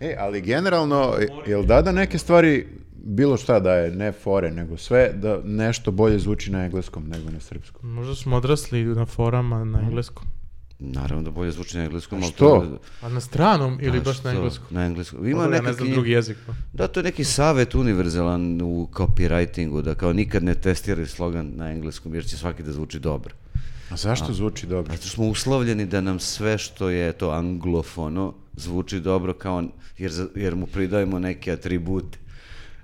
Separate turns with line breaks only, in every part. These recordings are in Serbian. E, ali generalno, jel da da neke stvari, bilo šta da je, ne fore, nego sve, da nešto bolje zvuči na engleskom nego na srpskom?
Možda smo odrasli na forama na
Mhm.
engleskom.
Naravno da bolje zvuči na engleskom. ali
što?
to-
A na stranom ili
A
baš na
što?
engleskom?
Na engleskom. Ima
ja
neka
ne znam
knji-
drugi jezik. pa.
Da, to je neki savjet univerzalan u copywritingu, da kao nikad ne testiraj slogan na engleskom, jer će svaki da zvuči dobro.
A Znači, zašto zvuči dobro?
Zato što smo uslovljeni da nam sve što je to anglofono zvuči dobro kao, jer, za- jer mu pridajemo neke atribute.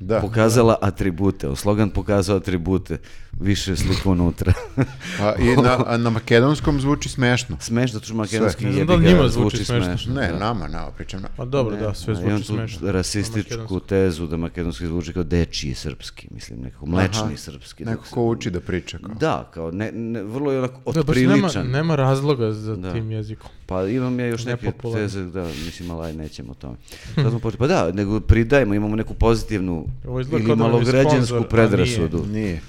Da.
Pokazala atribute, o slogan pokazao atribute, više slika unutra.
A, Pa i na, a na makedonskom zvuči smešno.
Smeš zato što makedonski
Sve.
Ne znam
jebi
da li
ga,
njima zvuči smešno.
Ne,
da.
nama, nama, pričam na...
Pa dobro,
Ne,
da, sve
E, a imam
zvuči
tu
smešno. Na
Rasističku
makedonskom.
tezu da makedonski zvuči kao dečiji srpski, mislim, nekako mlečni
Aha,
srpski.
Neko
dok se-
ko uči da priča kao.
Da, kao ne, ne- vrlo je onako
Da, baš nema,
otpriličan.
nema razloga za
Da.
tim jezikom.
Pa imam ja još neke
Nepopularan.
teze, da, mislim, ali aj, nećemo o tome. Sad smo počeli- pa da, nego pridajemo, imamo neku pozitivnu
Ovo izgleda
ili
kao da nam je
malograđansku
sponzor, a
predrasudu.
Nije.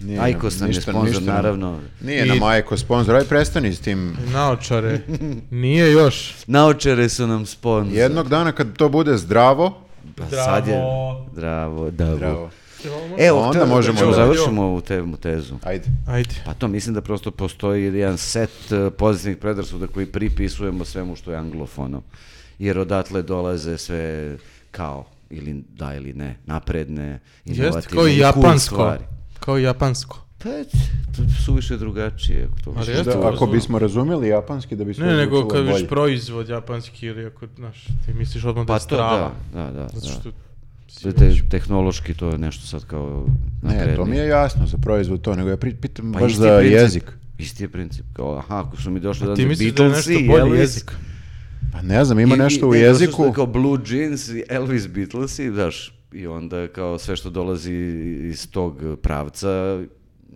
Nije nam
Ajkos nam je
ništa-
sponzor,
ništa nam-
naravno.
Nije
I-
nam Ajko sponzor, aj prestani s tim.
Naočare. Nije još.
Naočare su nam sponzor.
Jednog dana kad to bude zdravo,
Pa sad je-
Dravo.
Dravo, davo.
zdravo.
Evo,
Onda
hteo-
možemo
evo,
da-
završimo ovu temu tezu.
Ajde.
Ajde.
Pa to mislim da prosto postoji jedan set eh, pozitivnih predrasuda koji pripisujemo svemu što je anglofono. Jer odatle dolaze sve kao ili da ili ne, napredne, inovativne
Jeste kao i
i cool
japansko.
stvari.
Kao i japansko.
Pa je, to suviše drugačije. Ako to
Ali
misliš.
jeste, pa
Da, ako
razumem.
bismo razumeli japanski, da bismo
Ne, nego
zvučilo
kad
bolje.
viš proizvod japanski ili ako, znaš, ti misliš odmah da
pa
je
to
strava.
da, da, da.
Zato
da.
što si
Te-
već-
tehnološki to je nešto sad kao
Ne, to mi
naprednije.
je jasno za proizvod to, nego ja pri- pitam baš
Pa isti
za
princip.
jezik.
Isti je princip. Kao, aha, ako su mi došli da
Ti misliš da je
Beatlesi,
nešto bolji
Elvis,
jezik.
Pa ne znam, ima
I-
nešto
i-
u
ne, došli su
jeziku.
Kao Blue Jeans, i Elvis Beatles i znaš, i onda kao sve što dolazi iz tog pravca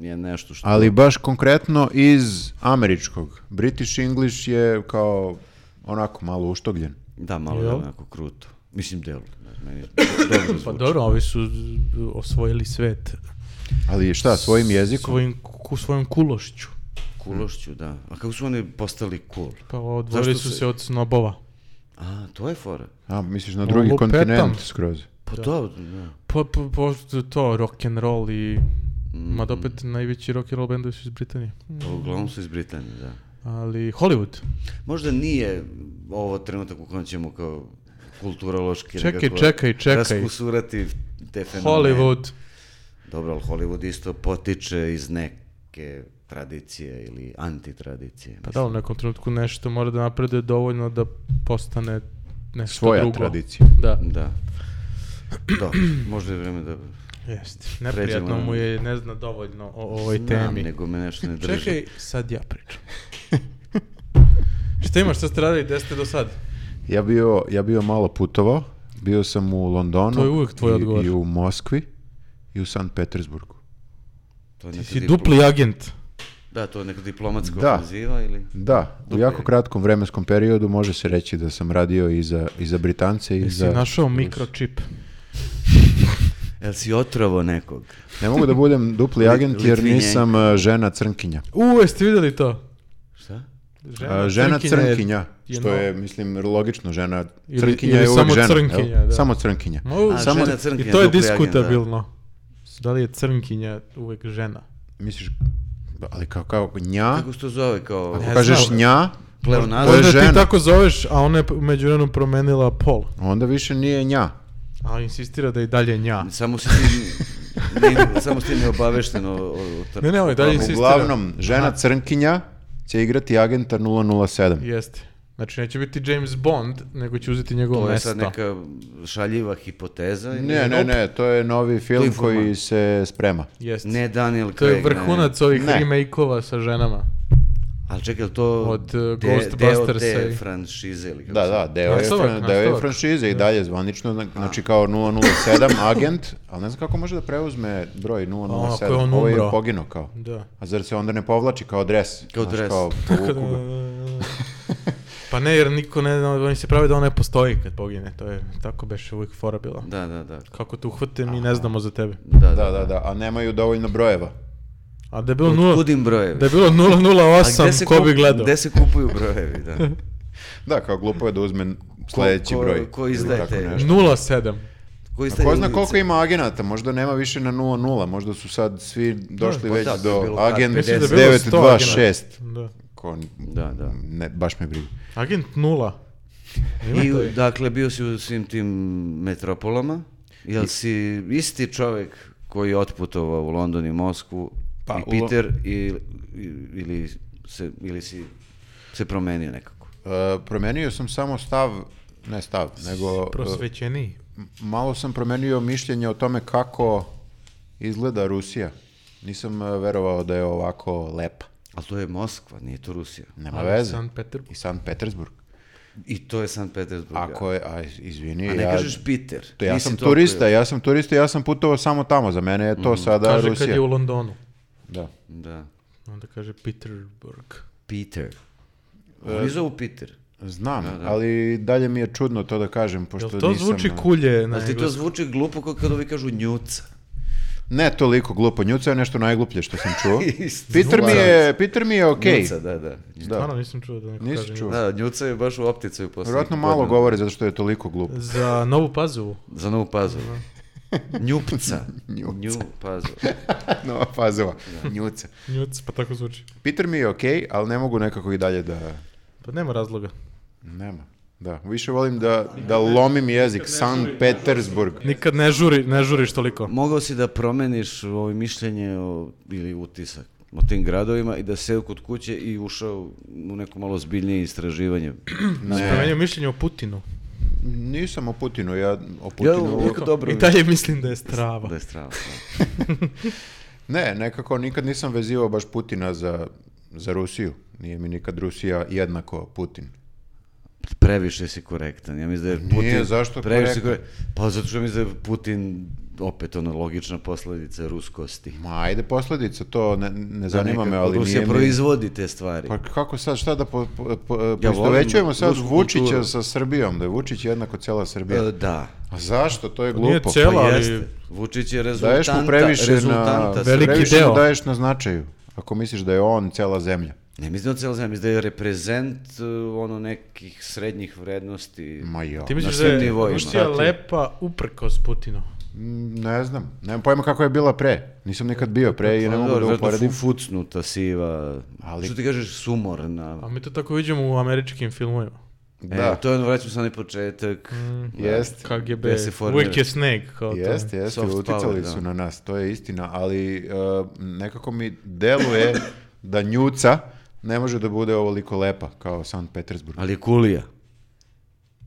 je nešto što...
Ali baš konkretno iz američkog. British English je kao onako malo uštogljen.
Da, malo je
Jel?
onako kruto. Mislim, delo. ne znam, meni dobro
Pa
zvuči.
dobro, ovi su z- osvojili svet.
Ali šta, svojim jezikom?
Svojim, ku, svojom kulošću.
Kulošću, da. A kako su oni postali cool?
Pa odvojili
Zašto
su
se-
se od snobova.
A, to je fora.
A, misliš na drugi
Lupetam.
kontinent skroz.
Pa to, da.
Pa, pa, pa to, rock'n'roll i... Mada opet
Mm.
najveći rock'n'roll bendovi su iz Britanije.
Pa uglavnom su iz Britanije, da.
Ali Hollywood.
Možda nije ovo trenutak u kojem ćemo kao kulturološki
Čekaj,
nekako
čekaj, čekaj.
raskusurati te fenomene.
Hollywood.
Dobro, ali Hollywood isto potiče iz neke tradicije ili antitradicije.
Pa da, u nekom trenutku nešto mora da napreduje dovoljno da postane nešto
Svoja
drugo.
tradicija.
Da,
Da. Dobro, možda je vreme da...
jest. Neprijatno
Pređemo na-
mu je, ne zna dovoljno o ovoj
Znam,
temi.
nego me nešto ne drži.
Čekaj, sad ja pričam. Šta imaš, šta ste radili, gde ste do sad?
Ja bio, ja bio malo putovao, bio sam u Londonu
To je uvek tvoj
i,
odgovor.
i u Moskvi i u San Petersburgu.
To je
Ti
neka
si
diplo-
dupli agent.
Da, to je neka diplomatska
Da.
ofenziva ili...
Da, u
Dobro.
jako kratkom vremenskom periodu može se reći da sam radio i za, i za Britance i
Jesi
za...
našao mikročip?
Jel si otrovo nekog?
Ne mogu da budem dupli
Li-
agent jer
Litvinjenko.
nisam uh, žena crnkinja.
U, jeste vidjeli to?
Šta?
Žena,
A, žena
crnkinja je-
crnkinja,
je
što
no-
je, mislim, logično, žena
Ili-
crnkinja
ili
je uvek
samo
žena. jel?
crnkinja, da.
Samo crnkinja.
Mo-
A,
Samo-
žena crnkinja,
I to je
dupli agent,
diskutabilno. Da li je crnkinja uvek žena?
Misliš, ali kao, kao nja,
da. Kako se to zove kao...
ne
kažeš
znam.
nja,
Pleonazam?
To je
Možda ti
žena.
tako zoveš, a ona je međuvremeno promenila pol.
onda više nije nja.
A insistira da je i dalje nja.
Samo si ti... ne- samo si ti neobavešteno o, o, Pa, tr-
Ne, ne, ovo je dalje insistira.
Uglavnom, žena crnkinja će igrati agenta 007.
Jeste. Znači, neće biti James Bond, nego će uzeti njegovo
To je
mesto.
sad neka šaljiva hipoteza. ili-
Ne, ne, ne, to je novi film
format.
koji se sprema.
Jeste.
Ne Daniel
to
Craig.
je vrhunac ovih
Ne.
remake-ova sa ženama.
Ali čekaj, jel to
Od, eh,
de-
Ghostbustersa
deo te
i-
franšize ili kako
Da,
se-
da, deo je,
Nastavak,
fran- deo je
nastavak.
franšize i dalje zvanično, zna- znači kao 007 agent, ali ne znam kako može da preuzme broj 007,
A, ako je on
ovo ovaj je
umro.
pogino kao.
Da.
A zar se onda ne povlači kao dres?
Kao
Znaš,
dres.
Kao povuku ga.
pa ne, jer niko ne zna, oni se prave da ona ne postoji kad pogine. To je, tako beše uvijek fora bila.
Da, da, da.
Kako te uhvate, mi ne znamo za tebe.
Da,
Da, da, da, a nemaju dovoljno brojeva.
A da je bilo, nula,
Kudim brojevi.
da je bilo
A gde
008,
se
ko
kup-
bi gledao?
Gde se kupuju brojevi, da.
Da, kao glupo je da uzme Sljedeći
ko-
broj.
ko
ili
izdaje
tako
te-
nešto.
0,7.
Koji
A Ko zna koliko ima agenata, možda nema više na 0-0, možda su sad svi došli
pa
već
da, to je
do
bilo kad?
agent
Mislim da je bilo 100
926.
Da.
Ko,
Da, da.
Ne, baš me briga.
Agent 0.
I, dakle, bio si u svim tim metropolama. Jel si isti čovjek koji je otputovao u London i Moskvu
Pa, u-
i Peter i, i- ili, se, ili si se promenio nekako?
E, promenio sam samo stav, ne stav, nego e,
Prosvećeniji.
m- malo sam promenio mišljenje o tome kako izgleda Rusija. Nisam e, verovao da je ovako lepa.
Ali to je Moskva, nije to Rusija.
Nema
Ali
veze.
San Peterburg.
I San Petersburg.
I to je San Petersburg.
Ako je, aj, izvini,
A ne
ja,
kažeš Peter.
to ja
nisi
sam
to
turista,
okrivio.
ja sam turista, ja sam putovao samo tamo, za mene je to sada
Kaže
Rusija.
kad je u Londonu.
Da.
Da.
Onda kaže Peterburg.
Peter.
E,
Oni zovu Peter.
Znam, ali dalje mi je čudno to da kažem, pošto
Jel to
nisam... eh,
zvuči kulje na
Ali ti to
engleskom?
zvuči glupo kao kad ovi kažu njuca.
Ne toliko glupo, njuca je nešto najgluplje što sam čuo.
Isto.
Peter mi je, Peter mi je okej.
ono, Njuca, da, da.
Da.
Stvarno nisam čuo da neko
Nisam
kaže.
čuo.
Da, njuca je baš u opticaju poslije.
Vjerojatno
nekog
malo
godina.
govore zato što je toliko glupo.
Za Novu Pazovu.
Za Novu Pazovu. Njupca.
Njupca.
Nju Pazovu.
Nova fazova. Njuca.
Njuc, pa tako zvuči.
Peter mi je okej, ali ne mogu nekako i dalje da...
Pa nema razloga.
Nema. Da, više volim da, da lomim jezik. San Petersburg.
Nikad ne žuri, ne žuriš toliko.
Mogao si da promeniš ovo mišljenje o, ili utisak o tim gradovima i da seo kod kuće i ušao u neko malo zbiljnije istraživanje.
Ne,
Promenio mišljenje o Putinu.
nisam o Putinu, ja o
Ja
Putinu...
uvijek dobro
I dalje mislim da je strava.
da je strava. da.
Ne, nekako nikad nisam vezivao baš Putina za, za Rusiju. Nije mi nikad Rusija jednako Putin.
Previše si korektan. Ja mislim da je
Pa Nije,
Putin...
zašto
previše si
korektan?
korek- Pa zato što mislim da je Putin opet ona logična posljedica ruskosti.
Ma, ajde, posljedica, to ne, ne
Da
zanima me,
nekako
ali
Rusija
nije mi-
proizvodi te stvari.
Pa kako sad, šta da po, po, po-
volim
poistovećujemo sad
rusku
Vučića
kulturu.
sa Srbijom, da je Vučić jednako cijela Srbija.
E, da.
A zašto? To je glupo. Pa
Nije cijela,
Pa
ali
jeste. Vučić je
Daješ mu
rezultanta.
previše na,
rezultanta
Veliki
previše
deo.
mu daješ na značaju. Ako misliš da je on cijela zemlja.
Ne mislim da cijela zemlja, mislim da je reprezent uh, ono nekih srednjih vrednosti.
Ma jo.
ti misliš
na
da
svim
je
nivoima.
Rusija
Šta ti?
lepa uprkos Putinu.
Mm, Ne znam. Nemam pojma kako je bila pre. Nisam nikad bio pre i ne mogu da
vjerojatno
uporedim.
Pa fu- fucnuta, siva,
Ali-
što ti kažeš, sumorna.
A mi to tako vidimo u američkim filmovima.
Da,
E, to je ono, vraćam se na onaj početak.
Mm.
jest.
KGB,
Da se formira.
uvijek je sneg. Kao to.
Jeste, jeste,
Soft
uticali
power, da.
su na nas, to je istina, ali uh, nekako mi deluje da njuca ne može da bude ovoliko lepa kao San Petersburg.
Ali je kulija.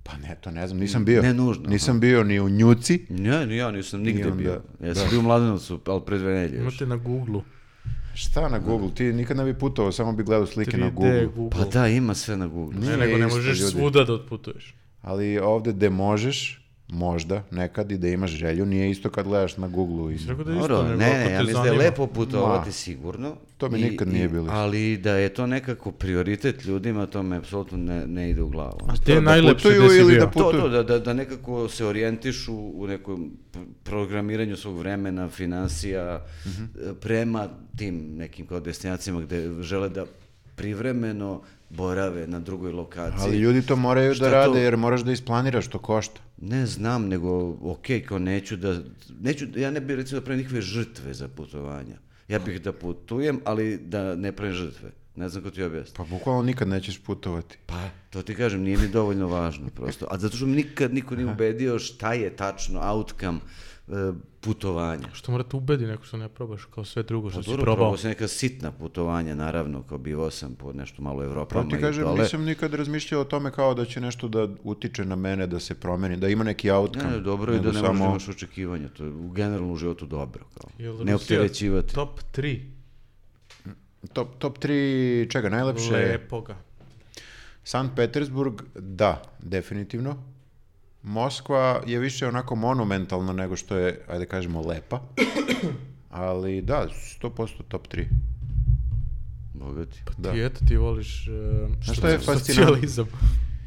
Pa ne, to ne znam, nisam bio.
Ne nužno,
Nisam bio ni u njuci,
Ne, ni ja nisam nigdje
onda-
bio. Ja sam bio u Mladenovcu, ali pre dve nedjelje još.
Imate na Google-u.
Pa Šta na Google? Ti nikad ne bi putovao, samo bi gledao slike na
3D
Google.
Google.
Pa da, ima sve na Google.
Nije
Ne, nego ne
isto,
možeš
ljudi.
svuda da otputuješ.
Ali ovdje gde možeš, možda, nekad i da imaš želju, nije isto kad gledaš na Google. I...
Tako da isto,
Dobro, ne,
nego
ne,
ako
ja
te
mislim da je
zanima.
lepo putovati sigurno.
To mi
I-
nikad nije
i-
bilo.
Ali da je to nekako prioritet ljudima, to me apsolutno ne, ne ide u glavu.
Gdje je najlepše
putuju
gdje si
ili
bio?
da
To,
putuju.
to, da, da, da nekako se orijentišu u nekom p- programiranju svog vremena, financija,
Mhm.
e, prema tim nekim kao destinacijama gdje žele da privremeno borave na drugoj lokaciji.
Ali ljudi to moraju
Šta
da
to?
rade jer moraš da isplaniraš to košta.
Ne znam, nego ok, kao neću da, neću, ja ne bih recimo da pravim nikakve žrtve za putovanja. Ja bih da putujem, ali da ne pravim žrtve. Ne znam kako ti objasnim.
Pa bukvalno nikad nećeš putovati.
Pa, to ti kažem, nije mi dovoljno važno prosto. A zato što mi nikad niko nije ubedio šta je tačno outcome e, putovanja.
Što morate ubedi neko što ne probaš, kao sve drugo
Pa
što si
Pa Dobro,
probao.
probao sam neka sitna putovanja, naravno, kao bivao sam po nešto malo
Pa
Evropama
ti
i
kažem,
dole.
nisam nikad razmišljao o tome kao da će nešto da utiče na mene, da se promeni, da ima neki outcome.
Ne, ne, dobro je
nego
da ne možeš da imaš očekivanja, to je u generalnom životu dobro, kao.
Jel
ne
Rusija
opterećivati.
Top 3
Top, top 3 čega najlepše?
lepoga.
San Petersburg, da, definitivno. Moskva je više onako monumentalno nego što je, ajde kažemo, lepa. Ali da, 100% top 3.
Bogati.
Da.
Pa Ti eto ti voliš uh,
što je fascinantno?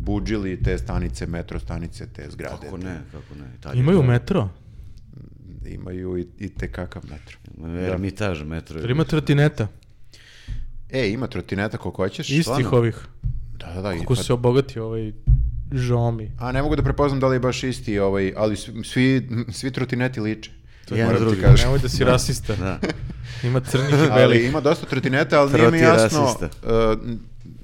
buđili te stanice, metro stanice, te zgrade.
Kako ne, kako ne. Tad je
Imaju metro?
Imaju i, i te kakav metro.
Ermitaž metro. je
Jel Ima trotineta.
E, ima trotineta koliko hoćeš.
Istih
stvarno.
ovih.
Da, da, da. i
Kako
pa-
se obogati ovaj žomi.
A ne mogu da prepoznam da li je baš isti, ovaj, ali svi, svi, svi trotineti liče.
bio. Jedan
Moram ti
drugi.
kažem.
Nemoj da si rasista.
Da.
Ima crnih i
Ali
belih.
ima dosta trotineta, ali nije mi
Troti
jasno.
rasista.
e,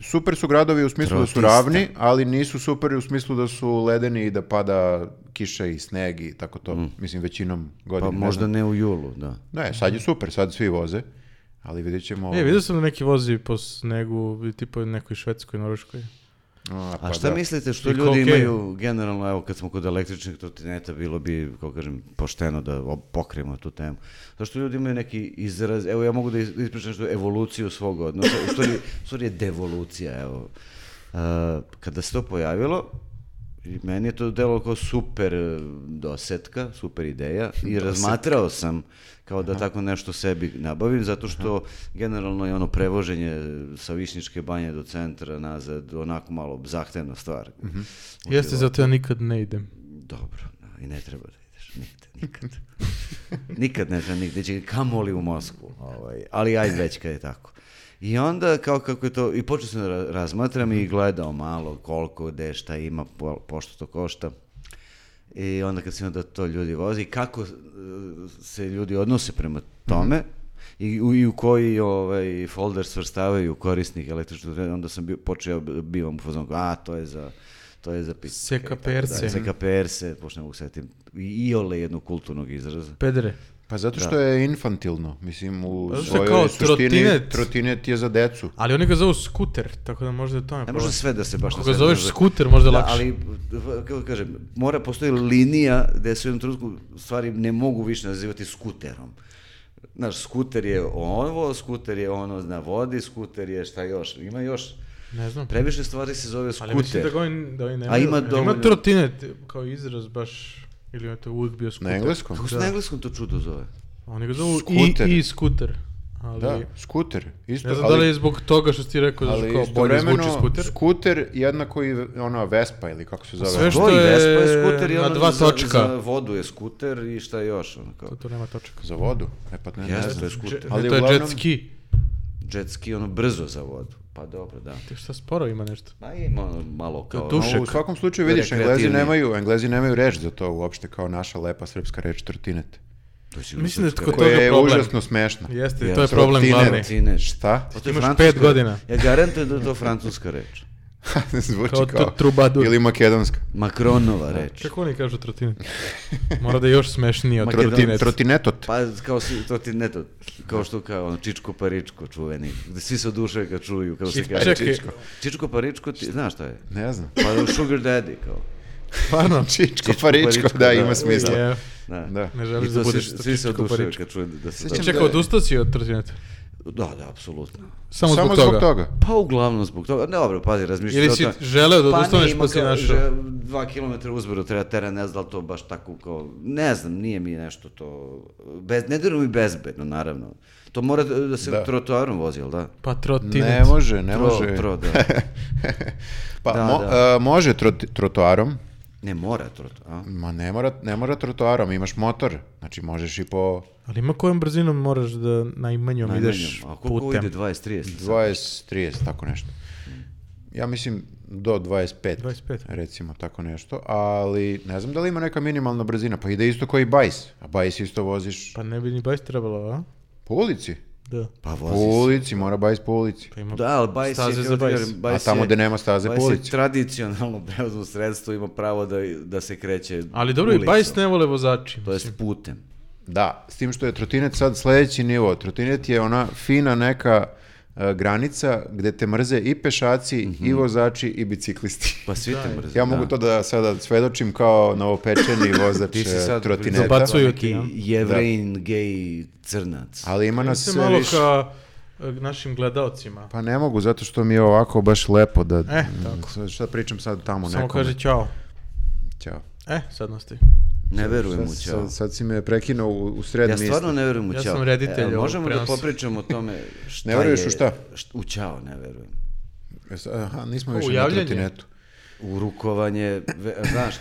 super su gradovi u smislu da su
Trotista.
ravni, ali nisu super u smislu da su ledeni i da pada kiša i sneg i tako to. Mislim, većinom godine.
Mm. Pa možda ne u julu, da.
Ne, sad je super, sad svi voze, ali vidjet ćemo...
E, vidio sam da neki vozi po snegu, tipa nekoj švedskoj, norveškoj.
A,
A
pa
šta
da.
mislite što
I
ljudi
okej.
imaju generalno, evo kad smo kod električnih trotineta, bilo bi, kako kažem, pošteno da ob- pokrijemo tu temu. Zašto ljudi imaju neki izraz, evo ja mogu da is- ispričam što je evoluciju svog odnosa, u stvari, u stvari je devolucija, evo. A, kada se to pojavilo, i meni je to delo kao super e, dosetka, super ideja i razmatrao sam kao da tako nešto sebi nabavim zato što generalno je ono prevoženje sa Višničke banje do centra nazad onako malo zahtevna stvar.
Jeste, zato ja nikad ne idem.
Dobro, da, i ne treba da ideš nigde, nikad. nikad ne treba nigde, će kamoli u Moskvu. Ovaj. Ali ajde već kad je tako. I onda kao kako je to, i počeo sam da ra- razmatram i gledao malo koliko, gde, šta ima, po- pošto to košta. I onda kad se onda to ljudi vozi, kako e, se ljudi odnose prema tome, I u, i u koji ovaj, folder svrstavaju korisnik električnog trena, onda sam bio, počeo, bivam u fazonu, a to je za, to je za pit.
Sekaperce.
Da, CKPR-se, pošto ne mogu setim, i iole jednog kulturnog izraza.
Pedere.
Pa zato što je infantilno, mislim, u
Pa Zato što
svojoj
je kao
suštini
trotinet.
trotinet je za decu.
Ali oni ga zovu skuter, tako da možda je tome
Ne
problem.
može sve da se baš...
Ako ga
na sve
zoveš
može.
skuter, možda je
Da,
lakše.
ali, v- kako kažem, mora postoji linija gde se u jednom trenutku stvari ne mogu više nazivati skuterom. Znaš, skuter je ovo, skuter je ono na vodi, skuter je šta još, ima još.
Ne znam.
Previše stvari se zove skuter.
Ali mislim da ga oni, da oni nemaju.
ima
Jel
dovoljno-
Ima trotinet kao izraz baš, ili je to uvijek bio skuter.
Na engleskom?
Kako se na engleskom to čudo zove?
Oni ga zovu
Skuter.
i, i skuter. Ali,
Da, skuter. Isto,
Ne znam
ali-
da li je zbog toga što si ti rekao, da
Ali
kao bolje zvuči
istovremeno
skuter.
skuter jednako i ona Vespa ili kako se zove.
sve što-
To i
je
Vespa je skuter i
na
ono
dva
za,
točka.
za vodu je skuter i šta još. Ono kao.
To, to nema točka.
Za vodu? E pa ne, ne
Jeste, to
znam.
je skuter.
Dže-
Ali
to je
uglavnom-
jet ski.
Jet ski, ono brzo za vodu. Pa dobro, da.
Ti šta sporo ima nešto.
Ma ima ono malo kao...
duš-
U
Tušek.
svakom slučaju vidiš, Englezi
Rekreativni.
nemaju, Englezi nemaju reč za to uopšte kao naša lepa srpska reč trotinet.
To si
Mislim da je
srpska
kod
reč.
Koja
toga
je
problem.
užasno smešna.
Jeste,
Ja,
to je problem
trotinet.
glavni.
Trotinet.
Šta?
Pa to je
Imaš
francuska
pet
reč.
godina.
Ja garantujem da je to francuska reč.
Zvuči
Kao
kao,
to trubadur.
Ili makedonska.
Makronova reč.
Kako oni kažu trotinet? Mora da je još smešnije od
Makedon-
trotinet.
Trotinetot.
Pa kao si, to ti ne to, kao što kao ono, Čičko Paričko čuveni, gde svi se odušaju kad čuju, kako se
Čik-
kaže
čekaj.
Čičko. Čičko Paričko, ti znaš šta je?
Ne znam.
Pa Sugar Daddy kao.
Stvarno?
Čičko paričko,
Paričko,
da,
da.
ima smisla.
Je.
Da.
Da.
Ne
I
želiš
to
da
svi-
budeš
svi se
Čičko
odušaju
Paričko.
kad čuju da se
Sjećam-
to...
Čekao, odustao si od trotineta?
Da, da, apsolutno.
Samo, zbog, toga.
Pa uglavnom zbog toga, ne dobro, pazi, razmišljaj
Ili si želeo da
Pa ne,
odustaneš
ima
pa si
kao
našao?
že- Dva kilometra uzboro treba teren, ne znam da li to baš tako kao, ne znam, nije mi nešto to, bez, ne djeluje mi bezbedno, naravno. To mora da da se
Da.
trotoarom vozi, jel da?
Pa trotinet.
Ne može, ne
Tro-
može.
Tro, da.
Pa
Da,
mo-
da.
e, može trot- trotoarom,
Ne mora troto, a?
ma ne mora, ne mora trotoarom, imaš motor, znači možeš i po
Ali ima kojom brzinom moraš da najmanjom, ideš
Najmanjom. A koliko
putem.
ide 20, 30?
20, 30, tako nešto. Ja mislim do 25,
25.
recimo tako nešto, ali ne znam da li ima neka minimalna brzina, pa ide isto koji bajs, a bajs isto voziš
Pa ne bi ni bajs trebalo, a?
po ulici.
Da.
Pa
Po
vozi se.
ulici, mora bajs po ulici.
Pa ima
Da, ali bajs je,
Staze za
kako ti
bajs.
kažem,
A
bajs
tamo
je-
gde nema staze po
bajs je
ulici.
tradicionalno prevozno sredstvo, ima pravo da, da se kreće
Ali dobro, i
ulicom.
bajs ne vole vozači.
To
mislim.
jest putem.
Da, s tim što je trotinet sad sledeći nivo. Trotinet je ona fina neka e, granica gde te mrze i pešaci,
Mhm.
i vozači, i biciklisti.
Pa svi te mrze.
Ja mogu to da sada svedočim kao novopečeni vozač
Ti si
e,
sad
trotineta.
zabacuju
Neki
ti, ja.
jevrejin, gej, crnac.
Ali ima nas
se
sve
malo
više.
ka e, našim gledaocima.
Pa ne mogu, zato što mi je ovako baš lepo da...
E, tako.
Sad Šta pričam sad tamo
Samo
nekome?
kaže čao.
Ćao.
E, sad nas ti.
Ne verujem u
Sad-
ćao.
Sad, sad si me prekinuo u, u sred
Ja
misli.
stvarno ne verujem u
Ja
ćao.
sam reditelj
Evo,
ovog
možemo da
prenosa.
popričamo o tome šta
Ne veruješ
je-
u šta?
št- U ćao ne verujem.
Jes- E, Aha, nismo
U
više na
javljanje?
trotinetu.
U rukovanje, ve- znaš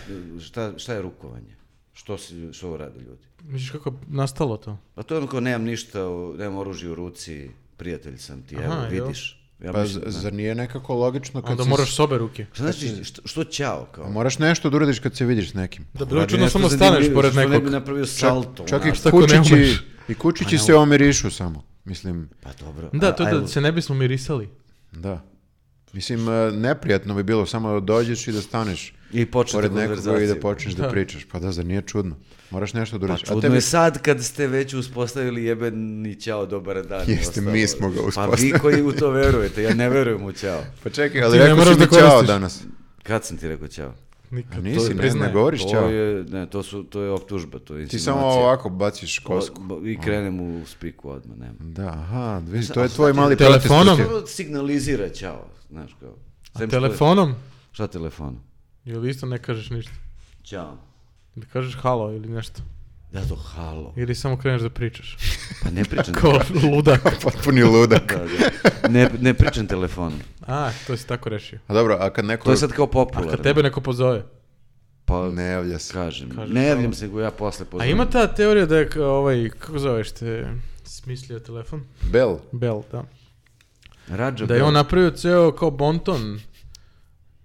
šta, šta je rukovanje? Što, si, što rade ljudi?
Misliš kako je nastalo to?
Pa to je onako, nemam ništa, u- nemam oružje u ruci, prijatelj sam ti, evo,
Aha, jel?
vidiš. Ja
Pa
mislim,
z- zar nije nekako logično kad
Onda
se-
moraš s obe ruke.
Šta znači, što, što ćao kao?
A Moraš nešto da uradiš kad se vidiš s nekim.
Da bilo
Radi
čudno
nešto
samo
zanimljivo,
staneš pored
Pa što ne bi
nekog.
napravio salto.
Čak
onako.
i
ako ne Pa
kučići,
umeš?
i kučići se omirišu samo. Mislim,
Pa dobro.
Da,
a-
to
ajmo.
da se ne bismo mirisali.
da. Mislim, e, neprijatno bi bilo samo da dođeš i da staneš
I početi
pored nekoga i da
konverzaciju.
počneš da
Da.
pričaš. Pa da, zar nije čudno? Moraš nešto da
Pa
uradiš.
čudno je sad kad ste već uspostavili jebeni ćao dobar dan. i
Jeste,
ostalo.
mi smo ga uspostavili.
Pa vi koji u to verujete, ja ne verujem u ćao.
Pa čekaj, ali
Ti ne
rekao si
moraš
mi
da
ćao
koristiš.
danas.
Kad sam ti rekao ćao?
Nikad,
A
to
nisi, ne,
priznaje.
ne govoriš
To
ćao.
je, ne, to, su, to je optužba, to je
Ti samo
insinuacija.
ovako baciš kosku.
O- I krenem u spiku odmah, nema.
Da, aha, vidiš, to je tvoj mali
Telefonom?
protest.
Prvo signalizira ćao, znaš kao.
A
Sem što je-
telefonom?
Šta telefonom?
Jel isto ne kažeš ništa?
Ćao.
Da kažeš halo ili nešto.
Da to halo.
Ili samo kreneš da pričaš.
Pa ne pričam.
Kao ludak.
Potpuni ludak.
Da, da. Ne, ne pričam telefonom.
A, to si tako rešio.
A dobro, a kad neko...
To je sad kao
A
popularno.
kad tebe neko pozove.
Pa
Ne javlja se.
kažem.
Kažeš
ne
halo.
javljam se go ja posle
A
pozovem.
ima ta teorija da je k- ovaj, kako zoveš te, smislio telefon?
Bel.
Bell, da.
Rađa
Da je on
Bel.
napravio ceo kao bonton.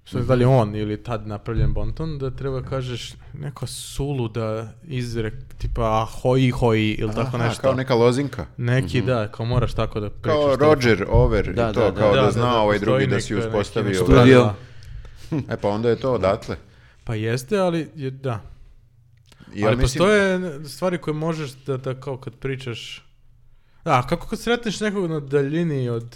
Sve
Mhm.
da li je on ili tad napravljen bonton, da treba kažeš neka suluda izrek tipa hoji hoji ili tako
Aha,
nešto.
Kao neka lozinka.
Neki
Mhm.
da, kao moraš tako da pričaš.
Kao
telefon.
Roger Over
Da,
i to,
da, da.
kao da,
Da, da,
zna
da,
ovaj
postoji
drugi da si
neka- neki
uspostavio.
nešto
ovaj-
Studio.
pravila.
E pa onda je to odatle.
Pa jeste, ali je, da.
I Ja
ali
mislim,
postoje stvari koje možeš da, da kao kad pričaš... Da, kako kad sretneš nekog na daljini od...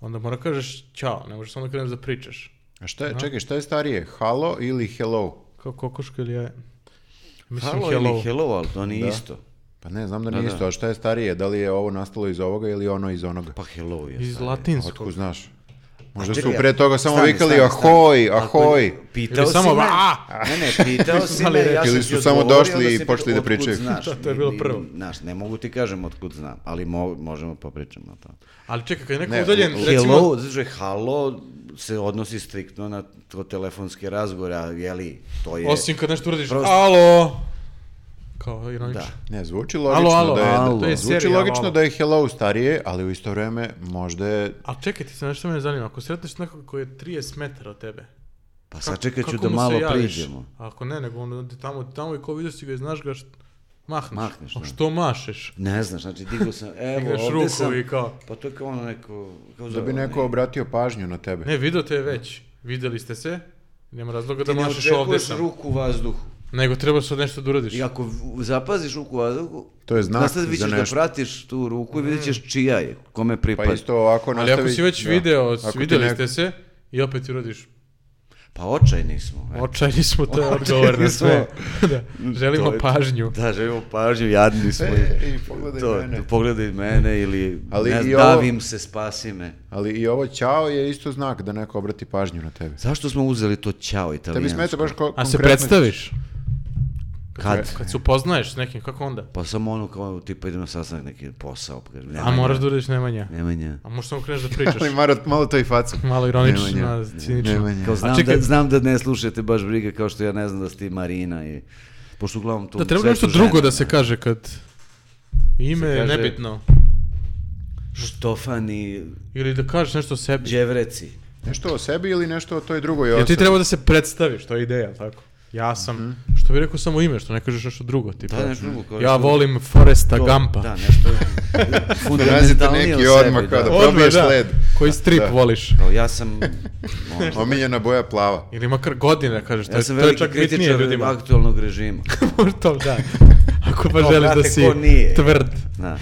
Onda mora kažeš čao, ne možeš samo da kreneš da pričaš.
A šta je, čekaj, šta je starije? Halo ili hello?
Kao kokoška ili jaje. Mislim
Halo
hello.
ili hello, ali to nije
Da.
isto.
Pa ne, znam da
Da,
nije
da.
isto, a šta je starije? Da li je ovo nastalo iz ovoga ili ono iz onoga?
Pa hello je.
Iz
sad. Pa
latinskog.
Otko znaš? Možda su
Čekaj,
pre toga samo
stani,
vikali
stani, stani.
ahoj,
Ako-
ahoj.
Pitao
Ili
si
samo
me-
"A!"
Ne, ne, pitao
Nisu
si
znali
me, ja
reći.
sam
Ili
ti
su samo
odgovorio,
došli
onda
i
si mi-
počeli da
"Otkud
pričaju."
Znaš,
Da, to je bilo
ni- ni-
prvo.
Znaš, ne mogu ti kažem otkud znam, ali mo- možemo popričamo o tome.
Ali čekaj, kad je neko
Ne,
udaljen,
hello.
recimo...
Hello, znači halo se odnosi striktno na to telefonske razgovore, a je li to je
Osim kad nešto uradiš,
Prosto.
alo! Kao ironično.
Da.
Ne, zvuči logično
alo,
da je...
alo.
da-
To je
Zvuči
serija,
logično
alo.
da je hello starije, ali u isto vreme možda je...
Ali čekaj, ti se nešto mene zanima. Ako sretneš nekog koji je 30 metara od tebe,
pa
Kako-
sačekat ću
kako
da
mu se
malo
javiš?
priđemo.
A Ako ne, nego onda ti tamo, tamo i ko vidio si ga i znaš ga, št... mahneš.
Mahneš,
A
da.
što mašeš?
Ne znaš, znači digao sam, evo,
Igraš
ovde
ruku
sam,
i kao-
pa to je kao ono neko, kao
Da
zove
bi
onaj-
neko obratio pažnju na tebe.
Ne, video te je već. Videli ste se. Nema razloga da
Ti ne
mašeš ovde
očekuješ
sam.
ruku u vazduhu.
Nego trebaš sad nešto da uradiš.
I ako v- zapaziš ruku u vazduhu,
To je znak
nastavit ćeš
za nešto. Mm.
da pratiš tu ruku i vidjet ćeš čija je, kome pripada.
Pa isto ovako
Ali
nastavi...
ako si već
da.
video,
Ako ti
videli
neko-
ste se, i opet uradiš.
Pa očajni smo. e.
Očajni smo, to je
Očajni
odgovor na sve. da.
To
Želimo
je-
pažnju.
Da, želimo pažnju, jadni smo.
E, i pogledaj mene.
Pogledaj mene ili
Ali
ne,
i
znam,
ovo-
davim se, spasi me.
Ali i ovo ćao je isto znak da neko obrati pažnju na tebe.
Zašto smo uzeli to ćao italijansko?
Tebi smeta baš ko,
A se
konkretno-
predstaviš?
Kad?
Kad se upoznaješ s nekim, kako onda?
Pa samo ono kao tipa idem na sastanak neki posao. Pa kažem,
A
Nemanja,
moraš da uradiš Nemanja.
Nemanja.
A možeš samo kreneš da pričaš.
Ali mara, malo to i facu.
Malo ironično,
Nemanja,
cinično.
Nemanja.
Kao znam,
čekaj-
da, znam da ne slušate baš briga kao što ja ne znam da ste i Marina i... Pošto uglavnom to...
Da treba
sve
nešto
su žene,
drugo da se
ne.
kaže kad ime
Se
je
kaže-
nebitno.
Štofani,
Ili da kažeš nešto o sebi.
dževreci.
Nešto o sebi ili nešto o toj drugoj
Jer
osobi?
ti treba da se predstaviš, to je ideja, jel tako? Ja sam, što bi rekao samo ime, što ne kažeš nešto drugo, tipa.
Mhm. Da, nešto drugo, kao
ja
što-
volim Foresta
To-
Gampa.
Da, nešto fundamentalnije
neki
od
odmah
sebi.
kao da-
Odmah,
probiješ
da.
led.
Koji strip
Da.
voliš?
Kao ja sam... ono,
Omiljena boja plava.
Ili makar godine, kažeš, to,
ja
je-
sam
to je
veliki
čak bitnije
kritičar
ljudima.
aktualnog režima.
Možda to, da. ako pa
E, To,
želiš da
brate,
si
ko nije?
tvrd.
Da.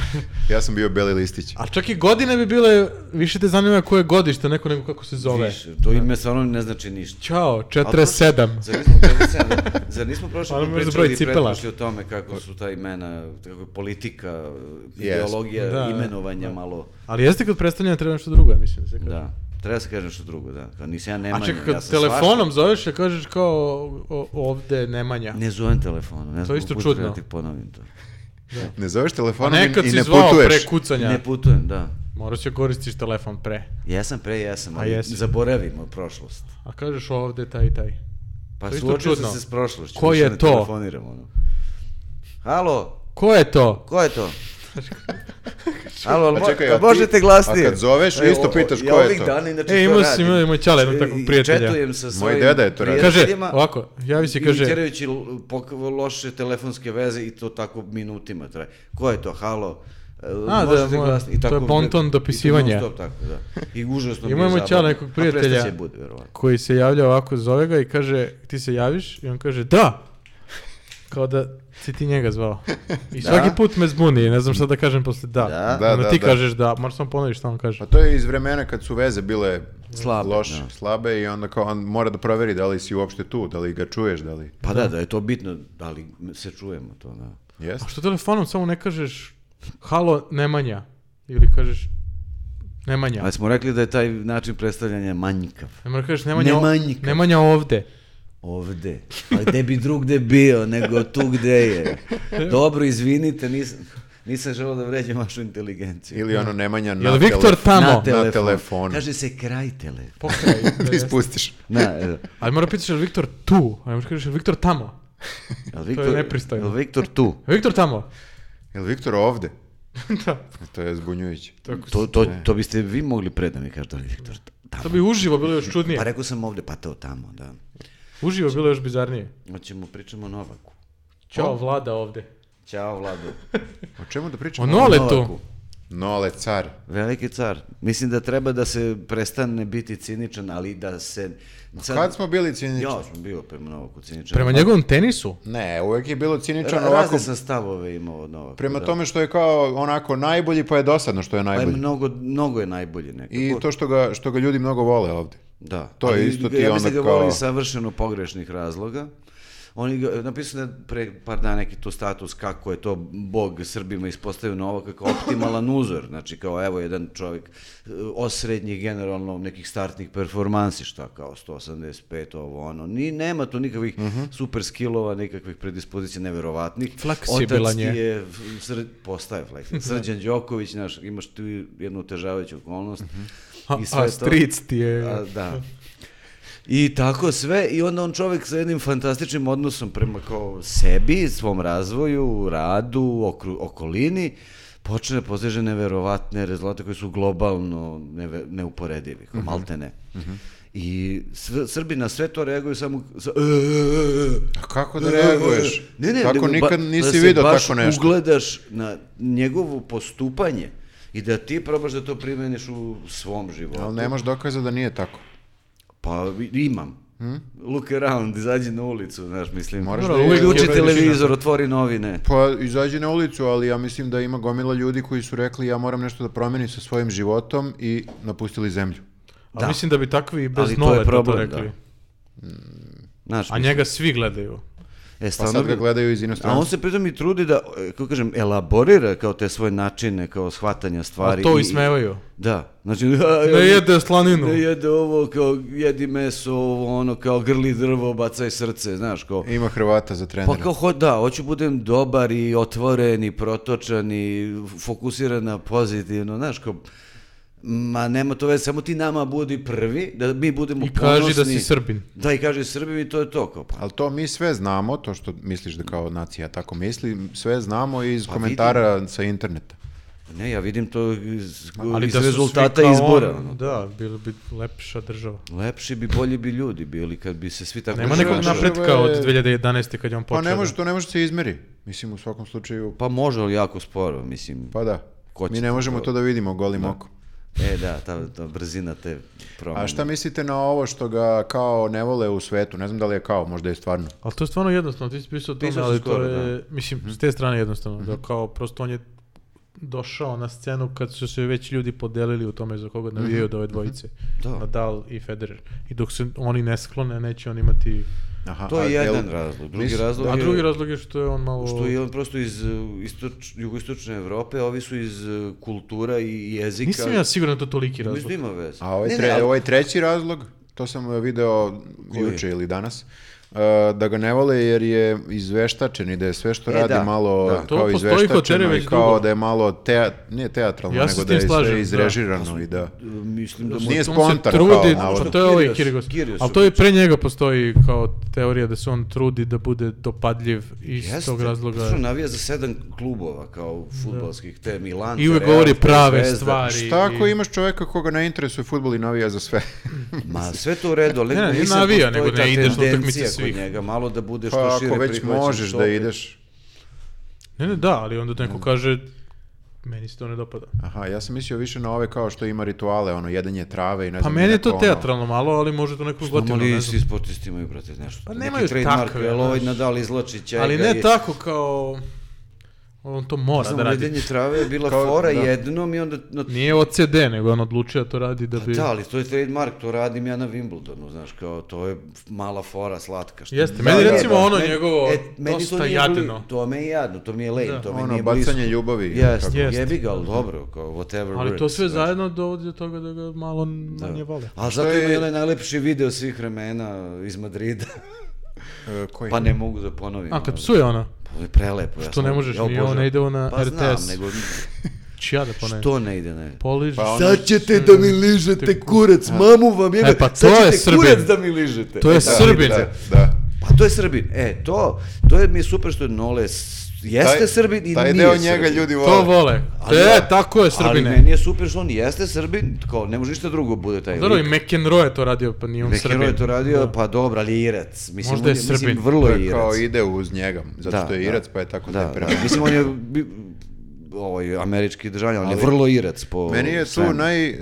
Ja sam bio Beli Listić.
A čak i godine bi bile, više te zanima koje godište, neko nego kako se zove.
Viš, to ime stvarno ne znači ništa.
Ćao,
Ali
47.
Zar nismo, prošli sedam- zar nismo prošli
Ali
put
možda
pričali
broj
i
cipela.
pretprošli o tome kako su ta imena, kako je politika, ideologija,
Da.
imenovanja malo,
Ali jeste kod predstavljanja treba nešto drugo, ja mislim da se kaže.
da. Treba se kaže nešto drugo, da. Kao nisam ja
A
Nemanja,
čekaj,
ja
kad
sam
telefonom
svašta.
zoveš, ja kažeš kao o, ovde Nemanja.
Ne zovem telefonom, ne znam
isto
koliko
čudno.
treba ti ponovim to.
Ne zoveš
A
telefonom i,
nekad
ono i
si
ne
zvao
putuješ.
pre kucanja.
Ne putujem, da.
Moraš će koristiš telefon pre.
Jesam pre, jesam,
A
ali
jesi.
zaboravimo prošlost.
A kažeš ovde taj i taj.
Pa
To je isto
suočio sam
čudno.
se s prošlošću.
Ko
više
je
ne
to?
Telefoniram, ono. Halo,
Ko je to?
ko je to? Halo,
A
mo-
čekaj,
a
a ti-
možete glasnije?
a kad zoveš,
E,
isto
o- o-
pitaš
ja
ko je
ovih
to?
Dana, inače,
E,
to
imao si-
radim.
imao je moj ćale jednog
E,
takvog
i
prijatelja.
Četujem sa
Moj
svojim
deda je to radio.
Kaže,
prijateljima
ovako, javi se i
i
kaže,
tjerajući l- pok- loše telefonske veze i to tako minutima traje. Ko je to? Halo? E,
A, da,
možete
moj-
glasnije? I
to je
tako-
bonton
i to
dopisivanja.
non stop tako, da. I užasno mi je
Imao je moj
zabavno.
ćale nekog
A
prijatelja.
prestaće bude, verovatno.
koji se javlja ovako, zove ga i kaže, ti se javiš? I on kaže, da! Kao da si ti njega zvao. I
Da.
svaki put me zbuni, ne znam šta da kažem posle da.
Da.
Da,
Onda
da,
ti
da.
kažeš da, moraš samo ponoviš šta on kaže.
Pa to je iz vremena kad su veze bile
Slabe,
loše,
da.
slabe i onda kao on mora da proveri da li si uopšte tu, da li ga čuješ, da li...
Pa da, da je to bitno, da li se čujemo to, da.
Jeste?
A Pa što telefonom samo ne kažeš, halo, Nemanja? Ili kažeš, Nemanja.
Ali smo rekli da je taj način predstavljanja manjkav.
Ne moraš kažeš, Nemanja, o-
Nemanjka.
Nemanja ovde.
Ovde. Pa gde bi drugde bio nego tu gde je. Dobro, izvinite, nisam, nisam želeo da vređam vašu inteligenciju.
Ili ono Nemanja na
Jel Viktor
telefon-
tamo?
te- na telefonu.
Kaže se kraj telefona.
Pokraj.
Da ispustiš.
Na, evo.
Ali mora pitaš, je li Viktor tu? A ne možeš kažeš, je li Viktor tamo?
Jel Viktor,
nepristojno.
jel Viktor tu.
Je li Viktor tamo?
Jel Viktor ovde? E,
da.
To je zbunjujuće.
To, to, to biste vi mogli pred da mi kažete da li je Viktor tamo.
To bi uživo bilo još
Pa
čudnije.
rekao sam ovde, pa to tamo, da.
Uživo bilo još bizarnije.
Hoćemo pričamo o Novaku. Pa-
Ćao, vlada ovde.
Ćao, Vlado.
O čemu da
O
pričamo?
Noletu.
Novaku.
Nole, car.
Veliki car. Mislim da treba da se prestane biti ciničan, ali da se... Sad-
Kad smo bili cinični?
Ja sam bio prema Novaku ciničan.
Prema njegovom tenisu?
Ne, uvek je bilo ciničan
Ra-
ovako,
Razne sam stavove imao od Novaku.
prema
da.
tome što je kao onako najbolji, pa je dosadno što je
Pa je
najbolji.
mnogo, mnogo je najbolji nekako.
I to što ga, što ga ljudi mnogo vole ovde.
Da.
To je
Ali
isto ti
ja
onda
mislim da ga
kao-
voli iz savršeno pogrešnih razloga. Oni ga, napisano je pre par dana neki tu status kako je to Bog Srbima ispostavio Novaka kao optimalan uzor. Znači kao evo jedan čovjek e, osrednji generalno nekih startnih performansi šta kao 185 ovo ono. Ni, nema tu nikakvih
Mhm.
super skillova, nikakvih predispozicija neverovatnih.
Fleksibilan
Otac ti
je.
je f- sr, postaje fleksibilan. Srđan Đoković, znaš, imaš tu jednu otežavajuću okolnost.
Mhm.
A,
I sve
a
to.
stric ti je...
A, da. I tako sve, i onda on čovjek sa jednim fantastičnim odnosom prema kao sebi, svom razvoju, radu, okru, okolini, počne da postiže neverovatne rezultate koji su globalno neve, neuporedivi, kao malte ne. I sve- Srbi na sve to reaguju samo sa, "E, e, e, e."
A kako da reaguješ?
Ne, ne,
tako
nego ba-
nikad
da
nisi
se
vidio
baš
tako nešto.
ugledaš na njegovo postupanje i da ti probaš da to primeniš u svom životu.
Ali nemaš dokaza da nije tako.
Pa vi- imam. Look around, izađi na ulicu, znaš, mislim.
Moraš
Dobro, da- uvijek je
Uključi
veličina.
televizor, otvori novine.
Pa izađi na ulicu, ali ja mislim da ima gomila ljudi koji su rekli ja moram nešto da promenim sa svojim životom i napustili zemlju.
A
da.
mislim da bi takvi i bez
Ali to je
Noleta to,
problem,
rekli.
Znaš,
A njega svi gledaju.
e,
Pa
stvarno
sad ga
bi-
gledaju iz
A on
inostranstva.
se pritom i trudi da, e, kako kažem, elaborira kao te svoje načine, kao shvatanja
A
stvari.
to
i-
ismevaju.
Da, znači... a,
Ne jede slaninu.
Ne jede ovo, kao jedi meso, ovo, ono, kao grli drvo, bacaj srce, znaš, kao...
Ima Hrvata za trenera.
Pa kao ho, da, hoću budem dobar i otvoren i protočan i fokusiran na pozitivno, znaš, kao, ma nema to veze, samo ti nama budi prvi, da mi budemo
I kaži da
ponosni.
si Srbin.
Da, i kaži Srbin i to je to, kao, pa.
Ali to mi sve znamo, to što misliš da kao nacija tako misli, sve znamo iz
Pa
komentara sa interneta. Pa
Ne, ja vidim to iz,
Ali
iz
da su svi
rezultata
kao
izbora.
on,
ono.
Da, bilo bi lepša država.
Lepši bi, bolji bi ljudi bili kad bi se svi tako...
Nema
Država-
nekog
ponašali.
država
napretka
je-
od 2011. kad je on
Pa
počeo.
ne može, to ne može se izmeri. Mislim, u svakom slučaju,
Pa može, ali jako sporo, mislim.
pa da.
Ko će
Mi ne
to
možemo
kao-
to da vidimo golim okom.
E, da, ta, ta brzina te promene.
A šta mislite na ovo što ga kao ne vole u svetu? Ne znam da li je kao, možda je stvarno.
Ali to je stvarno jednostavno, ti si pisao o tome,
Pisao sam
ali
skoro, Mhm.
to je, mislim, s te strane jednostavno, da kao prosto on je došao na scenu kad su se već ljudi podelili u tome za koga navijaju od ove dvojice,
Mhm. Da.
Nadal i Federer. I dok se oni ne sklone, neće on imati...
Aha,
To je
a jel-
jedan razlog. Drugi
mis-
razlog
A
Pa je-
drugi razlog je što je on malo...
Što je on prosto iz uh, istoč, jugoistočne Evrope, a ovi su iz uh, kultura i jezika.
Nisam ja siguran da je to toliki razlog.
Mislim da ima veze.
A ovaj,
Ne, ne,
tre-
ali-
ovaj treći razlog, to sam e, video juče ili danas, e, da ga ne vole jer je izveštačen i da je sve što
E,
radi
da.
malo
Da.
To
kao
postoji kod tebe
izveštačeno i
već
kao
dugo.
da je malo tea, nije teatralno,
Ja se
nego
s
da
tim
je
slažem, da.
sve izrežirano i da...
Uh, Mislim da mu
Nije
To mu
spontan
se
kao
trudi,
navodno.
što to je ovaj
Kyrgios-
Kyrgios.
Kyrgios
Ali to je
ubiče.
pre njega postoji kao teorija da se on trudi da bude dopadljiv iz
Jeste,
tog razloga.
zato što navija za sedam klubova kao futbalskih, te Milan,
I uvek
Real,
govori prave
Zvezda.
stvari.
Šta ako
i-
imaš čoveka koga ne interesuje futbol i navija za sve?
Ma sve to u redu, ali
Ne, ne, ne
mislim,
navija,
postoji
nego
ta
ne ideš na
tendencija
utakmice
kod
svih.
njega, malo da bude što
Pa
šire
ako već
prihvaćen,
možeš
što
da
opet-
ideš...
Ne, ne, da, ali onda neko kaže meni se to ne dopada.
Aha, ja sam mislio više na ove kao što ima rituale, ono, jedenje trave i ne
Pa
znam...
meni je
nekako
to
ono-
teatralno malo, ali može to neko
Znamo
gotivno,
li
ne
svi
znam.
sportisti imaju, brate, nešto.
Pa
neki
nemaju
trademark,
takve,
jel ovaj
znaš.
Nadal izloči ćega
Ali ne
i-
tako kao on to mora
Znam,
da radi.
ledenje trave je bila
Kao-
fora
da.
jednom i onda... Na...
Nije OCD, nego on odlučio da to radi da
Pa
bi...
da, ali to je trademark, to radim ja na Wimbledonu, znaš, kao to je mala fora, slatka. Što...
Jeste,
Da,
meni
da,
recimo
da.
ono
Meni- e,
njegovo
meni to
dosta
nije bli-
jadno.
To me je jadno, to mi je lame, to mi
Ono,
nije blisko.
bacanje ljubavi. ili
Jeste,
kako.
Jeste.
jebi ga, ali dobro, kao whatever
Ali to
works,
sve
znaš.
zajedno dovodi do toga da ga malo manje vole.
A zato
je-
ima i onaj najlepši video svih vremena iz Madrida,
E, koji?
pa ne mogu da ponovim.
A kad
ali-
psuje ona,
Pa, je prelepo. Ja
Što ne
sam-
možeš,
ja
ni on
obožavam.
ne ide ovo na
pa
RTS.
znam, nego
ću ja da ponajem.
što ne ide na
Poliži.
Pa ono-
Sad ćete da mi ližete kurac, mamu vam jebe,
E, pa
sad
to je
ćete kurac
Srbin.
da mi ližete.
To je
E,
Da,
Srbin.
Da, da.
Pa to je Srbin. E, to, to je mi je super što je Nole s- jeste
Taj-
Srbin i
taj
nije
deo njega
Srbin.
ljudi vole.
To vole.
Ali
e,
da,
tako je,
Ali
Srbine.
meni je super što on jeste Srbin, kao ne može ništa drugo bude taj
Dobro, i
lik.
McEnroe je to radio, pa nije on
Neki
Srbin.
heroj je to radio, pa dobro, ali je Irac. Mislim,
Možda je
on Mislim,
Srbin.
vrlo
To
je
je kao
Irac.
ide uz njega, zato što je Irac, pa je tako
da, da.
temperament.
Mislim, on je bi- ovaj, američki državljan, on je
Ali-
vrlo Irac po
Meni je tu
svemu.
naj, e,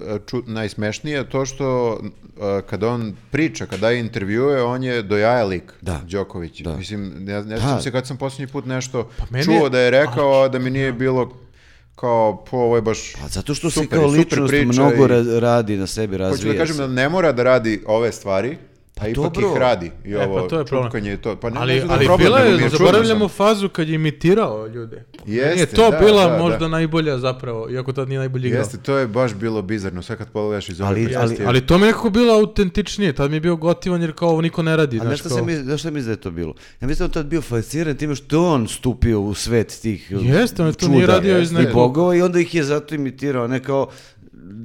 ču- najsmešnije to što e, kad on priča, kad daje intervjue, on je do jaja lik,
Da.
Đoković.
Da.
Mislim, ne, ne sjećam se kad sam posljednji put nešto
Pa meni
čuo
je-
da je rekao, a da mi nije bilo kao, po ovo je baš
Pa zato što se
super,
kao
super
ličnost
priča
mnogo
i-
ra- radi na sebi,
Hoću
razvija
da kažem
se. Pa
da ne mora da radi ove stvari, a ipak
dobro.
ih radi. I
E, pa
ovo
to je problem.
čutkanje i to. Pa ne, ne
Ali,
znam da je
ali
problem,
bila
nego
je,
mi je čudno samo.
zaboravljamo fazu kad je imitirao ljude. Meni je
Jeste,
to
da,
bila
da, da.
možda najbolja zapravo, iako tad nije najbolji igrao.
Jeste, to je baš bilo bizarno, sve kad pogledaš iz ove
Ali-
perspektive.
Ali to mi je nekako bilo autentičnije, tad mi je bio gotivan jer kao ovo niko ne radi.
A
znaš,
znaš šta
kao-
se mi, znaš šta mi da je to bilo? Ja mislim da je on tad bio fasciran time što je on stupio u svet tih uh,
Jeste, on je to
čuda
nije radio iz
jeste.
i
nekog...
bogova i onda ih je zato imitirao, ne kao...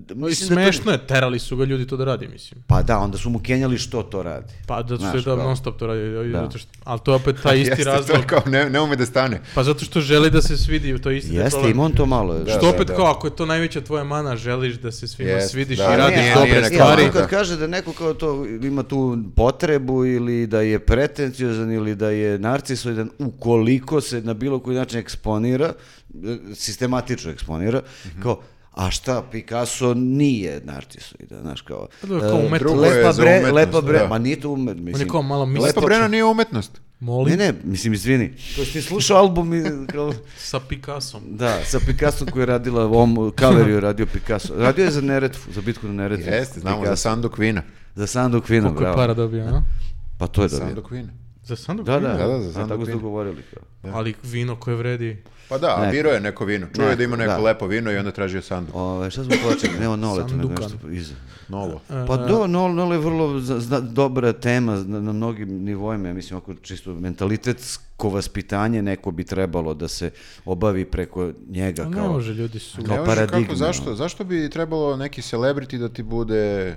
I
Mislim da to-
smešno je, terali su ga ljudi to da radi, mislim.
Pa da, onda su mu kenjali što to radi.
Pa zato što
Znaš,
je da
kao-
non stop to radi,
Da.
zato što, ali to je opet taj
Jeste,
isti
to je
razlog.
kao ne, ne ume da stane.
Pa zato što želi da se svidi, to je isti
Jeste,
problem.
ima on to malo.
Da,
Što opet
da.
kao, ako je to najveća tvoja mana, želiš da se svima
Jest,
svidiš
da,
i
ali
radiš
ne, ali
dobre
je
stvari.
rekao-
Kad kaže da neko kao to ima tu potrebu ili da je pretenciozan ili da je narcisoidan, ukoliko se na bilo koji način eksponira, e, sistematično eksponira,
Mhm.
kao, a šta, Picasso nije narcisoidan, znaš, kao...
To je Pa kao
e,
umetnost.
Drugo je
Lepa
za
bre,
umetnost,
lepa bre,
da.
ma nije to umet, mislim.
On je kao malo misli.
Lepa Brena nije umetnost.
Molim,
Ne, ne, mislim, izvini. To si ti slušao album i, kao,
sa Picassom.
da, sa Picasso koji je radila, ovom cover je radio Picasso. Radio je za Neretvu, za bitku na Neretvu.
Jeste, znamo za
Picasso.
Sanduk Vina.
Za Sandu Kvinu,
Koliko je
bravo.
para dobio, a?
Pa to je dobio.
Sanduk Vina.
Za sanduk
Da, da,
vino?
Da, da, za
A,
Sandu
tako ste
Kvinu.
govorili. kao.
Ali vino koje vredi.
Pa da, a
Neko.
birao je neko vino. Čuo je da ima neko
Neko, da.
lepo vino i onda tražio Sanduk.
Ove, šta smo počeli? Ne, o Noletu, nego
Sandukan.
nešto iza.
Novo.
E,
Pa do, Nol, Nol je vrlo za- zna- dobra tema na, na mnogim nivoima, ja mislim, ako čisto mentalitetsko vaspitanje neko bi trebalo da se obavi preko njega
A
kao...
Pa Ne može, ljudi su...
Kao
Ne možeš kako,
paradigma,
zašto,
ono.
zašto bi trebalo neki celebrity da ti bude...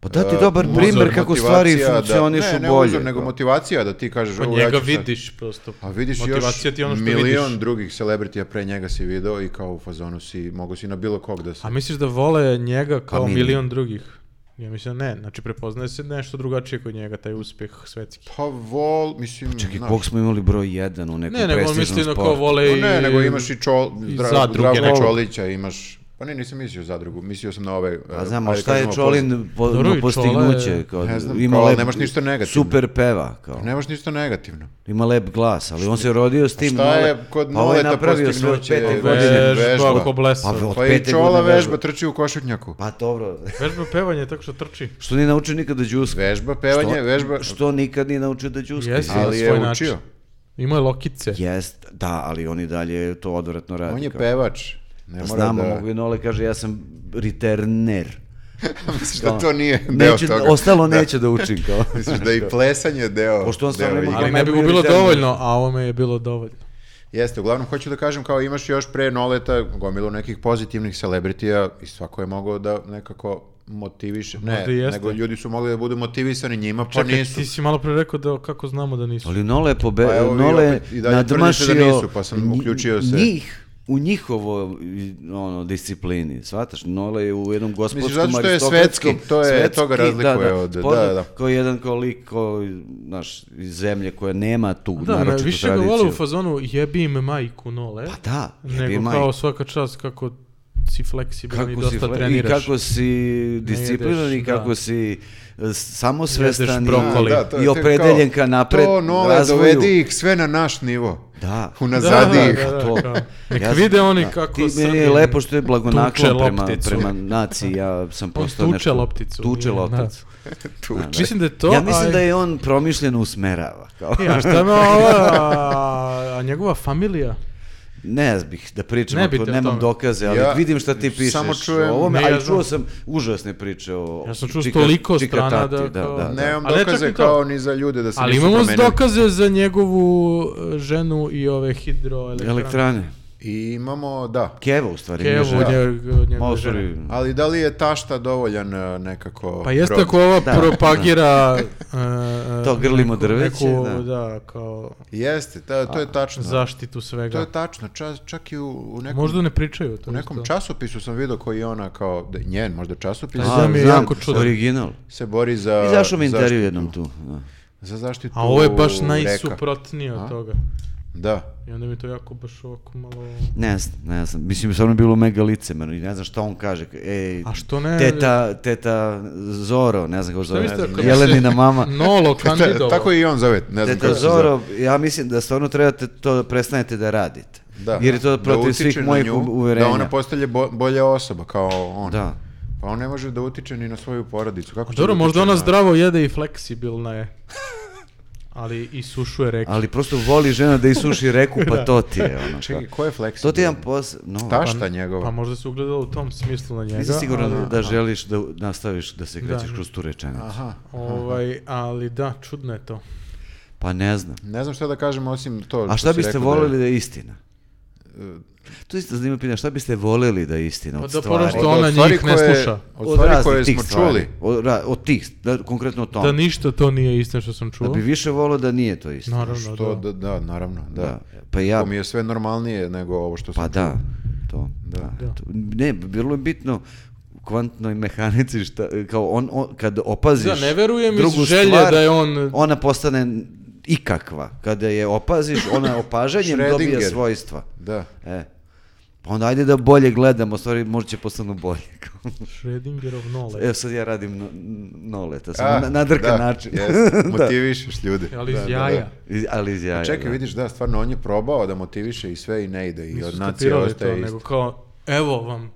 Pa dati
e,
dobar
uzor,
primer kako stvari
motivacija da-
funkcionišu
ne, ne
bolje,
uzor, nego
kao.
motivacija da ti kažeš...
Pa
"Evo, ja ću
njega
sad." Pa-
vidiš prosto.
A vidiš
Motivacija
još
ti je ono što
milion
vidiš.
drugih celebritija pre njega si video i kao u fazonu si, mogo si na bilo kog da se...
A misliš da vole njega kao
mi ne.
milion drugih? Ja mislim da ne, znači prepoznaje se nešto drugačije kod njega, taj uspeh svetski.
Pa vol, mislim...
Čekaj,
znaš,
kog smo imali broj 1 u nekom
Ne, nego on
prestižnom
misli na
sportu?
kao vole
Pa
i...
ne, nego imaš i Čol,
i
Dra-
zadruge
Zdravka
neke.
Čolića, imaš Pa ne, nisam mislio zadrugu, mislio sam na ove...
Pa
e,
znam, a
ajde
šta je
kažemo,
Čolin po,
Dobro, i Čola
postignuće?
je-
Kao,
Ne znam,
ima
kao,
lep-
nemaš ništa negativno.
Super peva, kao.
poz- Nemaš ništa negativno.
Ima lep glas, ali on se rodio s tim.
šta
nole-
je kod
pa ovaj
Noleta
napravio svoje od
postignuće?
pete godine.
Vežba.
Vežba ko blesa.
Pa, od
Pa i
pete
Čola
godine
vežba, trči u košutnjaku.
Pa dobro,
Vežba pevanje tako što trči.
što nije naučio nikada džuska.
Vežba, pevanje, vežba,
Što nikad nije naučio da džuska.
Jesi. na
ali je
svoj
učio.
način. Ima je lokice.
Jest, da, ali on i dalje to odvratno radi.
On je
kao.
pevač. Ne
Pa
mora
Znamo,
da...
mogu i Nole kaže, ja sam riterner.
Misliš da to nije deo
Neću,
toga?
ostalo neće da učim kao.
Misliš da i plesanje je deo?
Pošto on stvarno
deo
ima
igre?
Ali ne bi
najbolji
mu bilo
rezervni.
dovoljno, a ovome je bilo dovoljno.
Jeste, uglavnom hoću da kažem kao imaš još pre Noleta gomilu nekih pozitivnih celebritija i svako je mogao da nekako motiviše. Ne,
Možda i jeste.
nego ljudi su mogli da budu motivisani njima, pa
Čekaj,
nisu.
ti si malo pre rekao da kako znamo da nisu.
Ali Nole je pobe...
Pa evo vi
Nole je
opet i dalje
nadmašio
tvrdite da nisu, pa sam
nji-
uključio se.
Njih, u njihovo i, ono, disciplini, shvataš? Nole je u jednom gospodskom
zato što je
aristokratskom-
svetski, to je- to ga razlikuje od- da,
poznat
da.
Kao jedan kao lik, kao, znaš, iz zemlje koja nema tu
Da, ne,
naročitu
više ga
tradiciju.
vole u fazonu jebi im majku nole,
Pa da, jebi
nego
majku.
kao svaka čast kako si fleksibilan i
kako si,
dosta
fle-
treniraš.
I kako si disciplinovan i
jedeš,
kako
da.
si e, samosvestan i,
brokoli.
Da, da, to je-
i
to je
opredeljen
kao,
ka napred
To Nole,
razvoju.
dovedi ih sve na naš nivo.
Da.
Unazadi ih.
Da, da,
to.
kao, nek
Ja sam-
vide oni
da.
kako
Ti meni je
Srbin
lepo što je blagonaklon
tuče
prema,
lopticu.
prema naciji, ja sam postao
tuče
nešto...
lopticu,
Tuče
nije, da.
lopticu.
Tu.
Da, da.
Mislim da je to,
Ja mislim
a-
da je on promišljeno usmerava. Kao.
E, a šta me ova, a, a njegova familija?
Ne bih da pričam,
Ne
ako
bi te o
nemam
tome.
dokaze, ali
Ja
vidim šta ti pišeš.
samo čujem-
o ovome,
Ne,
a
ja
i čuo
znam.
sam užasne priče o
Ja sam čuo
Čika-
toliko
Čika
strana
Tati,
da
da,
kao-
da, da.
Nemam
Ali ne čak
dokaze
i to.
kao ni za ljude da se
Ali
ništa
imamo
promenili.
dokaze za njegovu e, ženu i ove hidroelektrane.
Elektrane.
I imamo, da.
Keva u stvari.
Kevu,
nije žena.
njeg- od
Ma,
njegove
u stvari,
žene.
Ali da li je tašta dovoljan e, nekako...
Pa jeste
rod?
ako ova
Da.
propagira... e, e,
To grlimo
neku-
drveće,
neku,
da.
da, kao
Jeste, ta- to je tačno.
zaštitu
To
svega.
je tačno, čas, čak i u, u nekom...
Možda ne pričaju o tome.
U nekom
što-
časopisu sam vidio koji je ona kao, da, njen možda časopis,
A, Znam je
znam,
jako čudan.
Original.
se bori za...
I zašao mi intervju
zaštitu-
jednom tu. da.
Za zaštitu
A ovo je baš
reka.
najsuprotnije od
A?
toga.
Da.
I onda mi je to jako baš ovako malo...
Ne znam, ne znam. Mislim, stvarno je bilo mega licemerno i ne znam šta on kaže. Ej,
A što ne-
Teta, teta Zoro, ne znam kako zove.
mislite ako bi se-
Jelenina mama.
Nolo
Ta-
kandidovo.
tako i on zove, ne znam
Teta
kako se zove.
Zoro, ja mislim da stvarno trebate to da prestanete da radite.
Da.
Jer je to
Da
protiv
utiče
svih
na
mojih
nju,
u- uverenja.
Da ona postane bo- bolja osoba kao on.
Da.
Pa on ne može da utiče ni na svoju porodicu. Kako će
Dobro,
da utiče
možda
na-
ona zdravo jede i fleksibilna je. Ali i sušuje reke.
Ali prosto voli žena da isuši reku, pa to ti je ono.
Čekaj,
kao.
ko je
To
fleksibilan?
ti je jedan posao. No,
Ta
pa
šta njegova?
Pa možda se ugledala u tom smislu na njega.
Nisam siguran
ali-
da želiš da nastaviš da se krećeš
Da.
kroz tu rečenicu.
Aha.
Ovaj, ali da, čudno je to.
Pa ne znam.
Ne znam šta da kažem osim to. što
A šta
si
biste
rekao E,
voleli da je istina? To je isto zanimljivo pitanje, šta biste voleli da je istina
Pa
od
da
stvari?
prosto
Od- od
ona
stvari
njih ne
koje-
sluša.
Od stvari
raznih
koje
tih
smo
stvari.
čuli.
Od, ra- od tih, da, konkretno o
Da
tom.
ništa to nije istina što sam
Da,
čuo.
bi više volio da nije to istina.
Naravno,
To,
da.
da, da, naravno, da.
Da. Pa ja,
To mi je sve normalnije nego ovo što sam
pa da, to. Da.
Da.
to- Ne, bilo je bitno u kvantnoj mehanici šta, kao on, on- kad opaziš
Da, ne verujem iz
drugu
želje
stvar,
da je on-
ona postane ikakva. Kada je opaziš, ona opažanjem dobija
Schrödinger.
svojstva.
Da.
E. Pa onda ajde da bolje gledamo, stvari možda će postanu bolje.
Schrödingerov nole.
Evo sad ja radim no, noleta, samo
A,
na, na drkan
Ah, da,
način.
jeste,
Da.
motivišeš ljude.
Ali iz
Da, da,
jaja.
da.
Iz- Ali iz jaja.
Čekaj,
da.
vidiš, da, stvarno, on je probao da motiviše i sve i ne ide. I
Nisu
od nacije
skapirali to,
ostaje
nego
isto.
kao, evo vam,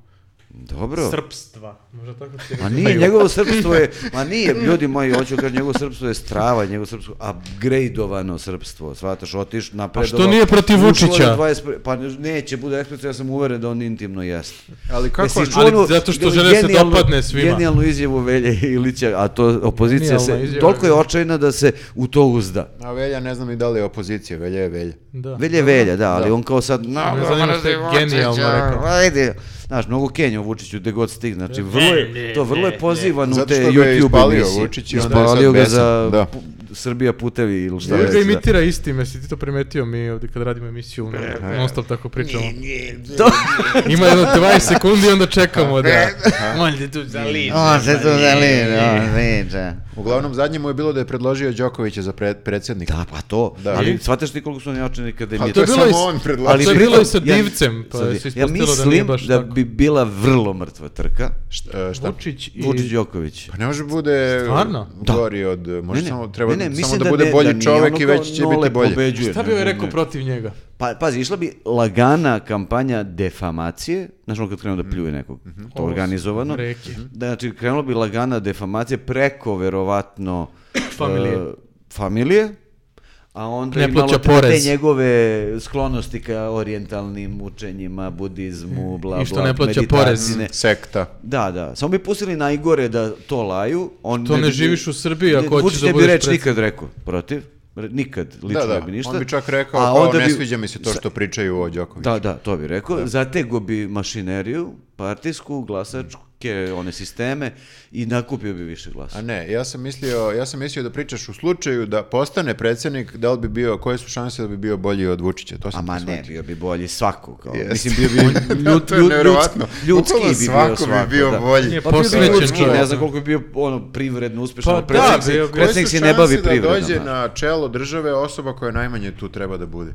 Dobro.
srpstva. Možda tako se
Ma nije, njegovo srpstvo je, ma nije, ljudi moji, hoću kažem, njegovo srpstvo je strava, njegovo srpstvo, upgradeovano srpstvo, shvataš, otiš napredo.
što nije protiv Vučića?
pa neće, bude eksplicit, ja sam uveren da on intimno jeste.
Ali kako...
Jesi
Jesi,
čuo
Ali
onu
zato što
genijalnu-
žele se
genijalnu-
dopadne svima.
Genijalnu izjavu Velje Ilića, a to opozicija
Genijalna
se,
izjava,
toliko je
da.
očajna da se u to uzda.
A Velja, ne znam i da li je opozicija, Velja je Velja.
Da.
Velje Velja, da, ali on kao sad, no,
Ne zanima šta je genijalno rekao.
ajde, znaš, mnogo Kenja u Vučiću gde god stigne, znači vrlo je, to vrlo je pozivan u
Zato
te
što ga je
YouTube
ispalio
emisije.
Vučić i onda je
Ispalio
sad
ga
besan,
za
da.
pu- Srbija putevi ili šta
Uvijek
već.
ga
da.
imitira istim, jesi ti to primetio mi ovdje kad radimo emisiju, non stop tako pričamo. Ima jedno 20 sekundi i onda čekamo da... Molim te tu za lič.
On se tu zaliže, on priča.
Uglavnom, zadnje mu je bilo da je predložio Đokovića za pre- predsjednika.
Da, pa to.
Da.
Ali shvataš ti koliko su oni očeni kada im
Pa
je
to je
bilo
samo
iz-
on predložio.
ali to je
Pri-
bilo
pritom-
i sa divcem, pa
sad
se
je-
ispostavilo
ja
da nije
mislim da,
baš tako.
bi bila vrlo mrtva trka.
E, šta?
Vučić i...
Vučić Đoković.
Pa ne može bude
Stvarno?
gori od... Može samo, treba samo
mislim
da bude
ne-
bolji
nije
čovjek
ono
i
kao
već će
Nole
biti bolji.
pobeđuje,
Šta bi
ne,
joj
ne,
rekao
ne.
protiv njega?
Pa, pazi, išla bi lagana kampanja defamacije, znaš ono kad krenu da pljuje nekog, to
Mm. Mhm. Ovo su
organizovano.
reke.
Da, znači, krenula bi lagana defamacije preko, verovatno,
Familije.
e, familije, a onda
Ne
imalo
plaća
te-
porez.
te njegove sklonosti ka orijentalnim učenjima, budizmu, bla,
I što
bla,
Mm. ne plaća
meditaciji,
porez.
ne.
Sekta.
Da, da. Samo bi pustili najgore da to laju. On
To ne
bi-
živiš u Srbiji ako hoćeš
Vučić
da
ne bi
budeš
reč
predsjednik.
nikad rekao protiv. Re- Nikad, lično
da,
ne
da.
bi ništa.
On bi čak rekao,
A
kao,
onda
ne
bi-
sviđa mi se to što pričaju o Đokoviću.
Da, da, to bi rekao. Zatego bi mašineriju, partijsku, glasačke, one sisteme i nakupio bi više glasa.
A ne, ja sam mislio, ja sam mislio da pričaš u slučaju da postane predsjednik, da li bi bio, koje su šanse da bi bio bolji od Vučića? To sam
Ama
ti
ne,
shvatio.
bio bi bolji svako. Kao.
Jest.
Mislim, bio bi on ljud,
to je
ljud-
nevjerovatno.
ljudski- ljudski
Bukvalno svako
bi bio
bi
svako,
bio
da.
bolji.
Je,
Pa
Pa bio bi
Posvećen
ljudski,
čovjek.
ne znam koliko bi bio ono privredno uspješan,
Pa
ali
da,
predsjednik se-
bio bi.
predsjednik
Koje
se
su
ne bavi
šanse
privredom.
Da dođe
znaš.
na čelo države osoba koja najmanje tu treba da bude.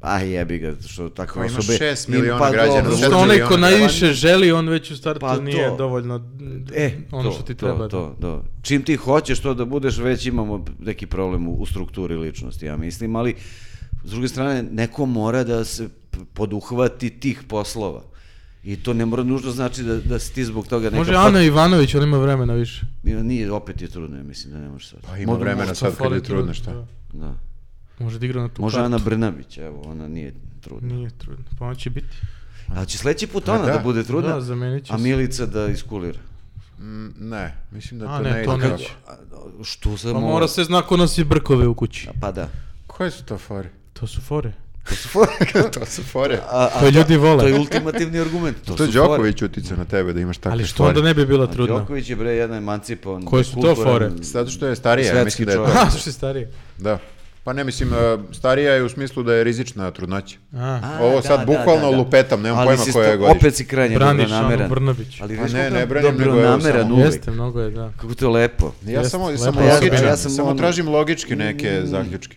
A jebi ga, što tako
Kao ima
osobe...
šest
ima-
miliona
pa
građana,
dobro,
zato
Što
Vučić
onaj
i
ko
on.
najviše želi, on već u startu
Pa
nije
to.
dovoljno
E,
ono
to,
što ti
to,
treba.
To, to. Čim ti hoćeš to da budeš, već imamo neki problem u, u strukturi ličnosti, ja mislim, ali s druge strane, neko mora da se p- poduhvati tih poslova. I to ne mora nužno znači da, da si ti zbog toga neka...
Može
pat-
Ana Ivanović, on ima vremena više.
Nije, opet je trudno, ja mislim da ne može sad.
Pa ima vremena
Možda
sad kad
fali
je trudno,
trud, da.
šta?
Da.
Može da igra na tu
Može
kartu.
Ana Brnabić, evo, ona nije trudna.
Nije trudno, pa on će biti.
A će sledeći put ona
da.
da, bude trudna,
Da, zamenit će
a
se.
Milica da iskulira.
Mm, Ne, mislim da
A
to
ne,
ne,
to
ide.
neće.
A, što se
Pa mora se zna ko nosi brkove u kući.
Pa da.
Koje su to fore?
To su fore.
to su fore.
A,
To ljudi vole.
To je ultimativni argument. To,
To je
su fore.
Đoković uticao na tebe da imaš takve
Ali što
fore.
onda ne bi bila
A
trudna?
Pa Đoković je bre jedan emancipovan.
Koje su to
kulturan-
fore?
Zato što je starija, ja
Svetski
mislim da je to.
čovjek.
Ha, što je starije.
Da. Pa ne, mislim, e, starija je u smislu da je rizična trudnoća.
A,
A,
Ovo sad bukvalno lupetam, nemam
Ali
pojma
si
koja je
sto-
godište.
Opet si krajnje
braniš Anu
dobronameran.
Brnabić.
Ali
Pa
viš
ne,
kako
ne
je
branim, nego evo
dobronameran
samo-
uvek.
Jeste, mnogo je, da.
Kako to je lepo.
Ja
Jest,
samo,
lepo
samo
je.
logičan,
Ja sam
samo
ono-
tražim logičke neke zaključke.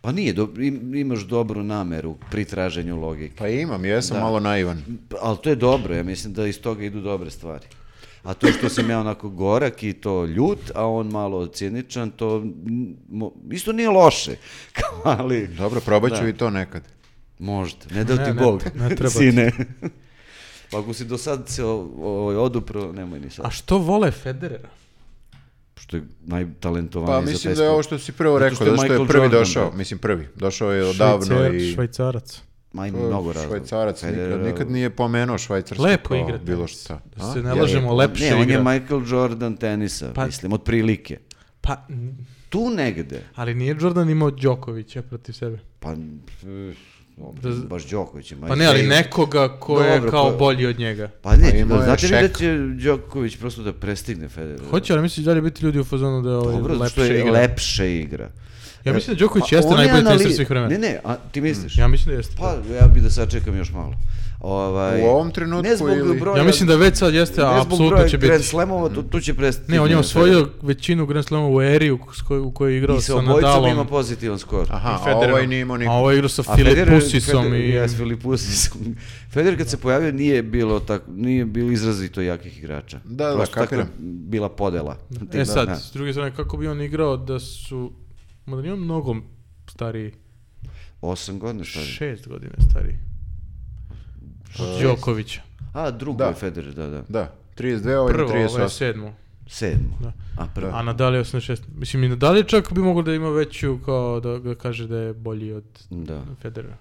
Pa nije, dobro, im- imaš dobru nameru pri traženju logike.
Pa imam, jesam
Da.
malo naivan.
Ali to je dobro, ja mislim da iz toga idu dobre stvari. A to što sam ja onako gorak i to ljut, a on malo ciničan, to mm, mo- isto nije loše. Kao, ali
Dobro, probat ću
Da.
i to nekad.
Možda, ne da
Ne,
ti
ne,
Bog,
ne treba ti.
sine. Pa ako si do sad se o- ovaj, odupro, nemoj ni sad.
A što vole Federera?
Što je najtalentovaniji
Pa
za
mislim
taj
da je ovo
sport.
što si prvo
Zato
rekao,
što
zato
je
što je,
Michael
prvi
Jordan,
došao.
da.
Mislim prvi. Došao je odavno
Švajcar-
i...
Švajcarac.
Ma ima mnogo razloga.
Švajcarac, nikad,
Federer-
nikad nije pomenuo švajcarsko
Lepo
kao
igra
bilo
tenis.
šta.
Da
A?
se ne
Je,
lažemo, lepše
Ne, on je
igra.
Michael Jordan tenisa,
Pa-
mislim, otprilike.
Pa, n-
Tu negde,
ali nije Jordan imao Đokovića protiv sebe.
pa... pff,
Da z-
baš Đoković ima.
Pa ne, ali nekoga ko je
Dobro,
kao
pa-
bolji od njega.
Pa
Pa
ne,
imao
da,
je
znate li da
Šek.
će Đoković prosto da prestigne Federer?
Hoće, ali misliš da li biti ljudi u fazonu da je ovaj
Dobro, zato što
lepše
je
igra?
lepše igra.
Ja mislim da Đoković
Pa
jeste
on je
najbolji tenisar
anali-
svih vremena. Mm.
Ne, ne, a ti misliš?
Ja mislim da jeste.
Pa ja bi da sačekam još malo. Ovaj,
U ovom trenutku
ne zbog
ili-
Broja,
ja mislim da već sad jeste, a
ne zbog
apsolutno
broja
će biti.
Grand Slamova, tu, tu će prestati.
Ne, on je osvojio većinu Grand Slama u eri u s kojoj, u kojoj je igrao
I sa
sa
obojicom
Nadalom.
ima pozitivan skor.
Aha, a
Federerom.
ovaj nije imao
A
nikog.
ovo je igrao sa
A Federer-
Filipusisom
Federer-
i...
Jes, Filipusisom. Federer kad se pojavio nije bilo tako, nije bilo izrazito jakih igrača.
Da, da,
Prosto tako je
kapiram.
bila podela.
E sad,
Da.
s druge strane, kako bi on igrao da su... Mada nije on mnogo stariji,
Osam godina stari.
šest godina stariji. Od Đokovića.
Pa, A, drugo
Da.
je Federer, da, da.
Da, 32, ovaj ima
Prvo, ovo je
38.
sedmo.
Sedmo.
Da.
A, prvo.
A Nadal je 86. Mislim, i Nadal je čak bi mogao da ima veću, kao da ga kaže da je bolji od
Da.
Federera.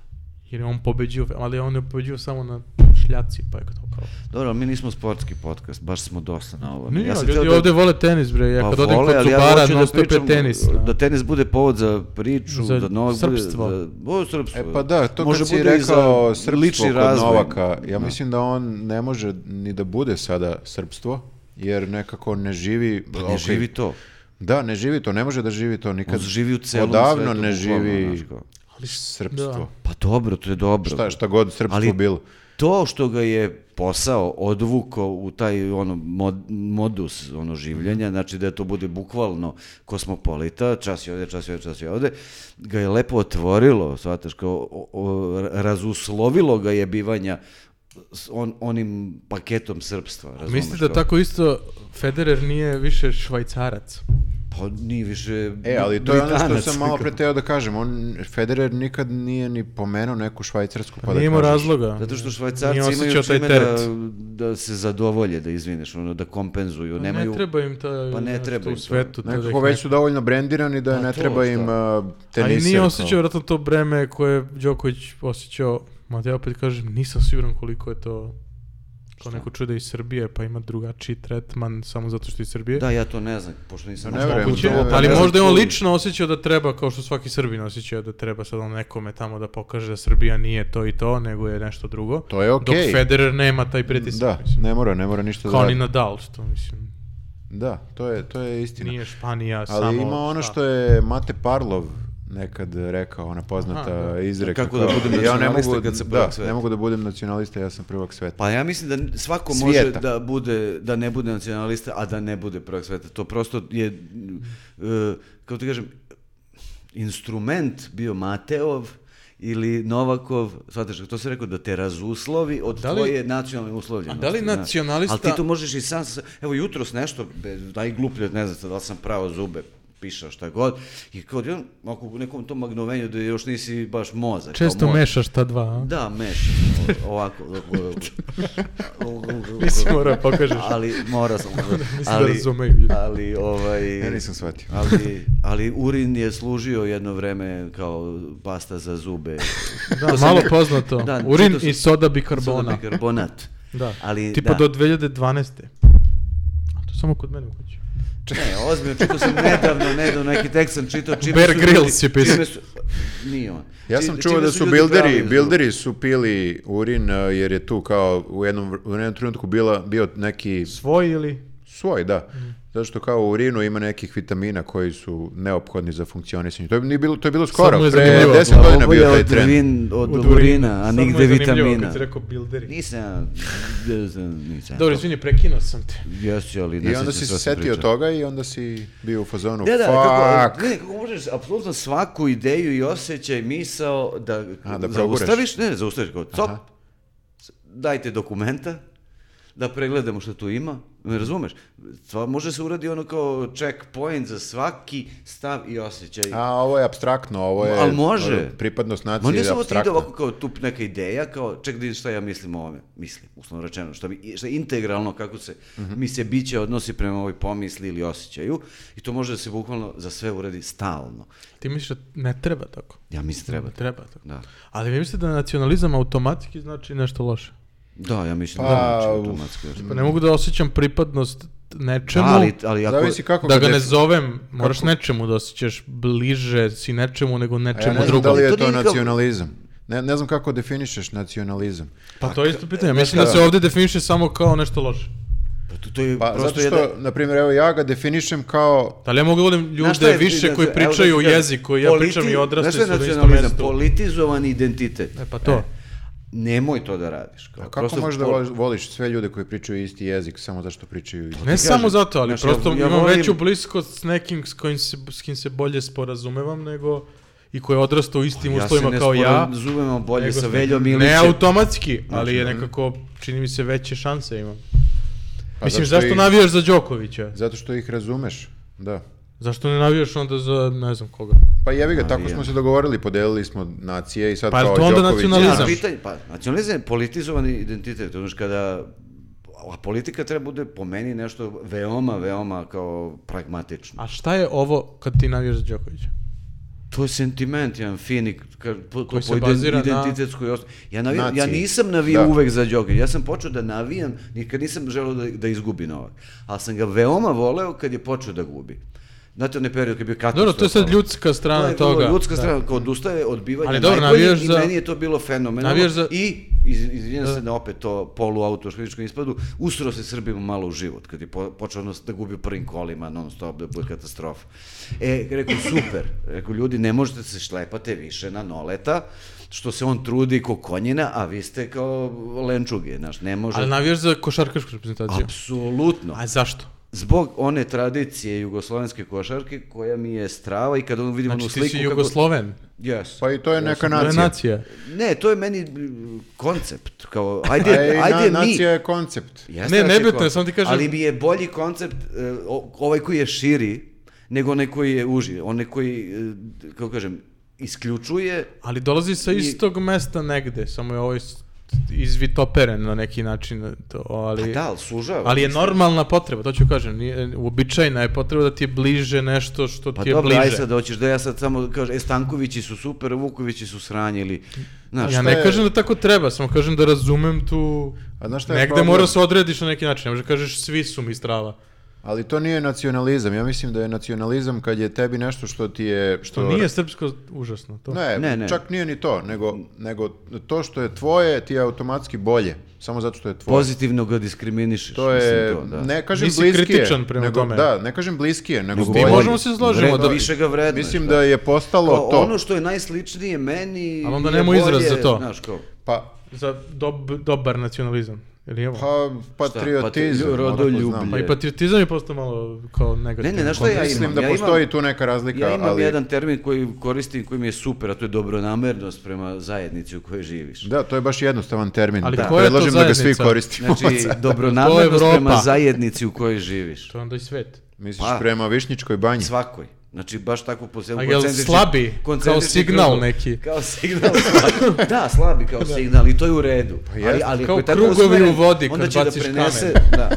Jer je on pobeđio, ali on je pobeđio samo na šljaci, pa je to kao...
Dobro, ali mi nismo sportski podcast, baš smo dosta na ovo.
Nije,
sam
ljudi
htio da-
ovdje vole tenis, bre. Ja
Pa
kad odem
vole,
kod
ali ja
Zubara,
hoću
non stop je
pričam,
tenis.
Da
da.
tenis bude povod za priču,
Za
da Novak
srpstvo.
bude... Da, o, srpstvo.
E pa da, to
Može
kad si
bude i
rekao
za
srpstvo
lični
kod
razvoj.
Novaka, ja
Da.
mislim da on ne može ni da bude sada srpstvo, jer nekako ne živi...
Pa ne
ok,
živi to.
Da, ne živi to, ne može da živi to nikad.
On živi u celom
Odavno
svetu,
ne
bukvalno,
živi
znaš kao.
srpstvo.
Da.
Pa dobro, to je dobro.
Šta, šta god srpstvo
Ali-
bilo.
To što ga je posao odvuko u taj ono mod- modus ono
Mhm.
življenja, znači da to bude bukvalno kosmopolita, čas je ovdje, čas je ovdje, čas je ovdje, ga je lepo otvorilo, shvataš, kao o- o- razuslovilo ga je bivanja s on, onim paketom srpstva, razumeš?
Mislim da
kao?
tako isto Federer nije više švajcarac.
Pa nije više
E, ali to je ono što
Britanac,
sam malo
kao.
pre teo da kažem. On, Federer nikad nije ni pomenuo neku švajcarsku. Pa, da
nije imao
kažeš-
razloga.
Zato što
Mhm. Nije
švajcarci
osjećao
imaju
taj
čime
teret.
da, da se zadovolje, da izvineš, ono, da kompenzuju.
Pa
Nemaju,
Ne treba im ta,
Pa ne
znaš,
treba
to
im
u
to.
svetu. to da
Nekako
ih
već su dovoljno brendirani da
Pa
ne
to,
treba im
šta?
uh,
A i
teniser.
nije osjećao
kao.
vjerojatno to breme koje je Đoković osjećao, mada ja opet kažem, nisam siguran koliko je to kao neko čude iz Srbije, pa ima drugačiji tretman samo zato što je iz Srbije.
Da, ja to ne znam, pošto nisam
Ne
ušao
verujem
u
u to,
Moguće,
da, da,
ali
da.
možda je on
Čuli.
lično osjećao da treba, kao što svaki Srbin osjeća da treba sad on nekome tamo da pokaže da Srbija nije to i to, nego je nešto drugo.
To je okej.
Dok Federer nema taj pritisak.
Da,
mislim.
ne mora, ne mora ništa da
Kao ni
radi.
Nadal, što mislim,
Da, to je, to je istina.
nije Španija samo...
Ali ima ono
šta.
što je Mate Parlov nekad rekao, ona poznata
Aha, da.
izreka.
Kako da
kao,
budem
ja ne
nacionalista
mogu,
kad sam
da,
prvak sveta.
ne mogu da budem nacionalista, ja sam prvak sveta.
Pa ja mislim da svako može
Svijeta.
da bude da ne bude nacionalista, a da ne bude prvak sveta. To prosto je e, kako ti kažem instrument bio Mateov ili Novakov, shvataš, to se rekao da te razuslovi od
Da li-
tvoje nacionalne uslovljenosti.
A da li
znaš.
nacionalista-
Ali ti to možeš i sam, sa- evo jutros nešto, be- najgluplje, ne znam sad da li sam pravo zube, piša šta god, i kao da ako u nekom tom magnovenju da još nisi baš mozak. kao
Često
mozak.
mešaš ta dva, a?
Da, meš. o- Ovako.
Nisi morao pokažeš.
Ali mora sam.
Mislim da
Ali,
razumeju ljudi.
ali ovaj...
Ja nisam shvatio.
Ali, ali urin je služio jedno vreme kao pasta za zube.
Da,
To sam
malo
ja-
poznato.
Da,
Urin
čitao sam-
i soda
Soda
bikarbona.
bikarbonat.
Da.
Ali,
Tipa
da.
do 2012. A to samo kod mene u kući.
Ne, ozbiljno, čitao sam nedavno, nedavno neki tekst sam čitao. Čime
Bear
su
Grylls je pisao.
čime su- Nije on.
Ja
Či-
sam
čime
čuo da su
ljudi
bilderi,
pravili zube.
bilderi su pili urin uh, jer je tu kao u jednom, vr- u jednom trenutku bila, bio neki
Svoj ili...
svoj, da.
Mhm.
Zato što kao u urinu ima nekih vitamina koji su neophodni za funkcionisanje. To je, nije bilo, to je bilo skoro,
mu je
pre
zanimljivo.
10
A ovo
godina bio
je
taj
od
trend.
vin- od
od urina.
urina, a
Sad mu je
nigde
zanimljivo
vitamina.
Kad si rekao bilderi.
Nisam, ja- nisam, nisam.
Dobro, izvini, prekinuo sam te.
Jesi, ali ne
I onda
sjećam
si
šta
se
sam
setio
pričao.
toga i onda si bio u fazonu,
Da, da,
fuck,
kako, ne, kako možeš apsolutno svaku ideju i osjećaj, misao da,
A, da proguraš.
zaustaviš, ne, ne, zaustaviš kao, cop,
Aha.
dajte dokumenta, da pregledamo što tu ima, ne razumeš? Sva- može se uradi ono kao checkpoint za svaki stav i osjećaj.
A ovo je abstraktno, ovo je
Al može.
ovo, pripadnost
Ma
nacije
ne
je
samo ti ide
abstraktno.
ovako kao tup neka ideja, kao ček da vidim šta ja mislim o ovome, mislim, uslovno rečeno, šta, bi, šta integralno kako se mi se biće odnosi prema ovoj pomisli ili osjećaju i to može da se bukvalno za sve uradi stalno.
Ti misliš da ne treba tako?
Ja mislim treba. to.
Treba tako.
Da.
Ali vi mislite da nacionalizam automatski znači nešto loše?
Da, ja mislim
Pa,
da znači
uf.
automatski.
Pa ne mogu da osjećam pripadnost nečemu,
ali, ali ako...
Zavisi kako
da
ga
ga ne
defi-
zovem, moraš nečemu da osjećaš bliže si nečemu nego
A ja
nečemu
E, ne znam da
drugom.
li
To
je
nije
to
kao-
nacionalizam. Ne, ne znam kako definišeš nacionalizam.
Pa to je isto pitanje.
znaš
Mislim da
šta?
se ovdje definiše samo kao nešto loše.
Pa to, to je
Pa
prosto
zato što,
jedan...
na primjer, evo ja ga definišem kao
Da li ja mogu da volim
Znaš šta
ljude
je-
više
da-
koji
da- evo da ti
pričaju
kažem,
jezik koji ja
politi-
pričam i odrasli
znaš šta
su
je
na istom
nacionalizam?
mjestu?
Politizovan identitet.
E pa to.
Nemoj to da radiš. Kao,
A kako
Pa prosto
možeš da
pol-
voliš- voliš sve ljude koji pričaju isti jezik samo zašto pričaju isti?
Ne samo zato, ali
pa znaš, ja-
prosto
ja
imam
volim-
veću bliskost s nekim s, kojim se, s kim se bolje sporazumevam nego i koji je odrastao u istim uslovima kao ja.
Ja se ne sporazumemo bolje
nego
sa
s-
Veljom Ilićem. Znači,
Ne automatski, ali je nekako, čini mi se, veće šanse imam.
Pa
Mislim,
zato
zašto
i-
navijaš za Đokovića?
Zato što ih razumeš, da.
Zašto ne navijaš onda za ne znam koga?
Pa jevi ga, tako
je.
smo se dogovorili, podelili smo nacije i sad
Pa je
kao
to onda
Đoković-
nacionalizam?
Ja, pitanje, pa, nacionalizam je politizovan identitet. Znaš, kada a politika treba bude po meni nešto veoma, veoma kao pragmatično.
A šta je ovo kad ti navijaš za Đokovića?
To je sentiment, jedan fini, ka, po,
Koji
koji
se
po iden-
bazira na-
identitetskoj osnovi. Ja, navijam- ja
Naciji.
nisam navijao
Da.
uvek za Đoković. Ja sam počeo da navijam, nikad nisam želeo da, da izgubi Novak. Ali sam ga veoma voleo kad je počeo da gubi. Znate, onaj period kad je bio
Dobro, to je sad
katastrofalan.
ljudska strana
To je
toga.
vrlo ljudska
Da.
strana, kao odustaje od bivanja
Ali dobro,
najboljih
navijaš
i
za-
meni je to bilo fenomenalno.
navijaš za-
I iz, izvinjam se na opet to poluautoškoličkom ispadu, usro se Srbima malo u život, kad je po, počeo ono da gubi u prvim kolima non stop, da bude katastrofa. E, rekao, super, rekao, ljudi, ne možete se šlepate više na noleta, što se on trudi ko konjina, a vi ste kao lenčuge, znaš, ne može...
Ali navijaš za košarkašku reprezentaciju?
Apsolutno.
A Pa zašto?
Zbog one tradicije jugoslovenske košarke koja mi je strava i kad ono vidim
Znači
onu
ti
sliku...
si Jugosloven.
Yes.
Pa i to je neka
To je
nacija.
nacija.
Ne, to je meni mm, koncept. Kao, ajde,
Ej, na-
ajde mi...
nacija je koncept.
Jeste
Ne,
naš
nebitno je,
koncept,
samo ti kažem-
Ali mi je bolji koncept, e, o- ovaj koji je širi, nego onaj koji je uži. Onaj koji, e, kako kažem, isključuje...
Ali dolazi sa istog mesta negde, samo je ovaj s- izvitoperen na neki način. To, ali...
Pa da, ali sužava.
Ali je normalna potreba, to ću kažem, nije, uobičajena je potreba da ti je bliže nešto što
Pa
ti je
dobro,
bliže.
aj sad hoćeš da ja sad samo kažem, e, Stankovići su super, Vukovići su sranje ili... Znaš,
ja
šta
ne
je-
kažem da tako treba, samo kažem da razumem tu...
A znaš šta je
Negde
problem?
mora se odrediš na neki način, ne možeš da kažeš svi su mi strava.
Ali to nije nacionalizam. Ja mislim da je nacionalizam kad je tebi nešto što ti je... Što,
To nije srpsko užasno, to.
Ne,
Ne, ne.
čak nije ni to, nego, nego to što je tvoje ti je automatski bolje, samo zato što je tvoje.
pozitivno ga diskriminišeš.
to je,
mislim to, da.
ne kažem
Nisi
bliskije,
kritičan prema
nego,
tome.
da, ne kažem bliskije, nego
Nego
Mi
bolje.
možemo se složimo
Vredno-
da-
više ga vredno.
Mislim da je postalo to.
Ono što je najsličnije meni...
Ali onda
je
nemamo izraz
bolje,
za to.
Znaš, kao,
Pa,
Za dob, dobar nacionalizam, ili je ovo?
pa patriotizam,
Patri-
odakle znam. Pa
rodoljublje.
Pa i patriotizam je postao malo kao
ne,
negativno.
ne, znaš šta ja
Mislim
imam?
da
ja imam-
postoji tu neka razlika,
Ja imam
ali...
jedan termin koji koristim, koji mi je super, a to je dobronamernost prema zajednici u kojoj živiš.
Da, to je baš jednostavan termin.
Ali
Da.
koja je to
Predlažem da ga svi
zajednica?
koristimo.
Znači,
To je
dobronamernost
Evropa.
prema zajednici u kojoj živiš.
To je onda i svet.
Misliš
Pa.
prema Višnjičkoj banji?
Svakoj. Znači, baš tako po celom
A jel slabi? Kao signal neki?
Kao signal slabi. Da, slabi kao signal i to je u redu.
Pa jest.
ako
Kao
je tako
krugovi
usmeren,
u vodi
onda
kad
će da
baciš
prenese- Da,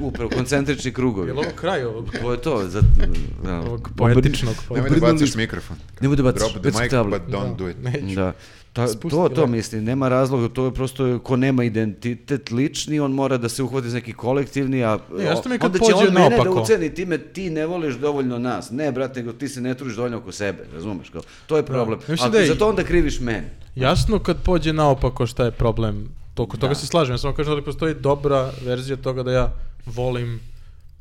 upravo, koncentrični krugovi.
Je li ovo kraj ovog,
To je to. Za, da,
ovog poetičnog?
Nemoj da
Obrnuli
bacaš
smo-
mikrofon.
Nemoj da baciš,
Drop the
već su
mic,
table.
but don't do it.
Neću.
Da. Ta,
Spusti
to, to
lep.
mislim, nema razloga, to je prosto, ko nema identitet lični, on mora da se uhvati za neki kolektivni, a
Ne, jasno mi je kad
onda će
pođe
on mene da
naopako.
uceni time, ti ne voliš dovoljno nas, ne brate, nego ti se ne trudiš dovoljno oko sebe, razumeš, kao, to je problem,
Ja mislim
ali
da je-
za to onda kriviš mene.
Jasno kad pođe naopako šta je problem. Toko toga se slažem, ja samo kažem da postoji dobra verzija toga da ja volim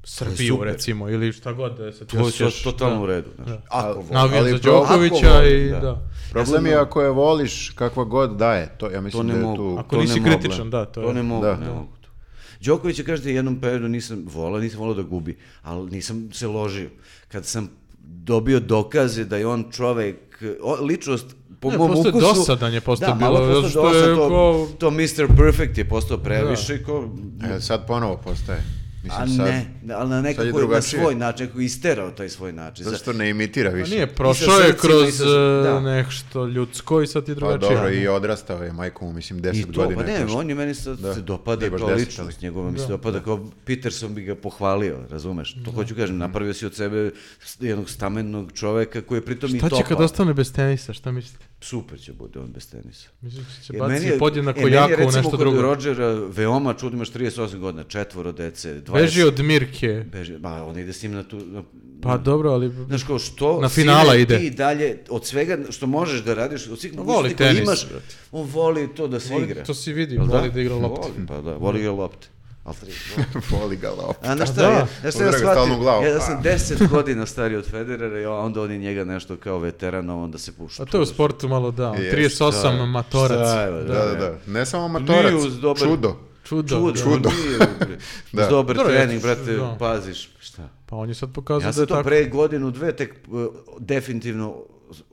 Srbiju
super.
recimo ili šta god da se ti
To je
osjećaš,
totalno
da.
u redu, znaš. Ako voliš.
Navijam
Ali
za
pro-
Đokovića
ako volim,
i
da.
da.
Problem je ako je voliš kakva god daje. To, ja
To
mislim
ne
da je
mogu.
tu...
Ako
to
nisi
ne mogu,
kritičan, da, to
to
je.
ne mogu,
Da.
ne mogu to. Đoković je kaže da jednom periodu nisam volao, nisam volao da gubi, ali nisam se ložio. Kad sam dobio dokaze da je on čovek, o, ličnost po
Ne,
mom
postao
ukusu...
je dosadan je postao
da, malo
bilo,
postao
zato što je
dosadan, to,
kao-
to Mr. Perfect je postao previše, ko,
E, sad ponovo postaje.
a
Mislim, sad,
ne, ali
sad
na
je
nekako na
drugačije.
svoj način, nekako isterao taj svoj način.
zato
Za-
što ne imitira
Pa
više.
nije, prošao je
srcima, i
kroz
sa- da.
e, nešto ljudsko i sad je
Pa
drugačije.
dobro, i odrastao je, majko mu, mislim,
I
10
to,
godina.
pa
je
ne,
prošlo.
on je meni sad se dopada
Ne, baš
kao
deset,
ličnost njegova, mi se dopada kao Peterson bi ga pohvalio, razumeš? To hoću
Mhm.
kažem, napravio si od sebe s- jednog stamenog čoveka koji je pritom i
Šta
topa.
će kad ostane bez tenisa, šta mislite?
Super će bude on bez tenisa.
Mislim da će
Jer
baci
je-
podjednako
e, meni je
jako u
recimo
nešto
kod
drugo.
Rodgera veoma čudno, imaš 38 godina, četvoro dece, 20...
Beži od Mirke.
Beži, ma on ide s njim na tu... Na,
Pa dobro, ali...
Znaš kao što
Na finala
sine,
ide.
ti dalje od svega što možeš da radiš, od svih
voli
mogućnosti koje
tenis,
imaš,
brate.
on voli to da se
Voli-
igra.
to si vidi,
Jel
voli da igra loptu.
Voli, pa da, voli igra lopte. Ali tri,
Voli ga lop.
A na šta,
Pa da.
ja, ja šta
Udara
ja
ga stalno u
shvatim,
glavu.
ja da sam 10 godina stariji od Federera i onda on je njega nešto kao veteran, a onda se pušta.
A to je u sportu malo da, on
Jeste.
38 matorac.
Šta je, da,
Da, da, da. Ne samo matorac,
Nije uz dobar-
čudo.
Čudo.
Čudo,
da.
Čudo.
nije, bre.
Da.
Uz dobar
Dobro, ja
trening,
ću-
brate,
da.
paziš. Šta?
Pa on je sad pokazao
Ja
da je
sam to
tako.
pre godinu, dve, tek uh, definitivno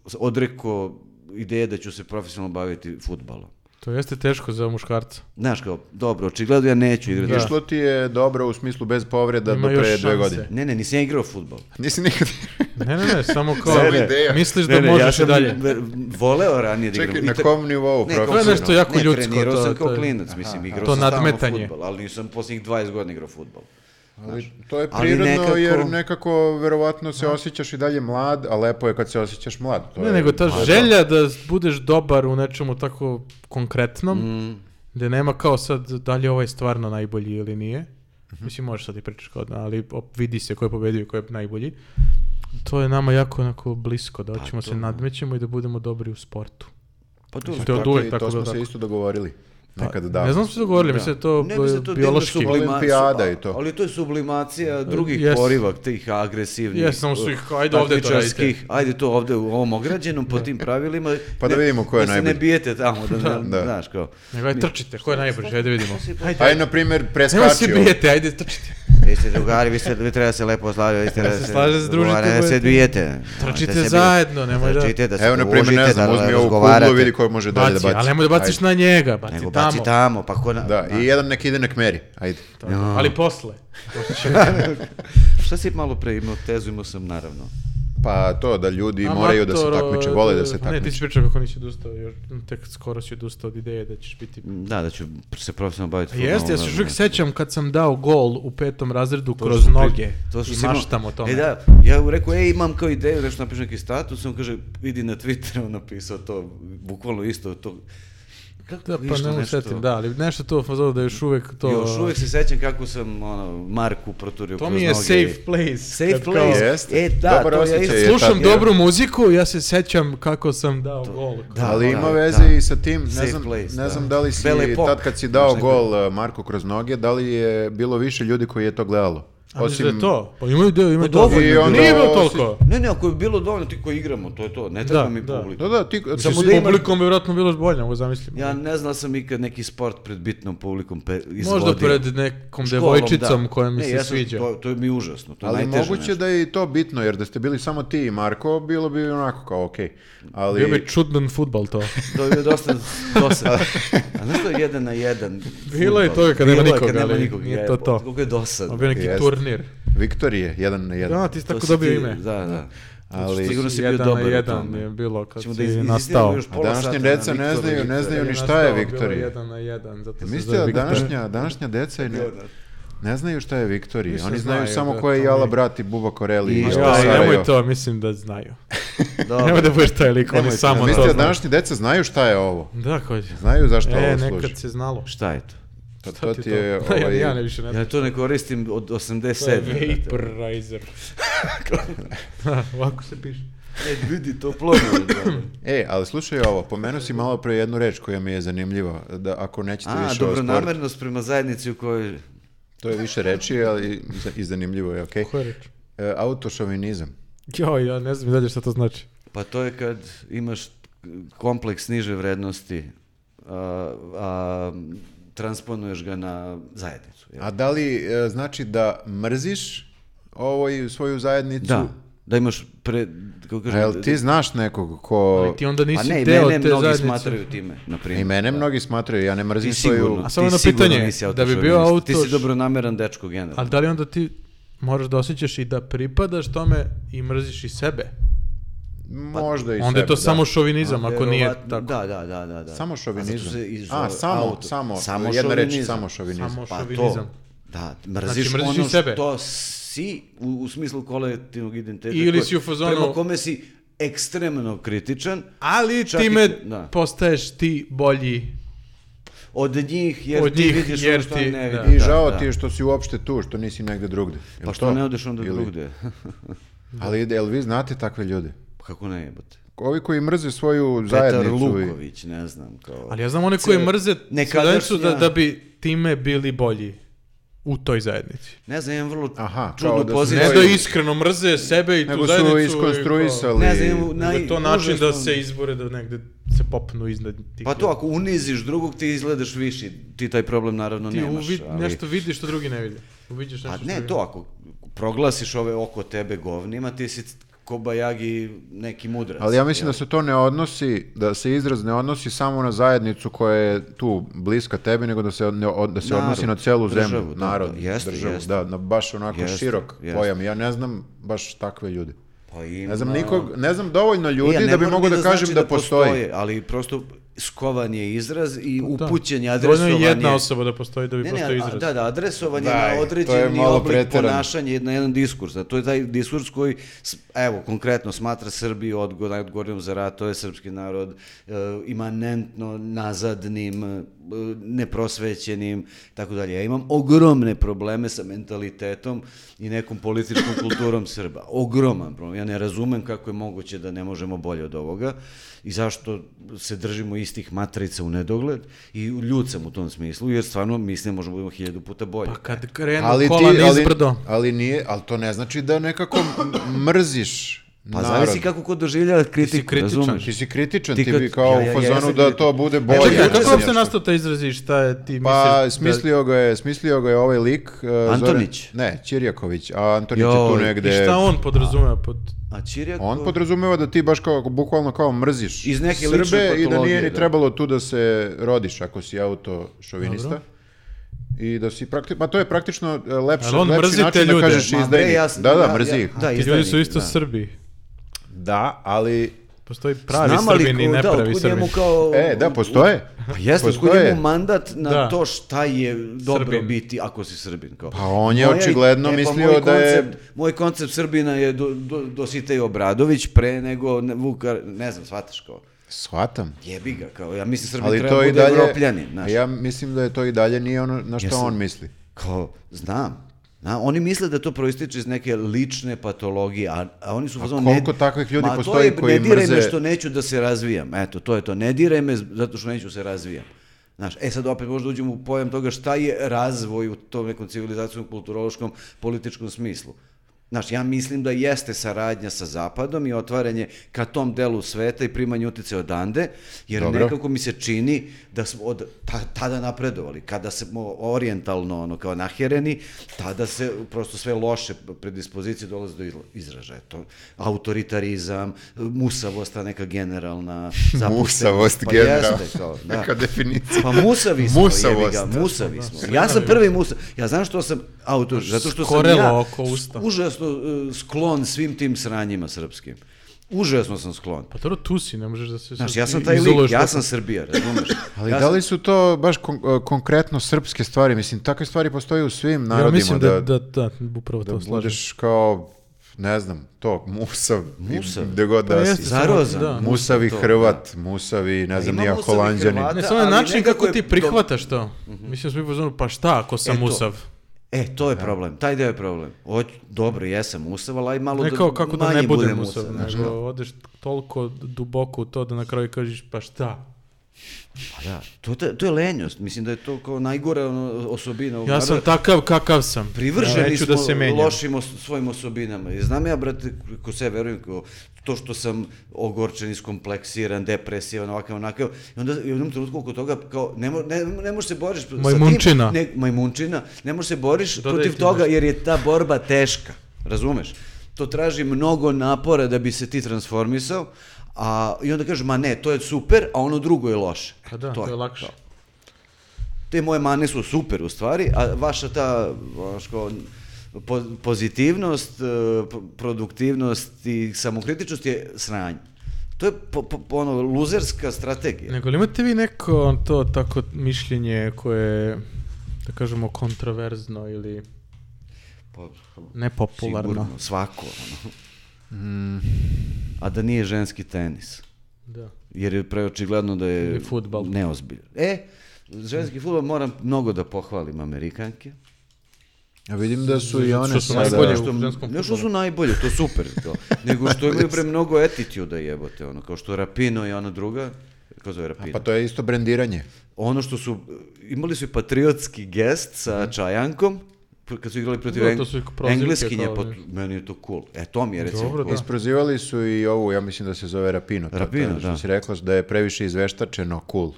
s- odrekao ideje da ću se profesionalno baviti futbalom.
To jeste teško za muškarca.
Znaš kao, dobro, očigledno ja neću igrati.
Išlo ti je dobro u smislu bez povreda
Ima
do pre
još
dve
šanse.
godine.
Ne, ne, nisam ja igrao futbal.
Nisi nikad...
Ne, ne, ne, samo kao
Samo ideja.
misliš
Ne,
da
ne, ja
možeš
sam
i dalje.
ver- voleo ranije da igram.
Čekaj,
I
na
te-
kom nivou
kao
To je
profesionalno?
nešto jako-
ne,
ljudsko,
trenirao
to-
sam kao
to je-
klinac, mislim, igrao
To
sam stalno
nadmetanje.
fudbal, ali nisam posljednjih 20 godina igrao fudbal.
Ali to je
ali
prirodno
nekako-
jer nekako verovatno se osjećaš i dalje mlad, a lepo je kad se osjećaš mlad. To
Ne,
je-
nego ta
to je
želja da budeš dobar u nečemu tako konkretnom,
Mm.
gde nema kao sad da li je ovaj stvarno najbolji ili nije. Mislim, možeš sad i pričaš kao da, ali op- vidi se ko je pobedio i ko je najbolji. To je nama jako onako blisko, da hoćemo se nadmećemo i da budemo dobri u sportu.
Pa to,
Mislim,
to.
to je od
Tako
uvek
i
tako
To
bilo
smo se
tako.
isto dogovorili. nekad
da.
davno.
Pa, Ne znam smo se dogovorili,
Da.
mislim da je to
Ne bi se to
bi-
divno
biološki.
sublimi-
sublima-
Olimpijada i to.
Ali to je
E,
sublimacija drugih
Yes.
poriva, tih agresivnih. eh,
Yes, samo su ih, ajde ovdje to radite.
takmičarskih, Ajde to ovdje u ovom ograđenom po tim pravilima.
Pa da
Ne-
vidimo ko je
da se ne
najbolji.
bijete tamo, da, ne-
Da.
znaš kao.
Nego aj trčite, ko je najbrži, ajde vidimo. Ajde,
Ajde, na primjer, preskači
nemoj se
ovo.
bijete, ajde trčite.
Vi ste drugari, vi, ste, vi treba se lepo slaviti, vi ste
Da se slaže, združite,
dogovarate, da se
budete-
bijete.
Trčite
Da se bijete.
zajedno, nemoj da-
Trčite, da se
Evo, na primjer, ne
družite,
znam,
da
uzmi ovu
razgovarate.
kuglu, vidi koju može dalje da
Baci,
baci.
ali nemoj da baciš
Ajde.
na njega, baci
Nego baci
tamo.
tamo, pa ko na...
Da, i jedan nek ide, nek meri. Ajde.
Ali posle.
Šta si malo pre imao tezu, imao sam naravno.
Pa to, da ljudi moraju da se
Amatoro,
takmiče, vole da se
Ne, ti si
takmiče.
pričao kako nisi odustao, još tek skoro si odustao od ideje da ćeš biti
Da, da ću se profesionalno baviti.
Jeste, ja
fudbalom,
se još
da,
uvijek
da.
sećam kad sam dao gol u petom razredu
ono, To
kroz
su pri-
noge
to su
i
svi imao-
maštam o tome.
E da, ja mu rekao, ej, imam kao ideju, nešto napišem neki status, on kaže, idi na Twitter, on napisao to, bukvalno isto to. Kako
Da,
je
pa
išlo
ne mogu
nešto?
setim, da, ali nešto to fazono da još uvijek to...
Još uvijek se sećam kako sam ono, Marku proturio
To
kroz
mi je
noge.
safe place.
Safe
kad kao-
place.
Jeste.
E, da,
Dobar
to ja
osjećaj
isto-
je
Slušam
tad.
dobru muziku, ja se sećam kako sam dao gol.
Da,
ali ima
da,
veze
da.
i sa tim, ne
Safe
znam,
place,
ne
da.
znam da li si,
Belle Epoque,
tad kad si dao
znaš, neko-
gol uh, Marko kroz noge, da li je bilo više ljudi koji je to gledalo?
A mislim da je to, pa imaju deo, imaju
Pa dovoljno
dovoljno.
je bilo.
Nije bilo
Ovo
toliko.
Ne, ne, ako je bilo dovoljno, ti koji igramo, to je to, ne treba
Da,
mi
da.
publika.
Da, da, ti,
Samo
samo
s
da imaš-
publikom bi vjerojatno bilo bolje, mogu zamislim.
Ja ne znao sam ikad neki sport pred bitnom publikom pe, izvodio.
Možda pred nekom
Školom,
devojčicom
da.
koja mi
Ne,
se
ja sam-
sviđa.
To, to je mi užasno, to je
Ali
najteže
moguće da je i to bitno, jer da ste bili samo ti i Marko, bilo bi onako kao okej. Ali...
Bio bi čudan futbal to.
To je dosta dosadno. A znaš što je jedan na jedan?
Bilo je
fudbal?
toga kad nema
Bilo je
nikoga,
kad nema
ali
nikoga,
nije
je,
to to.
Koliko je dosadno.
Bio neki
Jeste.
turnir.
Viktor je jedan na jedan.
Da, ti si
To
tako
si
dobio
ti-
ime.
Da, da. Znači,
ali
Sigurno si bio
Jedan na
dobar u
jedan
tome.
je bilo kad
Ćemo
si
da iz-
nastao.
izizdiramo još
A
pola
današnje
sata na
deca ne
Viktora
znaju, ne
Viktora.
znaju ni
Kad je
šta je
nastao, bilo
Viktorija.
Jedan na jedan, zato se
Mislite
zove
da
Viktor.
današnja, današnja deca i ne, ne znaju šta je Viktorija.
Mislim,
Oni znaju
znaju,
samo
da,
ko je
to
Jala
mi-
brati Buba Koreli i
Ma
Ma
šta
Jala
je,
da,
Sarajevo.
nemoj to, mislim da znaju.
Dobro.
Nemoj da budeš taj lik, oni
Nemoj to,
samo to
Mislite da
znaju.
današnje deca znaju šta je ovo?
Da, koji
Znaju zašto
E,
ovo služi.
nekad se znalo.
Šta je to?
To,
Šta
to ti je
Da, ja-
ovaj,
Ja ne više ne znam.
Ja to ne koristim od
To je
87.
Vaporizer. Da, Ovako se piše.
E, vidi to plovno.
E, ali slušaj ovo, pomenuo si malo pre jednu reč koja mi je zanimljiva, da ako nećete
A,
više o sportu,
dobronamernost prema zajednici u kojoj...
to je više reči, ali i zanimljivo je, okej?
Koja je reč?
E, autošovinizam.
Jo, ja ne znam i dalje šta to znači.
Pa to je kad imaš kompleks niže vrednosti, a, a transponuješ ga na zajednicu. jel?
A da li e, znači da mrziš ovoj svoju zajednicu?
Da, da imaš pre... Kako
A
kažem,
jel ti znaš nekog ko...
Ali ti onda
A
nisi
Pa ne,
deo
mene
te
mnogi
zajednice.
smatraju time, na primjer.
I mene mnogi smatraju, ja ne mrzim
Ti
svoju...
sigurno,
A samo
ti
jedno
sigurno
pitanje,
nisi
da bi bio
autošovinist. Ti si
autoš-
dobronameran dečko generalno.
Ali da li onda ti moraš da osjećaš i da pripadaš tome i mrziš i sebe?
Možda i
Onda je to
sebe, da.
samo šovinizam, ako nije
Verovatno-
tako.
Da, da, da, da. da.
Samo
A, zato
šovinizam.
se i
A,
zove
samo,
auto-
samo, jedna reč,
šovinizam.
samo šovinizam.
Samo
Pa to,
šovinizam.
da, mrziš,
Znači, mrziš
ono
i sebe.
što si u, u smislu kolektivnog identiteta.
Ili
koje-
si u fazonu-
Prema kome si ekstremno kritičan
Ali
Čak i
time
te- da.
postaješ ti bolji.
od njih jer
Od
ti
njih,
vidiš
jer
ono što
ti-
oni ne
da.
vide.
I
Da,
žao
da.
ti je što si uopšte tu, što nisi negde drugde. Jel
Pa što
to?
ne odeš onda
Ili-
drugde?
Ali jel vi znate takve ljude?
Kako ne jebote?
Ovi koji mrze svoju
Petar
zajednicu. i-
Luković, ne znam. Kao...
Ali ja znam one koji
Cijel-
mrze
nekadašnja-
zajednicu da, da bi time bili bolji u toj zajednici.
Ne znam, imam vrlo
Aha, kao
čudnu
da su
poziciju.
Ne
Koji-
da iskreno mrze sebe i tu
Nego
zajednicu.
su
i kao-
iskonstruisali.
Ne znam, imam
Da je to način da
najužasno-
se izbore da negde se popnu iznad tih.
Pa to, ako uniziš drugog, ti izgledaš viši, ti taj problem naravno
ljudi. ti
nemaš.
uvid,
ali-
nešto vidiš što drugi ne vide. Uviđaš
Pa
nešto. što
ne,
drugi-
to ako proglasiš ove oko tebe govnima, ti si kobajagi neki mudrac.
Ali ja mislim da se to ne odnosi, da se izraz ne odnosi samo na zajednicu koja je tu bliska tebi, nego da se, ne, od- da se
Narod,
odnosi na celu
državu,
zemlju,
da, da,
narod,
jeste,
državu,
jeste.
da, na baš onako
Jeste,
širok
jeste.
pojam. Ja ne znam baš takve ljude.
Pa ima...
Ne znam nikog, ne znam dovoljno ljudi
Ja ne
da bi
moram
mogo
ni
da, kažem
znači
da, postoji.
postoje, Ali prosto skovan je izraz i
Pa Da.
upućen je
Dovoljno
adresovan
je
je...
jedna osoba da postoji da bi
Ne, ne,
postao
a-
izraz.
da, da, adresovan je
Daj, to
na
je
određeni
malo
oblik
preterano.
ponašanja, na jedan diskurs. A to je taj diskurs koji, s- evo, konkretno smatra Srbiju odgo, najodgovornijom za rat, to je srpski narod, e, imanentno nazadnim, e, neprosvećenim, tako dalje. Ja imam ogromne probleme sa mentalitetom i nekom političkom kulturom Srba. Ogroman problem. Ja ne razumem kako je moguće da ne možemo bolje od ovoga i zašto se držimo istih matrica u nedogled i ljud sam u tom smislu, jer stvarno mislim možemo budemo hiljadu puta bolji.
Pa kad krenu kola nizbrdo.
ali nije, ali to ne znači da nekako m- mrziš
Pa
narod.
zavisi kako ko doživlja kritiku,
kritičan.
razumeš?
Ti si kritičan,
Ti
ti,
kad-
bi kao
Ja, ja, ja
u fazonu
jesam
da
kritičan.
to bude bolje.
Čekaj,
Ja
kako
sam
uopšte nastao taj izraz i šta je ti
Pa,
misliš? da-
smislio ga je, smislio ga je ovaj lik. uh, Zoran-
Antonić?
ne, Čirjaković, a Antonić je tu
Joj, i
negde.
I šta on podrazumeva pod...
A Čirjako...
On podrazumeva da ti baš kao, bukvalno kao mrziš
Iz neke lične
Srbe i da
patologije,
nije ni
da.
trebalo tu da se rodiš ako si autošovinista.
Dobro.
I da si praktično, pa to je praktično e, lepše,
Ali on
lepši
mrzi te
način da
ljude.
kažeš
Ma bre,
izdajnik.
ja sam-
da, da,
ja-
mrzi
ja-
ih.
Da,
Ti ljudi
Pa izdajnik,
su isto
da.
Srbi.
Da, ali...
Postoji pravi
Znam, ali
Srbin i
ko- da,
nepravi
otkud njemu
Srbin.
kao-
E, da, postoje.
Pa jeste, otkud
Postoje.
njemu mandat na
Da.
to šta je dobro
Srbin.
biti ako si Srbin. Kao.
Pa on je
Moja-
očigledno
e, pa
mislio
moj
da je-
koncept- Moj koncept Srbina je do, do, Dositej Obradović pre nego ne- Vukar, ne znam, shvataš kao.
Shvatam.
Jebi ga, kao, ja mislim Srbin
Ali
treba
to i
bude
dalje...
evropljanin, znaš.
Ja mislim da je to i dalje nije ono na što
Jesam.
on misli.
Kao, znam. Zna, oni misle da to proističe iz neke lične patologije, a, a oni su... A
koliko takvih ljudi postoji koji
ne diraj me
mrze-
što neću da se razvijam. Eto, to je to. Ne diraj me zato što neću se razvijam. Znaš, e sad opet možda uđemo u pojam toga šta je razvoj u tom nekom civilizacijom, kulturološkom, političkom smislu. Znaš, ja mislim da jeste saradnja sa Zapadom i otvaranje ka tom delu sveta i primanje utice odande, jer
Dobro.
nekako mi se čini da smo od ta- tada napredovali. Kada smo orijentalno ono, kao nahereni, tada se prosto sve loše predispozicije dolaze do izla- izražaja. To, autoritarizam, musavost, ta neka generalna zapuštenost.
Musavost
pa
generalna.
Jeste, kao, da.
Neka definicija.
Pa musavi smo, jebi ga,
Musavost.
musavi smo. Ja sam prvi musav, ja znam što sam autor, zato što sam
Skorelo
ja
oko usta.
užasno e, sklon svim tim sranjima srpskim. Užasno sam sklon.
Pa dobro, tu si, ne možeš da se
Znaš,
sad
ja sam taj
izoluješ
lik, ja
toliko.
sam Srbija, razumeš?
Ali
ja
da
sam-
li su to baš kon- e, konkretno srpske stvari? Mislim, takve stvari postoje u svim narodima.
Ja mislim da,
da,
da, da, upravo to
da
slažem.
budeš kao, ne znam, to, musav. i
Musav?
Gde god
Pa
da
jeste,
si.
samo-
Zarozan.
da.
Mu-
Musavi
to,
Hrvat, musavi, ne znam,
ima
nija
musavi
Holandjanin.
Hrvata.
Ne, samo je
ali
način
nekako
kako
je
ti
do- Mhm.
prihvataš to. Mislim, svi pozvanu, pa šta ako sam
E, to.
Musav?
E, to je problem, taj deo je problem. O, dobro, jesam Usav, ali aj malo
Ne
da
kao kako da
manje
ne budem
budem
Musav,
Usav, znaš,
nego
kao.
odeš toliko duboko u to da na kraju kažeš pa šta?
Pa da, to, te- to je lenjost, mislim da je to kao najgora ono, osobina ovog
Ja sam
naroda.
takav kakav sam.
privrženi
ja neću
smo
da se menjam.
lošim os- svojim osobinama. I znam ja, brate, ko se verujem, ko, to što sam ogorčen, iskompleksiran, depresivan, ovakav, onakav, i onda u jednom trenutku oko toga, kao, ne, mo, ne, ne možeš se boriš sa
Majmunčina.
tim, ne, majmunčina, ne možeš se boriš
Dodaj
protiv
ti
toga,
nešto.
jer je ta borba teška, razumeš? To traži mnogo napora da bi se ti transformisao, a, i onda kažeš, ma ne, to je super, a ono drugo je loše.
Pa da, to je lakše.
Te moje mane su super u stvari, a vaša ta znaš, kao, po- pozitivnost, e, pro- produktivnost i samokritičnost je sranje. To je po, po- po- ono, luzerska strategija.
Nego li imate vi neko to tako mišljenje koje je, da kažemo kontroverzno ili
Pa,
nepopularno?
sigurno, svako. Ono. A da nije ženski tenis.
Da.
Jer je preočigledno da je
Ili fudbal.
neozbiljan. E, ženski futbol moram mnogo da pohvalim Amerikanke.
Ja vidim da su i
Zato
one
što su
sada...
najbolje
što,
u ženskom
ne što
fudbalu.
su najbolje, to super. To. Nego što imaju pre mnogo etituda jebote, ono, kao što Rapino i ona druga, kako zove Rapino?
Pa to je isto brendiranje.
Ono što su, imali su i patriotski gest sa Čajankom, pr- kad su igrali protiv
Mhm. Da,
Eng-
to su prozivke kao
Engleskinje, pa
nešto.
meni je to cool. E, to mi je recimo
Dobro,
cool.
Da.
Isprozivali su i ovu, ja mislim da se zove Rapino. to- to je
Rapino,
što
da.
si rekla, da je previše izveštačeno cool.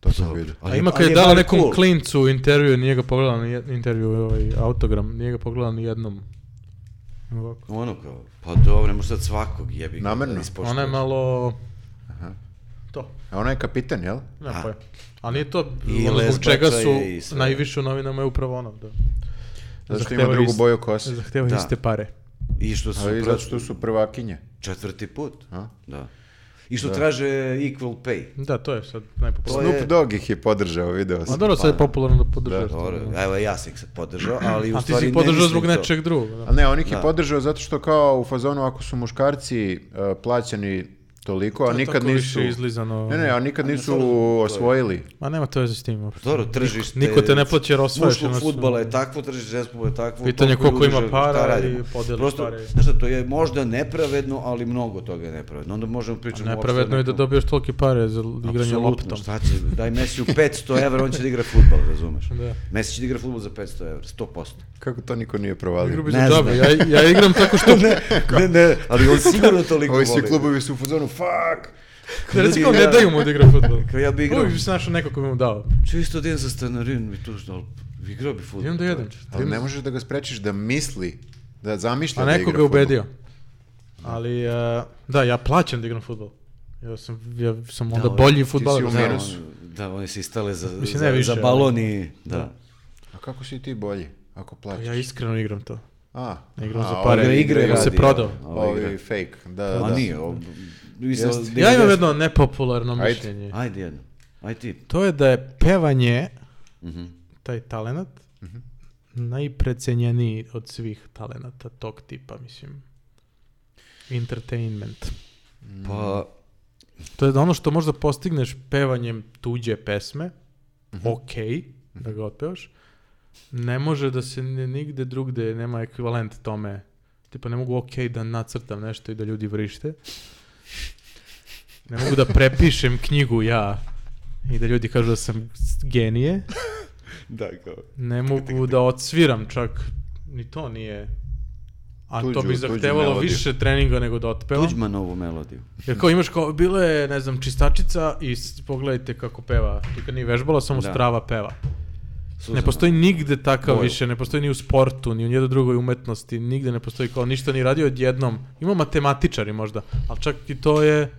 Pa To sam vidio.
A ima kad
ali
je dala
bar
nekom
cool.
klincu intervju, nije ga pogledala ni jed- intervju, ovaj autogram, nije ga pogledala ni jednom. Ovako.
Ono kao, pa dobro, ne može sad svakog jebi. ga
Namerno.
da ispoštuješ.
Ona je malo... To,
A ona je kapitan, jel?
ne
A.
pojma. A nije to
I
ono zbog
lezbača
čega su
je i sve.
najviše u novinama je upravo ono. Da.
Zato što ima
Zahtevaju
drugu
ist-
boju kose.
Zahtevaju
Da.
iste pare.
I što su,
Ali
pro-
zato što su prvakinje.
četvrti put.
A?
Da. I što traže equal pay.
Da, to je sad
To
najpopularnije.
je-
Snoop Dogg ih je podržao, video
Ma
sam.
dobro, sad je popularno da
Da,
podržaš. to,
Pa- Dobro,
da.
evo ja sam ih sad podržao, ali u
A ti
stvari
si
ne
podržao
mislim
zbog
to.
nečeg drugog. da.
A ne, on ih je
Da.
podržao zato što kao u fazonu ako su muškarci e, plaćani toliko, a
To je
nikad
tako više
nisu...
izlizano.
Ne, ne, a nikad nisu osvojili.
Ma nema to veze s tim uopšte.
Dobro, tržište...
Niko te ne plaće, jer osvajaš
muškog
jednostavno.
fudbala je takvo, tržište ženskog je takvo.
Pitanje
toliko
koliko
ljudi
ima
želi,
para
šta radimo?
i podele
Prosto,
pare.
Znaš šta, to je možda nepravedno, ali mnogo toga je nepravedno. Onda možemo pričati...
Nepravedno je da dobiješ tolike pare za igranje
Apsolutno,
loptom.
šta će, daj Messi u 500 evra, on će da igra futbal, razumeš?
Da.
Messi će da igra futbal za 500 evra, 100%.
Kako to niko nije
Igru
provalio?
bi
Ne
za
znam.
džabe. Ja, ja igram tako što...
ne, ne, ne, ali on sigurno toliko
Ovi svi
voli.
klubovi su u fazonu, fuck!
Da
Ljudi,
reci kao
ja-
ne daju mu da igra futbol.
Kao ja bi igrao.
Uvijek bi se našao neko ko bi mu dao.
Čisto da idem za stanarin, mi tu što, ali igrao bi futbol.
Imam da jedem.
Ali ne možeš da ga sprečiš da misli, da zamišlja
A
da igra
neko ga je
fudbal.
ubedio. Ali, e, da, ja plaćam da igram futbol. Ja sam, ja sam onda
on-
bolji
si
futbaler.
u
Da,
minusu.
on-
Da, oni se istale za,
Mislim, ne
za,
više,
za
ali-
balon i... Da.
A kako si ti bolji ako plaćaš?
Pa Ja iskreno igram to.
A,
Ne igram
a,
za pare.
ovi-
igre
igraju
radi. se Pa
ovi-
prodao.
Ovi
Ovi fake, da, da.
A nije, ovo... mislim,
Jeste.
Ja imam
90.
jedno nepopularno
Ajde.
mišljenje.
Ajde jedno. Ajde ti. Mhm.
To je da je pevanje, taj talenat,
Mhm.
najprecenjeniji od svih talenata tog tipa, mislim. Entertainment.
Pa,
To je ono što možda postigneš pevanjem tuđe pesme,
Mhm.
ok, da ga otpevaš, ne može da se ni- nigde drugde nema ekvivalent tome. Tipa ne mogu ok da nacrtam nešto i da ljudi vrište. Ne mogu da prepišem knjigu ja i da ljudi kažu da sam s- genije.
da, kao...
Ne mogu da odsviram čak, ni to nije. A to
Tuđu-
bi
tuđu
zahtevalo
melodiju.
više treninga nego da otpevam.
Tuđmanovu melodiju.
Jer kao imaš kao, bilo je, ne znam, čistačica i s- pogledajte kako peva. Nikad nije vežbala, samo
Da.
strava peva.
Suzana.
Ne postoji nigde takav
Boyle.
više, ne postoji ni u sportu, ni u nijednoj drugoj umetnosti, nigde ne postoji kao ništa ni radio odjednom. Ima matematičari možda, ali čak i to je,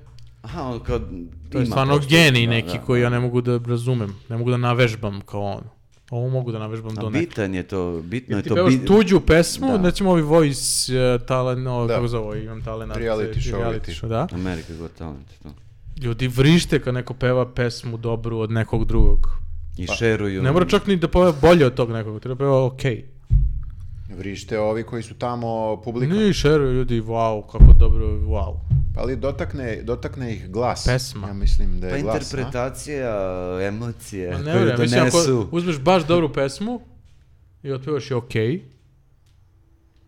Aha, on kao...
to je
ima
stvarno
prosto-
genij
da,
neki
da.
koji ja ne mogu da razumem, ne mogu da navežbam kao on. Ovo mogu da navežbam
A
do nekog.
bitan je to, bitno je
Ti
to...
pevaš
bit-
tuđu pesmu,
Da.
recimo ovi voice uh, talent, ovo,
Da.
kako zove, ovo, imam talent.
Reality
eh,
show
reality
ti.
show, da.
America Got Talent, to.
Ljudi vrište kad neko peva pesmu dobru od nekog drugog.
I šeruju...
Pa, Ne mora čak ni da peva bolje od tog nekog, treba peva okej.
Vrište ovi koji su tamo publika.
Nije i šeruju ljudi, wow, kako dobro, wow.
Pa ali dotakne, dotakne ih glas.
Pesma.
Ja mislim da je
Pa
glas. a?
interpretacija, emocije,
Ma Pa ne
koje
vjerujem, mislim ako
E, donesu.
uzmeš baš dobru pesmu i otpevaš je okej,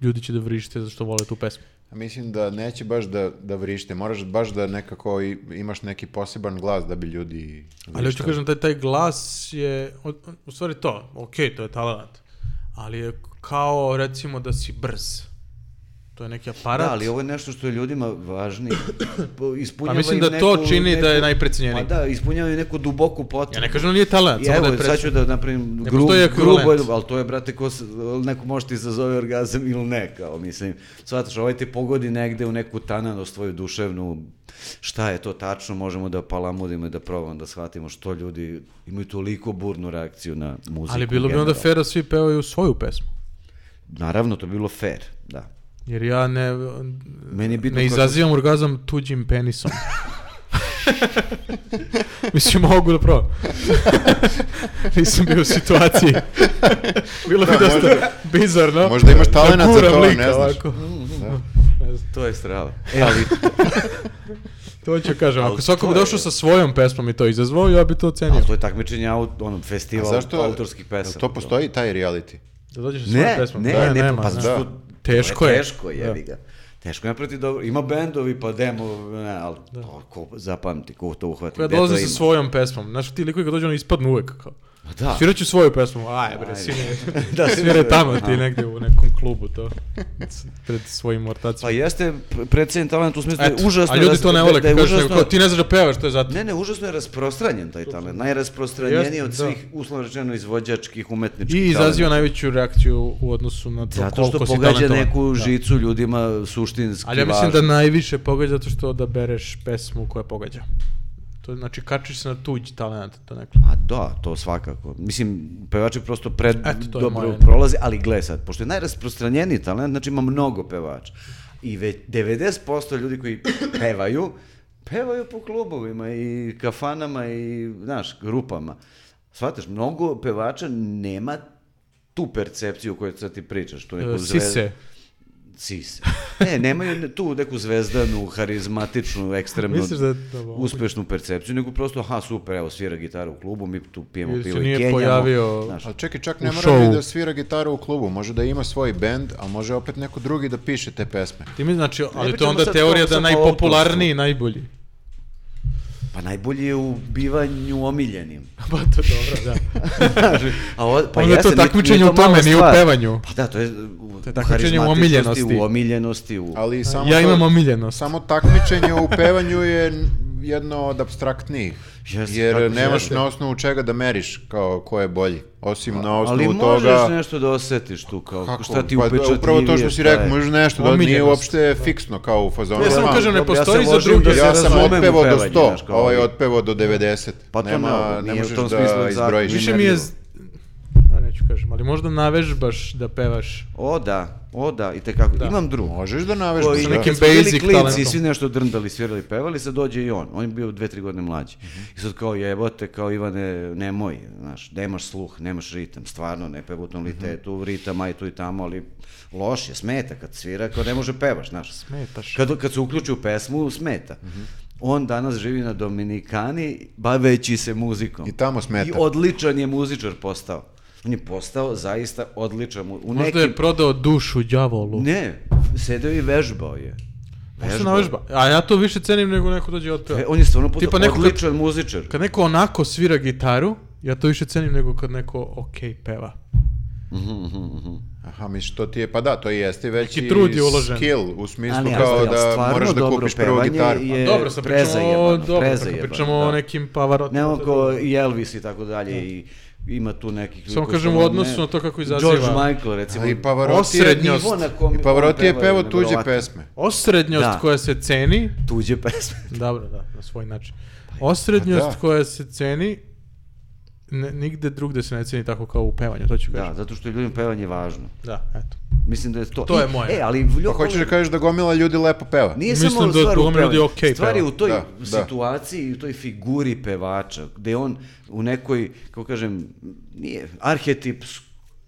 ljudi će da vrište zato što vole tu pesmu.
Ja Mislim da neće baš da, da vrište. Moraš baš da nekako i- imaš neki poseban glas da bi ljudi...
Ali hoću kažem, taj, taj glas je, od- u stvari to, okej, to je talent, ali je kao recimo da si brz. To je neki aparat.
Da, ali ovo je nešto što je ljudima važnije. Po- Ispunjava
Pa mislim
im
da to
neku-
čini da je
neku-
najprecenjeniji.
Pa da, ispunjavaju neku duboku potrebu.
Ja ne kažem da nije talent,
I
samo
evo,
da je
sad
predsjednik.
ću da napravim
Ne
gru,
postoji ekvivalent.
grubo, ali to je, brate, ko se, neko može ti izazove orgazam ili ne, kao, mislim, shvataš, ovaj te pogodi negde u neku tananost tvoju duševnu, šta je to tačno, možemo da palamudimo i da probamo da shvatimo što ljudi imaju toliko burnu reakciju na muziku.
ali bilo bi onda
generalno.
fair da svi pevaju svoju pesmu.
Naravno, to bi bilo fair, da.
Jer ja ne,
Meni je bitno
ne
ko-
izazivam orgazam tuđim penisom. Mislim, mogu da probam. Nisam bio u situaciji. Bilo bi dosta bizarno.
možda imaš
Da
talenat za
guram
to,
lika
ne znaš.
ovako.
To je strava. E, ali
To ću kažem,
Ali
ako svako bi
to je-
došao sa svojom pesmom i to izazvao, ja bi to ocenio.
Ali to je takmičenje aut, ono, festival
A zašto-
autorskih
Jel
pesama.
To postoji, taj reality.
Da dođeš sa svojom
Ne,
pesmom.
ne,
Da,
ne,
nema,
pa
ne.
da.
zašto-
Teško je.
Teško je, jebi ga. Teško je napraviti dobro. Ima bendovi, pa demo, ne, ali to, ko zapamti, ko to uhvati,
Koja
gde to
dolazi
ima.
sa svojom pesmom. Znaš, ti likovi kad dođu, ono ispadnu uvek. Kao.
Ma Da,
Svirat ću svoju pesmu. Aj, bre,
Ajde.
svire.
Da,
da,
svire.
svire tamo ti negde u nekom klubu to. S- Pred svojim
pa
ortacima.
jeste predsjednik talent u smislu da je
Eto,
užasno...
a ljudi
ras-
to ne vole,
da je
kad kažeš nego
užasno-
kao, ti ne znaš da pevaš, to je zato.
Ne, ne, užasno je rasprostranjen taj talent. Najrasprostranjeniji od
Jeste, da.
svih, uslovno rečeno, izvođačkih, umetničkih
I izaziva
talenata.
najveću reakciju u odnosu na to
Zato što
koliko si
pogađa
talentovan.
neku
Da.
žicu ljudima suštinski
Ali ja mislim da
važnu.
najviše pogađa zato što da bereš pesmu koja pogađa. To je, znači, kačiš se na tuđ talent, to nekako.
A Pa da, to svakako. Mislim, pevači prosto pred
Eto, to je
dobro
moje.
prolaze, ali gle sad, pošto je najrasprostranjeniji talent, znači ima mnogo pevača. I već 90% ljudi koji pevaju, pevaju po klubovima i kafanama i, znaš, grupama. Shvataš, mnogo pevača nema tu percepciju koju sad ti pričaš. Tu neku
E,
zvezdu.
Sise.
Sise. Ne, nemaju tu neku zvezdanu, harizmatičnu, ekstremnu,
Misliš da je da ovo-
uspešnu percepciju, nego prosto, aha, super, evo, svira gitaru u klubu, mi tu pijemo
Ili se
pivo i
nije
kenjamo.
pojavio-
Znaš,
Ali čekaj, čak
U
ne mora ni
šovu.
da svira gitaru u klubu, može da ima svoj bend, a može opet neko drugi da piše te pesme.
Ti mi znači, ali to je
pričamo
onda
sad
teorija
kao
da
samo o
najpopularniji, najbolji.
pa najbolji je u bivanju omiljenim.
Pa to dobro, da.
A o,
Onda
pa
je to
jeste, nije-
takmičenje
nije
u
mala
tome, nije u
stvar.
pevanju.
Pa da, to je u,
To je
u
takmičenje u
harizmatičnosti,
omiljenosti.
u omiljenosti, u...
Ali samo
ja
to-
imam omiljenost.
Samo takmičenje u pevanju je n- jedno od abstraktnijih.
Jeste, tako
jer
se
nemaš
jeste.
na osnovu čega da meriš kao ko je bolji. Osim na
Ali
osnovu
možeš
toga...
nešto da osjetiš tu, kao
Kako?
šta ti
Pa,
upečatljivije.
Upravo to što si
šta je.
rekao, možeš nešto, da nije
Omiljenost.
uopšte fiksno kao u fazonu.
Ja samo
"Ma,
kažem, ne
Dobro, ja
postoji
se
za
ložim
druge.
da se
Ja sam
razumem u
otpevao do
pevanje,
100,
znaš, kao
ovaj
ovi.
otpevao do 90.
Pa to
Nema,
ne,
ne
nije u
možeš
tom smislu
da
zakon.
izbrojiš.
Više mi je... z- A, neću kažem, ali možda navežbaš da pevaš.
O da, o da, i tekako.
Da.
Imam drugu.
Možeš da naveš
koji
sa nekim
kad smo bili
basic
klinci
talentom.
i svi nešto drndali, svirali, pevali, sad dođe i on. On je bio dve, tri godine mlađi. I sad kao jebote, kao Ivane, nemoj, znaš, nemaš sluh, nemaš ritam, stvarno, ne peva u tonalitetu, ritam, aj tu i tamo, ali loš je, smeta kad svira, kao ne može pevaš, znaš.
Smetaš.
Kad, kad se uključi u pesmu, smeta. On danas živi na Dominikani, baveći se muzikom.
I tamo smeta.
I odličan je muzičar postao. On je postao zaista odličan. mu- U
Možda
nekim
je prodao dušu đavolu.
ne, sedeo i vežbao je.
Možda navežba. A ja to više cenim nego neko dođe i otpeva.
E, on je stvarno postao
Tipa neko kad-
odličan muzičar.
Kad neko onako svira gitaru, ja to više cenim nego kad neko ok peva.
Mhm,
Aha, misliš, to ti je, pa da, to i jeste već
Neki
i
trud je uložen.
skill, u smislu
Ali,
kao
ali, ali,
da
stvarno
moraš da
dobro
kupiš prvu
pevanje
gitaru. Pa
je- E,
dobro, sad pričamo, o-
prezajebano,
dobro, sad
prezajebano,
pričamo o
da.
nekim pavarotima.
Nemo
to je
ko
dobro.
i Elvis i tako dalje i ima tu nekih...
Samo
likova
kažem u
što
odnosu
ne-
na to kako izaziva.
George Michael, recimo.
Ali i Pavarotti je,
osrednjost.
nivo na kom
i Pavarotti je
on peva
pevao tuđe
nevjerovatno.
pesme.
Osrednjost
Da.
koja se ceni,
Tuđe pesme.
dobro, da, na svoj način. Osrednjost
Pa da.
koja se ceni, ne, nigde drugde se ne ceni tako kao u pevanju, to ću
Da,
kažem.
zato što je ljudima pevanje važno.
Da, eto.
Mislim da je to.
To je
I-
moje.
E, ali Ljo-
Pa hoćeš da kažeš da gomila ljudi lepo peva.
Nije
Mislim
samo
da
stvar u
dvojem ljudi
pevanju.
okej
stvar je
peva.
u toj
Da, da.
situaciji i u toj figuri pevača, gde on u nekoj, kako kažem, nije arhetip s-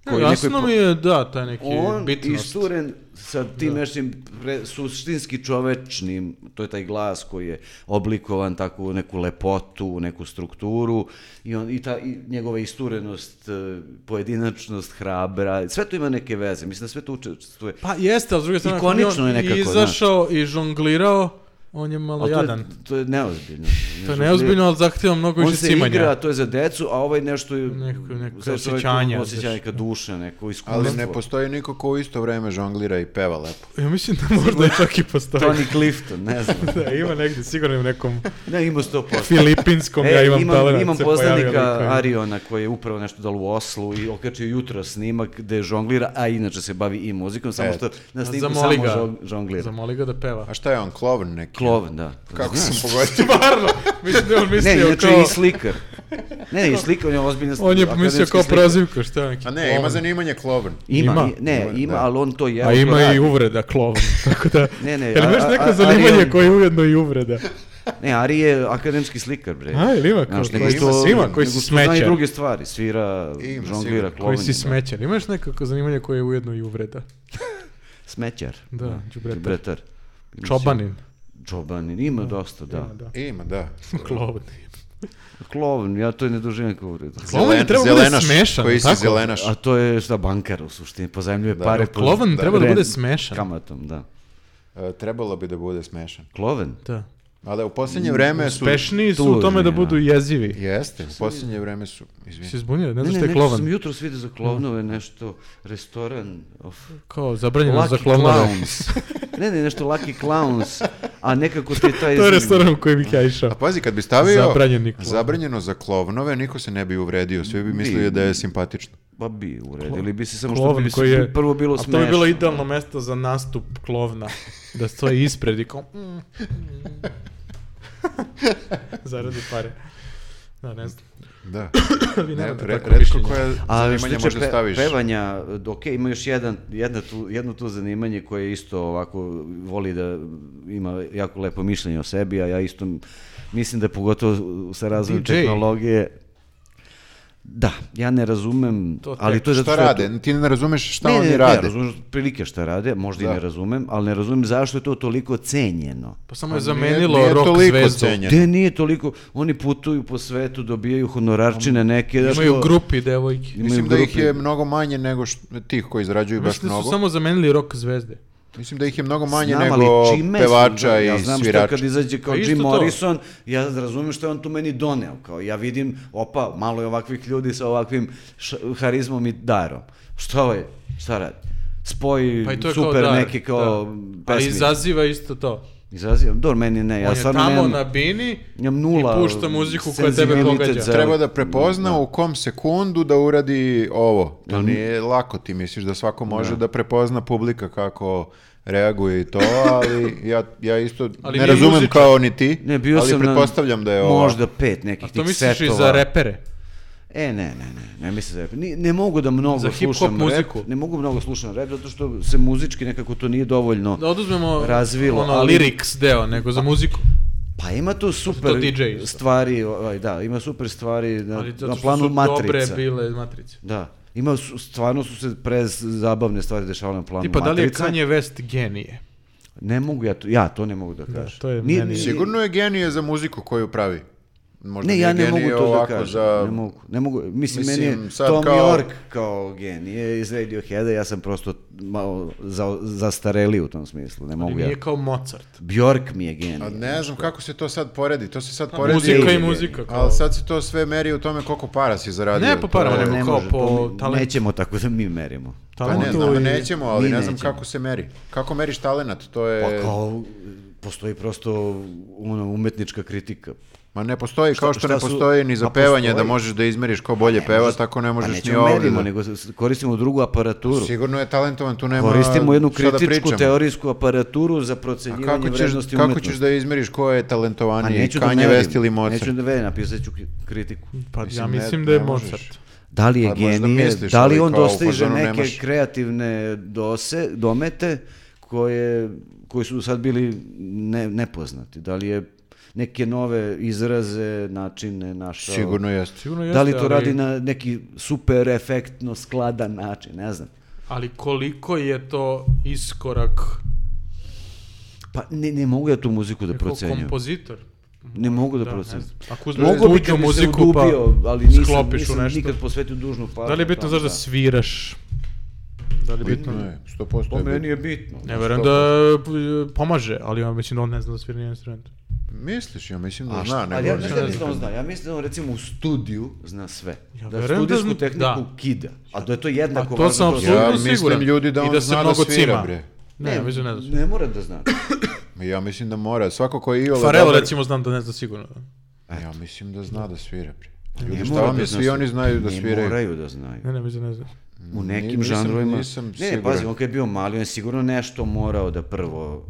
koji
Ne,
nekoj
jasno
po-
mi je, da, taj neki
on
bitnost.
isturen sa tim nešim pre, suštinski čovečnim, to je taj glas koji je oblikovan tako u neku lepotu, u neku strukturu i, on, i, ta, i njegova isturenost, e, pojedinačnost, hrabra, sve to ima neke veze, mislim da sve to učestvuje.
Pa jeste, ali s druge strane, ako
Ikonično
bi on
je nekako,
izašao i žonglirao, on je malo
Ali to
jadan.
je, to je neozbiljno. Znači,
To je neozbiljno, ali zahtjeva mnogo
On
više
se
cimanja.
igra, to je za decu, a ovaj nešto je...
Neko- neko
za čoveka
osjećanje,
Osjećanje
znaš.
ka duše, neko
Ali
iskustvo.
ne postoji niko ko u isto vreme žonglira i peva lepo.
Ja mislim da možda čak i postoji.
Tony Clifton, ne znam.
da, ima negdje, sigurno u nekom
Ne, ima 100%.
filipinskom, ja imam, talenat,
E, imam
se pojavio
poznanika
lik koji-
Ariona koji je upravo nešto dalo u Oslu i okačio jutro snimak gde žonglira, a inače se bavi i muzikom, samo
E.
što na snimku samo
Zamoli ga.
žong- žonglira.
Zamoli ga da peva.
A šta je on, klovn neki?
Kloven, da.
Kako
Znaš.
sam pogodio?
Stvarno, mislim da je on
Ne,
mislio
inače
kao...
i slikar. Ne, i slikar, on je ozbiljno
On je mislio kao prozivko, šta je neki
A ne,
klovan.
ima zanimanje klovn.
Ima,
Ima.
i- ne,
Ima,
ima,
da.
ali on to je.
A ima i uvreda klovan, tako da...
Ne, ne,
Jel
a-
imaš
a-
neko
a-
zanimanje
Arion-
koje je ujedno i uvreda?
Ne, Ari je akademski slikar, bre.
A, jel ima kao
Znaš,
koji
nego
ima,
što-
ima, koji si
nego što zna i
smećar.
druge stvari, svira,
Ima,
žonglira,
sigurno.
Koji
klovenje.
si smećar. Imaš nekako zanimanje koje je ujedno i uvreda?
Smećar.
Da, đubretar.
Bretar.
Čobanin.
Čobanin, ima dosta, da.
Da.
E, Ima, da.
Klovan.
Klovn, ja to i ne doživim kao uvredu.
Klovan je trebao da bude smešan,
koji si
tako?
zelenaš.
A to je šta bankar u suštini, pozajemljuje
Da.
pare. po-
Klovan
da,
treba da bude
rent-
smešan.
Kamatom, da.
E, trebalo bi da bude smešan.
Kloven?
Da.
Ali u posljednje vreme su...
Mm, Uspešniji su
tu
u tome da
izmjena.
budu jezivi.
Jeste, u posljednje vreme su... Izvini.
Si zbunio, ne
Ne,
znaš što
ne,
je
nešto sam
klovan.
jutro vidio za klovnove, nešto, restoran, of,
Kao, zabranjeno za
Lucky
klovnove.
Clowns. ne, ne, nešto Lucky Clowns, a nekako ti je taj...
To je restoran u koji bih ja
A
išao.
pazi, kad bi stavio
Zabranjeni klovn.
zabranjeno za klovnove, niko se ne bi uvredio, svi bi mislili
Bi.
da je simpatično.
Ba Pa bi uredili, bi se samo što
Klovan
bi
koji je...
prvo bilo smešno.
A to bi bilo idealno mesto za nastup klovna. Da stoji ispred i kao... mm, mm, mm. Zaradi pare. Da, ne znam.
Da.
Vi
Ne,
nemate
re-
tako
retko
mišljenje.
koja
A što
zanimanja
tiče
možda
pe-
staviš.
pevanja, ok, ima još jedan, jedna tu, jedno tu zanimanje koje isto ovako voli da ima jako lepo mišljenje o sebi, a ja isto m- mislim da pogotovo sa razvojem
DJ.
tehnologije Da, ja ne razumem,
To
ali
tek.
to je zato
Šta
što ja
rade? Ti ne razumeš šta
ne,
oni
ne, ne,
rade.
razumem prilike šta rade, možda
Da.
i ne razumem, ali ne razumem zašto je to toliko cenjeno.
Pa samo je
Nije-
zamenilo
nije
rock
toliko
zvezdu.
cenjeno.
Gde nije toliko, oni putuju po svetu, dobijaju honorarčine neke. znaš
Imaju
ko-
grupi devojki.
Imaju
Mislim da ih
grupi.
je mnogo manje nego što, tih koji izrađuju baš
Mislim da
mnogo.
su samo zamenili rock zvezde.
Mislim da ih je mnogo manje
Znam, ali
nego
čime su,
pevača
da,
i
ja znam
svirača.
što kad izađe kao
Pa isto
Jim
to.
Morrison, ja razumijem što je on tu meni doneo. Kao ja vidim, opa, malo je ovakvih ljudi sa ovakvim š- harizmom i darom. Šta ovaj, šta radi? Spoji
Pa i to je kao
super
dar,
neki kao
da. Ali
pesmi.
izaziva isto to.
Izaziva, dobro, meni ne, ja
On je
stvarno
tamo
nemam,
na bini
nemam nula
i pušta muziku koja tebe
senzibilitet
pogađa.
za-
Treba da prepozna u kom sekundu da uradi ovo. To
Mhm.
nije lako, ti misliš da svako može da, prepozna publika kako reaguje i to, ali ja, ja isto
Ali
ne
nije
razumem
muzičar.
kao ni ti,
Ne, bio
ali
sam na-
pretpostavljam da je ovo.
možda pet nekih
A
tih
to misliš
setova.
i za repere?
E, ne, ne, ne, ne mislim za rap. Ni- ne mogu da mnogo
Za hip-hop
slušam
muziku.
rap, ne mogu mnogo slušam rap, zato što se muzički nekako to nije dovoljno.
Da oduzmemo
Razvilo,
ono
ali-
lyrics deo, nego za muziku.
Pa ima tu
to
super
DJ isto.
stvari, ovaj, da, ima super stvari na,
Ali zato
na
što
planu
su dobre
matrica.
bile matrice.
Da, ima su, stvarno su se prez zabavne stvari dešavale na planu
Tipa, da li je
matrica.
Kanye West genije?
Ne mogu ja to, ja to ne mogu da kažem.
to je
Ni-
meni-
ni-
Sigurno je genije za muziku koju pravi. Možda
Ne,
nije
ja ne mogu
genije
to da
ovako
kažem.
za-
Ne mogu, ne mogu. Mislim,
Mislim,
meni je
sad
Tom
kao-
York kao genije iz Radioheada, ja sam prosto malo za, zastareli u tom smislu, ne mogu ja.
Nije kao Mozart.
Bjork mi je
A
genije.
ne znam kako se to sad poredi, to se sad poredi...
Pa Muzika i
genije.
muzika. Kao.
Ali sad se to sve meri u tome koliko para si zaradio.
Ne, pa para,
To je-
nego
ne
kao
može, to
po
mi-
talentu.
Nećemo tako da mi merimo.
Pa ne,
Talentu
znam da
i-
nećemo, ali
Mi
ne znam
nećemo.
kako se meri. Kako meriš talenat, to je...
Pa kao, postoji prosto ono, umetnička kritika.
Ma ne postoji, kao što
šta
ne
su-
postoji ni za
Pa
pevanje da
postoji.
možeš da izmeriš ko bolje peva, tako ne
pa
možeš ni
nećemo
ovdje.
merimo,
da-
nego s- koristimo drugu aparaturu.
Sigurno je talentovan, tu nema
Koristimo jednu
šta da
kritičku
pričamo.
teorijsku aparaturu za
A
procenjivanje
kako ćeš,
vrednosti
kako
umetnosti.
ćeš da izmeriš ko je
Pa
talentovaniji,
neću da
Kanye
merim.
West ili Mozart?
Neću da verim, napisat ću k- kritiku.
Pa
Mislim,
ja
ne-
mislim da je
ne možeš.
Mozart.
Da li je
Pa možda
genije,
misliš,
da li
ali
on
kao u
dostiže
fazonu
neke
nemaš-
kreativne dose, domete koje, koji su sad bili ne, nepoznati? Da li je neke nove izraze, načine našao?
Sigurno jeste.
Sigurno jeste,
Da li to
ali-
radi na neki super efektno skladan način, ne znam.
Ali koliko je to iskorak
Pa ne, ne mogu ja tu muziku da
kao
procenjujem.
kompozitor?
Ne mogu da,
Da, ne
procenjujem.
znam. Ako uzmeš
Mogu bi
zvučnu
kad bi se
muziku
udubio,
pa
ali nisam,
sklopiš u
nisam
nešto.
nikad posvetio dužnu pažnju.
Da li je bitno
tome,
znaš da
da. Pa
sviraš? Da li je bitno?
Ne, 100%
Po
je
Pa meni
bitno.
je bitno.
Ne verujem da e, pomaže, ali ja mislim da on ne zna da svira ni instrument.
Misliš, ja mislim da
A šta,
zna. ne
ali Pa ja
može.
mislim da mislim da on zna. Ja mislim da on recimo u studiju zna sve.
Ja
da
verujem da
studijsku
zna-
tehniku
da.
kida. A da je to jednako
A to sam
važno kao
Ja
apsolutno
svira.
mislim,
siguran.
ljudi, da
I
on
da se
zna da
mnogo
svira,
cima.
bre.
Ne, ja mislim da ne zna.
Ne mora da zna.
Ja mislim da mora. Svako ko je iole
Farelo
dobar-
recimo znam da ne zna sigurno.
Pa Ja mislim da zna da svira. bre.
Ne
Ljudi, šta
mora
vam
da
je,
zna
svi
sve.
oni znaju da
Ne
sviraju.
moraju da znaju.
Ne, ne, mislim da ne zna.
U nekim
Nisam-
žanrovima.
nisam
ne,
siguran.
pazi, on kad je bio mali, on je sigurno nešto morao da prvo...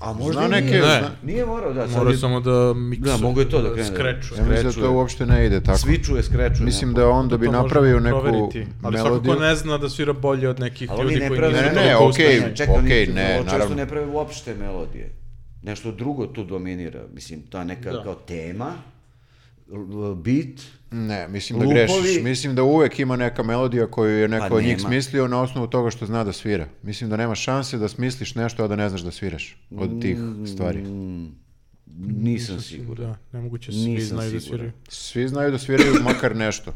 A možda
Zna
i
neke,
nije.
Ne.
zna-
Nije morao da. sad
Morao
je-
samo da miksu.
Da, mogu je to da krene.
Skreču.
Ja mislim da
Skrečuje.
to uopšte ne ide tako.
Svičuje, skrečuje.
Mislim
ne,
da on da bi
To možemo
napravio neku
proveriti, ali
melodiju.
svakako ne zna da svira bolje od nekih
Ali
ljudi
oni ne
koji
prave-
nisu
Ne, ne,
toliko
okej.
uspešni.
Ne, čekaj,
okej, ne,
okay, ne,
naravno.
Često ne prave uopšte melodije. Nešto drugo tu dominira. Mislim, ta neka
Da.
kao tema, l- l- beat,
Ne, mislim da
Lupovi-
grešiš. Mislim da uvek ima neka melodija koju je neko
Pa
od njih
nema.
smislio na osnovu toga što zna da svira. Mislim da nema šanse da smisliš nešto, a da ne znaš da sviraš od tih stvari.
nisam mm, siguran.
Da, nemoguće svi
Nisam
znaju da
siguran.
sviraju.
Svi znaju da sviraju makar nešto.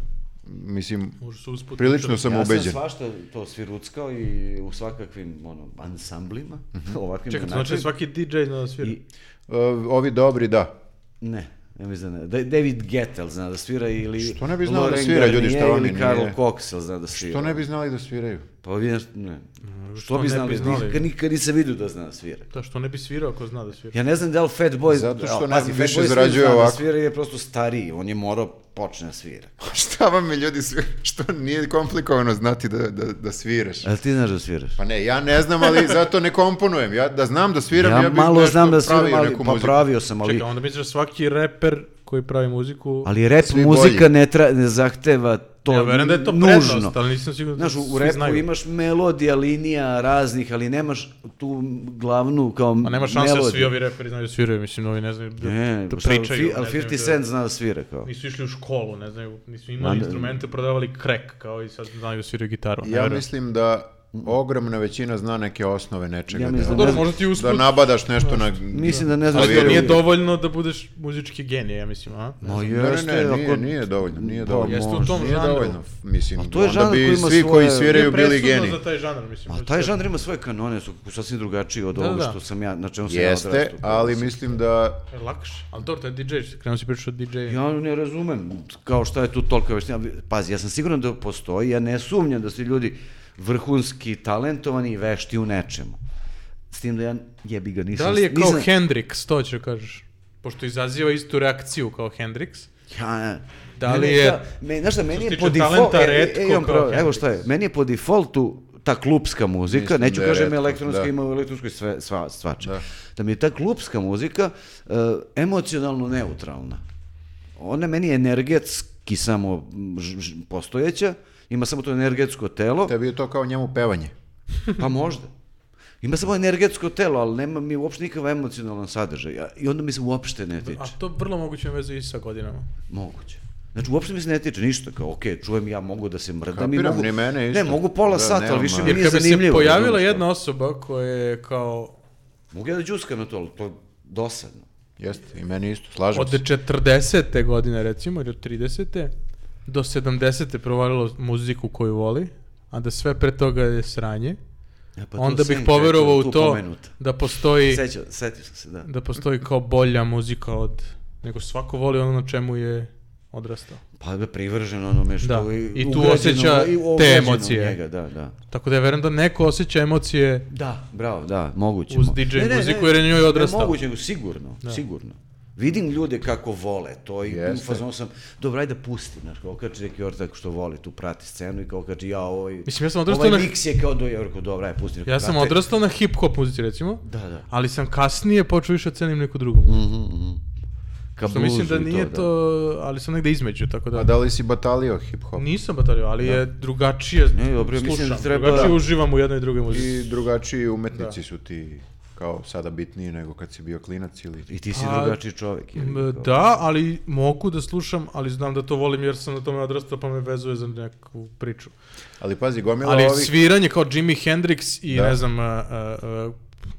Mislim,
Možda su usput.
prilično sam
ja sam
ubeđen.
svašta to sviruckao i u svakakvim ono, ansamblima,
Mhm.
ovakvim
Čekaj, to
onakvim.
znači svaki DJ zna da svira.
I-
E, Ovi dobri, da.
Ne, ne mislim da ne. Da- David Gettel zna da svira ili...
Što ne bi znao da
Laurent
svira, ljudi,
Garnier
šta vam je,
Ili Karl
nije?
Cox jel zna da svira.
To ne bi znali da sviraju.
Pa vidim, ne. Što,
Što
bi
ne
znali?
bi znali?
Nikad, nikad nisam vidio da zna da svira.
Da, što ne bi svirao ako zna da svira.
Ja ne znam da li Fat Boy...
Zato što
Evo,
ne-
Fat
više
Boy svira,
zarađuje
zna da
ovako.
Svira jer je prosto stariji, on je morao počne da svira.
Pa Šta vam je ljudi svira? Što nije komplikovano znati da, da, da sviraš?
Ali ti znaš da sviraš?
Pa ne, ja ne znam, ali zato ne komponujem. Ja da znam da sviram, ja,
ja,
bih
malo
nešto
znam da sviram,
pravio
ali
neku
pa
muziku.
pravio sam, ali...
Čekaj, onda misliš da svaki reper koji pravi muziku...
Ali rap
Svi
muzika
bolji.
ne, tra- ne zahteva to
ja verujem da je to
nužno.
prednost, ali nisam siguran da
Znaš, u
svi
repu
znaju.
imaš melodija, linija raznih, ali nemaš tu glavnu kao
A nema šanse da svi ovi reperi znaju da sviraju, mislim, ovi ne znaju da,
Ne,
da
šta,
pričaju.
fi- ali
ne znaju
50
da-
Cent zna da svira kao.
Pa Nisu išli u školu, ne znaju, nisu imali
Ma, da-
instrumente, prodavali krek, kao i sad znaju da sviraju gitaru. ne
Ja
verujem.
mislim da ogromna većina zna neke osnove nečega.
Ja
da-
mislim
Pa Dobro,
Ne-
možda ti
da
usput,
nabadaš nešto na...
Mislim da ne znam
ali
Vjerujem.
to
što
nije
nije do...
dovoljno da budeš muzički genije, ja mislim, a?
Ma
Ne, ne,
jeste,
ne, nije,
ako-
nije dovoljno, nije
Pa,
dovoljno.
jeste u tom
Nije
žanru.
dovoljno, f- mislim,
to je
onda
žanr koji
bi
ima
svi koji
svoje-
sviraju bili
presudno
geni.
za taj žanr, mislim.
A
hoću
pa taj
kažem.
žanr ima svoje kanone, su sasvim drugačiji od
Da,
ovoga
da.
što sam ja, na čemu sam ja
Jeste,
odrastao.
ali mislim da
To je E, Lakše, ali dobro, to je DJ, krenuo si pričati o DJ. -u.
Ja ne razumem kao šta je tu toliko veština. Pazi, ja sam siguran da postoji, ja ne sumnjam da su ljudi vrhunski talentovani i vešti u nečemu. S tim da ja jebi ga nisam...
Da li je kao
nisam-
Hendrix, to ću kažeš? Pošto izaziva istu reakciju kao Hendrix.
Ja,
Da
mene
li je-
šta- me, znaš šta, meni
se
je
tiče
po e, defaultu,
talenta, retko kao
evo
Hendrix.
šta je, meni je po defaultu ta klupska muzika,
Mislim
neću
da je
kažem
retko,
elektronska,
da.
ima u elektronskoj sve, sva, svača, da.
Da.
mi je ta klupska muzika e, emocionalno neutralna. Ona meni je energetski samo m, ž- ž- postojeća, ima samo to energetsko telo,
tebi je to kao njemu pevanje.
pa možda. Ima samo energetsko telo, ali nema mi uopšte nikakav emocionalan sadržaj. a- I onda mi se uopšte ne tiče.
A to vrlo moguće ima vezu i sa godinama.
Moguće. Znači, uopšte mi se ne tiče ništa, kao, okej, čujem ja, mogu da se mrdam i
Kapiram,
mogu...
ni mene isto.
Ne, mogu pola
Da,
sata, ali
nemam,
više
ali-
mi
Jer
Pa nije
kad bi se
zanimljivo.
pojavila
razumeš, kao.
jedna osoba koja je kao
Mogu ja da džuskam na to, ali to je dosadno.
Jeste, i meni isto, slažem
od
se.
40. godine recimo ili od 30. do 70. provalilo muziku koju voli, a da sve pre toga je sranje,
Ja, pa to
onda
Senka
bih
je
poverovao
tu
u to
pomenuta.
da postoji
Sećao, setio sam se, da.
da postoji kao bolja muzika od nego svako voli ono na čemu je odrastao.
Pa da je privrženo onome što...
Da,
je
i tu
ugrađeno
osjeća
i
te
ugrađeno u
emocije.
Njega, da, da.
Tako da ja verujem da neko osjeća emocije
Da, bravo, da, moguće.
Uz
mo-
DJ muziku, jer je na njoj odrastao.
Ne, moguće, nego sigurno, sigurno. Vidim ljude kako vole to i u
Jeste.
fazonu sam, dobro, ajde da pusti, znaš, kao kači neki ortak što voli, tu prati scenu i kao kači, ja, ovaj,
Mislim, ja sam odrastao
ovaj
na-
miks je kao do Jorko, dobro, ajde, pusti.
Ja sam
brate.
odrastao na hip hop muzici recimo,
Da, da.
ali sam kasnije počeo više da cenim neku drugu muziku.
Ka
Što mislim da
bluzu i
nije
Mm, da. Pa
to, ali sam negde između, tako da...
A da li si batalio hip-hop?
Nisam batalio, ali je drugačije
Ne, dobro, ja
slušam,
mislim da treba-
drugačije
da.
uživam u jednoj i drugoj muzici.
I drugačiji umetnici su ti kao sada bitniji nego kad si bio klinac ili...
I ti si
Pa,
drugačiji čovek. je li,
M,
kao?
Da, ali mogu da slušam, ali znam da to volim jer sam na tome odrastao pa me vezuje za neku priču.
Ali pazi, gomila
Ali
ovih...
sviranje kao Jimi Hendrix i
Da.
ne znam, a, a, a,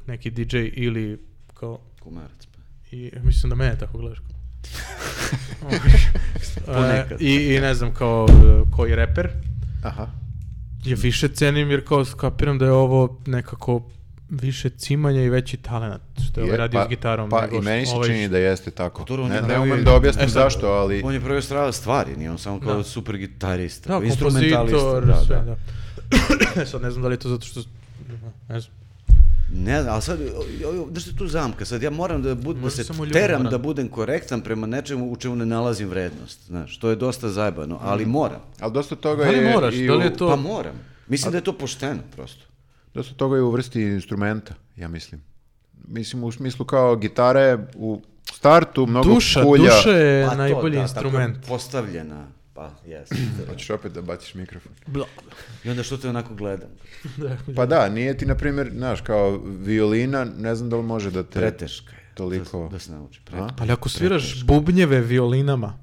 neki DJ ili kao
Komarac. pa.
I mislim da mene tako gledaš.
Ponekad.
E, I, I ne znam kao e, koji reper.
Aha.
Je više cenim jer kao skapiram da je ovo nekako više cimanja i veći talent što je ovaj
Je,
radio s gitarom.
Pa
nego
i meni se
što- ovaj
čini da jeste tako.
Dobro, on je
Ne, ne
pravi-
umem da objasnim
E sad,
zašto, ali...
On je pravio strava stvari, nije on samo kao
Da.
super gitarista,
Da,
pa instrumentalista.
kompozitor,
da,
sve,
da.
da. Sad ne znam da li je to zato što... Ne znam.
Ne, znam, ali sad, o- o- o- znaš što je tu zamka, sad ja moram da, bud, da
Možda
se
sam uljubljen,
teram
moram.
da budem korektan prema nečemu u čemu ne nalazim vrednost, znaš, to je dosta zajebano, ali moram,
Ali dosta toga
Da li
je
moraš,
i
da li Mhm. je
u-
To-
pa moram. Mislim da je to pošteno prosto.
Dosta toga je u vrsti instrumenta, ja mislim. Mislim, u smislu kao gitare u startu mnogo
Duša,
kulja.
duša je
Pa to,
najbolji
da, tako je
instrument.
postavljena, pa jes.
Hoćeš opet da baciš mikrofon.
I onda što te onako gledam,
Da.
Pa da, nije ti, na primjer, znaš, kao violina, ne znam da li može da te...
preteška je.
Toliko.
Da, da se nauči, pre-
A?
Pa Ali ako sviraš bubnjeve violinama...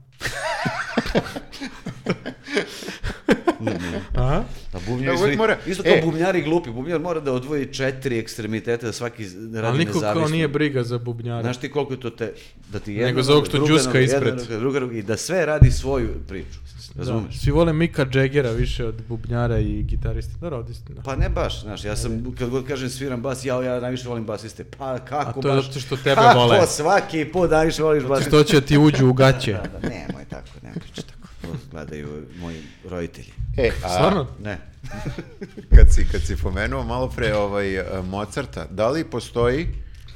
Aha.
Da, bubnjar
Da, uvijek
isto,
mora-
isto kao
e.
bubnjari glupi, bubnjar mora da odvoji četiri ekstremitete da svaki z- radi
Ali nikog
nezavisno.
kao nije briga za bubnjara.
Znaš ti koliko je to te... Da ti
Nego
jedna
za ovog
noga,
što
druga
đuska
noga, jedna
ispred.
noga, druga noga I da sve radi svoju priču. Razumeš?
Da, svi vole Mika Jaggera više od bubnjara i gitariste. Dobro, ovdje ste, da.
Pa ne baš, znaš, ja sam, kad god kažem sviram bas, ja, ja najviše volim basiste. Pa kako
A to je
baš?
zato što tebe
kako
vole.
Kako svaki put najviše voliš basiste?
Znači, Što će ti uđu u gaće?
Da, da, nemoj tako, nemoj priča tako. To Gledaju moji roditelji.
E, a
Stvarno?
Ne.
kad si, kad si pomenuo malo pre ovaj, e, Mozarta, da li postoji,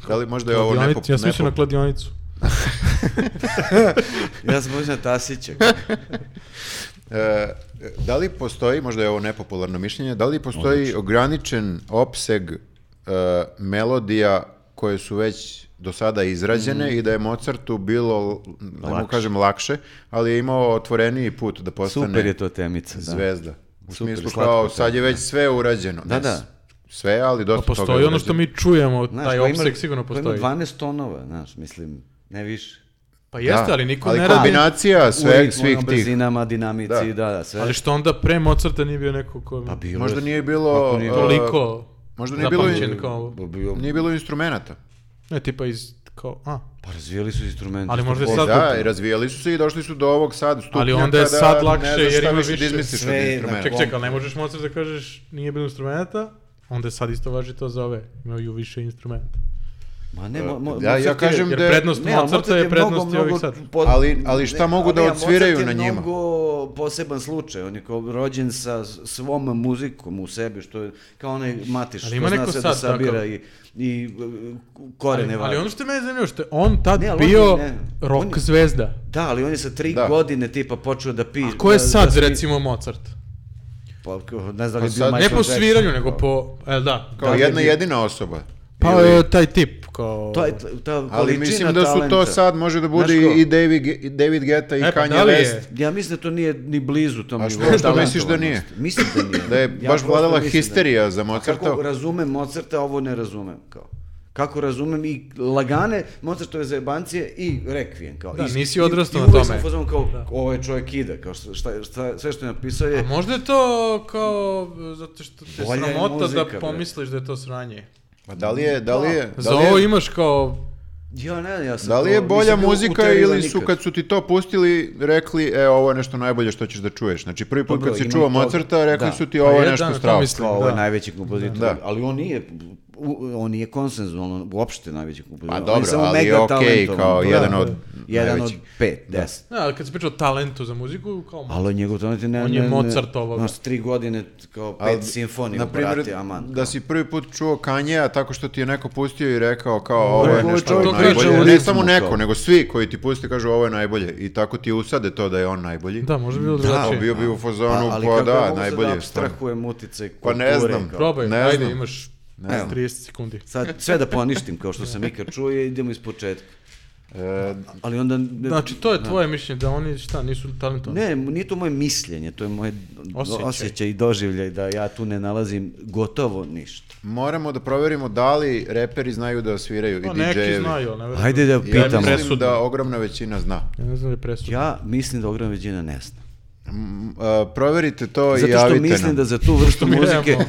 da li možda je ovo nepo...
Kladionicu, ja sam išao na
nepo-
kladionicu.
Ja sam možda Tasića.
E, da li postoji, možda je ovo nepopularno mišljenje, da li postoji ograničen opseg e, melodija koje su već do sada izrađene i da je Mozartu bilo, da mu kažem, lakše, ali je imao otvoreniji put da postane
Super je to temica. Da.
zvezda. U
Super,
smislu
slatko
kao,
to.
sad je već sve urađeno.
Da,
Ne,
da.
Sve, ali dosta
Pa
toga
postoji ono što
urađeno.
mi čujemo,
Znaš, pa
taj
ko ima-
opsek sigurno
ko ima
postoji.
12 tonova, znaš, mislim, ne više.
Pa jeste,
Da,
ali niko
ali
ne radi.
kombinacija
U
sve,
ritmu,
svih
ono,
tih.
brzinama, dinamici, da,
Da.
da, sve.
Ali što onda pre Mozarta nije bio neko ko...
Pa bilo
Možda
je
nije bilo...
Kako nije?
uh,
toliko
možda nije bilo i-
zapamćen kao ovo.
Ba, bio-
Nije bilo instrumenta.
Ne, tipa iz... Kao, a,
Pa razvijeli su instrumente.
Ali možda je
I
sad-
da, i razvijali su se i došli su do ovog sad stupnja.
Ali onda je
kada
sad
ne
lakše
znaš
jer
šta
ima
više da
više
izmisliš od
sve, znači,
instrumenta.
Ček, ček, ali ne možeš Mozart da kažeš nije bilo instrumenta, onda je sad isto važi to za ove, imaju više instrumenta.
Ma ne, mo, mo,
Ja- ja
Mozart je-
kažem
Jer
Da je-
prednost
Ne, ali
Mozarta je prednost i ovih sad.
po-
Ali- ali šta
ne,
mogu da
ali, a
odsviraju
Mozart
na
je
njima?
mnogo poseban slučaj, on je kao rođen sa s- svom muzikom u sebi, što je kao onaj Matiš,
Ali
što
ima
zna
neko
se da
sad
sabira
takav.
i, i e, korene
Ali, ali
vadi.
ono što je mene zanimljivo, što je on tad
Ne, ali on
bio
je- ne,
rock
on je-
zvezda.
Da, ali on je sa tri
Da.
godine tipa počeo da pije.
Ko je
da-
sad,
da svi-
recimo, Mozart?
Pa, kao, ne znam da li je
Pa
bio
sad-
Ne
Michael
po
Jackson.
sviranju, nego po... E, da.
Kao
Da,
jedna
da,
jedina osoba.
Pa
Ili-
e, taj tip, kao...
To je ta količina
ali mislim da su to
talenta.
sad, može da bude
Znaš ko?
i David, Ge- i David Geta i
E, pa
Kanye
da li je-
West.
Ja mislim da to nije ni blizu tom
A što-
nivou
što misliš da nije?
talentovanosti. Mislim da nije.
Da je
Ja
baš
prosto
vladala
mislim da-
histerija za
A
Mozarta.
Kako razumem Mozarta, ovo ne razumem. Kao. Kako razumem i lagane Mozartove zajebancije i rekvijem. Kao.
Da,
I,
nisi
i-
odrastao
i
na
uvek
tome.
sam fazon kao,
Da.
ovaj čovjek ide. Kao šta, šta, šta, sve što je napisao je...
A možda je to kao, e, zato što te
Bolja je
sramota
muzika,
da
bre.
pomisliš da je to sranje.
Pa da li je, da li je, da
Pa, Za
li je-
ovo imaš kao,
Ja ne, ja sam
Da li
to-
je
nisam
bolja
bio
muzika
uterivan
ili su
nikad.
kad su ti to pustili rekli e ovo je nešto najbolje što ćeš da čuješ. Znači prvi put
Dobro,
kad si
Pa imam
čuo
toga.
Mozarta rekli
Da.
su ti
Pa
ovo je
jedan
nešto
na to
strašno.
mislim.
Kao, ovo je
Da.
najveći kompozitor,
Da.
ali on nije, u- on nije konsenzualno uopšte najveći kompozitor.
Pa
On je
dobro,
samo
ali
mega
je okej
talentovan.
kao
Da.
jedan od
Jedan od
najvećih.
pet, deset.
ne, ali kad se priča o talentu za muziku, kao
Ali on njegov talent je ne...
On je
ne- ne-
Mozartovoga.
znaš, tri godine, kao
Ali,
pet simfonija,
na primjer,
brate, aman.
da si prvi put čuo Kanjea tako što ti je neko pustio i rekao kao ovo
Ovaj
je nešto
čovjek
to
najbolje.
priča o
Ne
ritmu
samo
kao.
neko, nego svi koji ti pusti kažu ovo je najbolje i tako ti usade to da je on najbolji.
Da, možda bi bilo
Da,
drugačije.
bio bi u fazonu,
A- ali
pa
kako ja
da,
mogu sad
najbolje.
da
je stvarno.
abstrahujem uticaj
Pa ne
kulture,
znam.
kao?
Probaj,
Ne
ajde,
znam.
imaš
Ne znam.
30 sekundi.
Sad, sve da poništim, kao što sam ikad čuo, i idemo iz početka.
E,
Ali onda... Ne,
Znači, to je tvoje mišljenje, da oni, šta, nisu talentovani?
Ne, nije to moje mišljenje, to je moje osjećaj.
Osjećaj.
osjećaj i doživljaj da ja tu ne nalazim gotovo ništa.
moramo da proverimo da li reperi znaju da sviraju i
Pa neki
DJ-evi.
znaju, ali ne verujem.
Ajde da
Ja
pitamo.
presu-
mislim
Presudno.
da ogromna većina zna.
Ja ne znam da je presudno.
Ja mislim da ogromna većina ne zna.
M, a, proverite to i
Zato što
Pa javite
mislim
nam.
da za tu vrstu
mi
muzike
nemamo-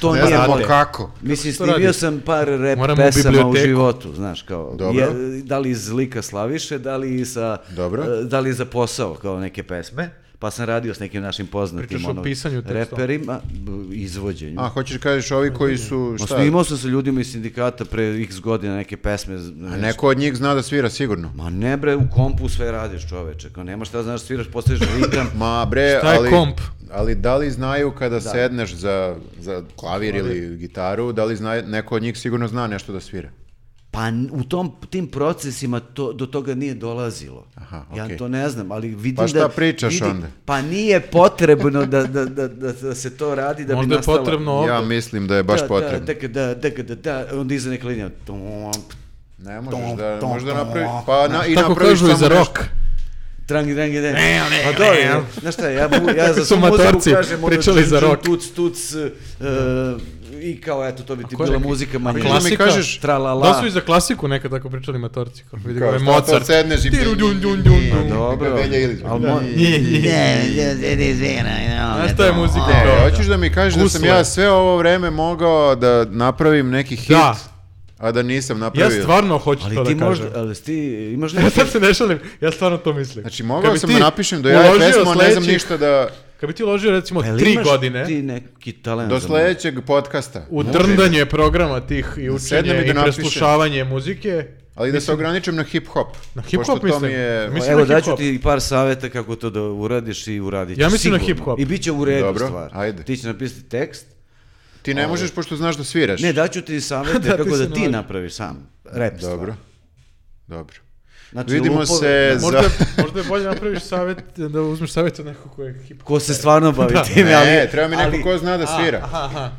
to
ne
nije
znamo
moje.
kako.
Mislim,
se to
snimio
radi?
sam par rap
Moramo u
pesama u
biblioteku.
životu, znaš, kao,
Dobro.
je- da li iz lika Slaviše, da li sa,
Dobro.
e, da li za posao, kao neke pesme, pa sam radio s nekim našim poznatim
Pričaš o
ono,
pisanju teksta.
reperima, b- izvođenju.
A, hoćeš da kažeš ovi koji su,
Ma,
šta?
Snimao sam sa ljudima iz sindikata pre x godina neke pesme. z-
A
nešto.
neko od njih zna da svira sigurno.
Ma ne bre, u kompu sve radiš čoveče, kao nema šta znaš, sviraš, postaviš ritam,
Ma bre,
Šta je
ali,
komp?
ali da li znaju kada sedneš za, za klavir ili gitaru, da li znaju, neko od njih sigurno zna nešto da svira.
Pa n- u tom, tim procesima to, do toga nije dolazilo.
Aha,
Ja
okej.
to ne znam, ali vidim
Pa šta
da...
pričaš
vidim-
onda?
Pa nije potrebno da, da, da, da, da se to radi da bi
Možda je
nastala...
potrebno ovdje.
Ja mislim da je baš
da,
potrebno.
Da, da, da, da, da, da, onda iza neka linija. Tom,
Ne možeš da,
tom,
možda
tom,
napravi,
tom.
pa na, i
Tako
napraviš
kažu i
samo
za
nešto.
rock.
Trangi, trangi, ne.
ne,
Pa dobro,
ne.
ja- znaš šta, ja, bu, ja za
Kako su
svu muziku
amatorci
kažem ono
pričali
džin,
za
džin,
rock.
tuc, tuc, e, i kao eto, to bi ti
ko je
bila
neki-
muzika manje.
Ili mi
Klasika?
kažeš,
Tralala.
Da su i za klasiku nekad tako pričali matorci, kao vidi
kao
kao je
šta to
ovaj Mozart.
sedneš i...
Tiru, djun, djun, djun,
i-
djun.
i-
Dobro.
Velja Ilić.
Al mo-
Znaš šta je muzika
Ne,
kao?
hoćeš da mi kažeš da sam
Gusle.
ja sve ovo vreme mogao da napravim neki hit,
Da.
a da nisam
Ja
napravio.
stvarno hoću to
Ali ti
da
možda,
kažem.
ali ti imaš
Ja
neki
sad se ne šalim, ja stvarno to mislim.
Znači,
Kad
mogao
bi
sam
ti
da napišem do jaja
uložio
pesmu, a ne znam
sledećih-
ništa da...
Kad bi ti uložio recimo
Pa jel
tri
imaš
godine
Ti neki talent.
Do
za
sledećeg podcasta.
u drndanje programa tih i
Sednem i da
učenje i
napišem.
preslušavanje muzike,
Ali da se ograničim na hip-hop.
Na hip-hop
pošto to
mislim.
mi je-
muziku?
Mislim
Evo
na
daću
hip-hop.
ti par saveta kako to da uradiš i uradiš.
Ja mislim na
sigurno.
hip-hop.
I bit će u redu
Dobro,
stvar.
ajde.
Ti će napisati tekst.
Ti ne možeš pošto znaš da sviraš.
Ne, daću ti savete
Da, ti
kako
se
da ti
nalazi.
napraviš sam. Rap stvar.
Dobro. Dobro.
Znači,
Vidimo
lupove-
se
Da.
za-
možda, je- možda je bolje napraviš savjet, da uzmeš savjet od nekog ko je hip
Ko se stvarno bavi time, ali...
Ne, treba mi neko
ali-
ko zna da svira.
Aha, aha.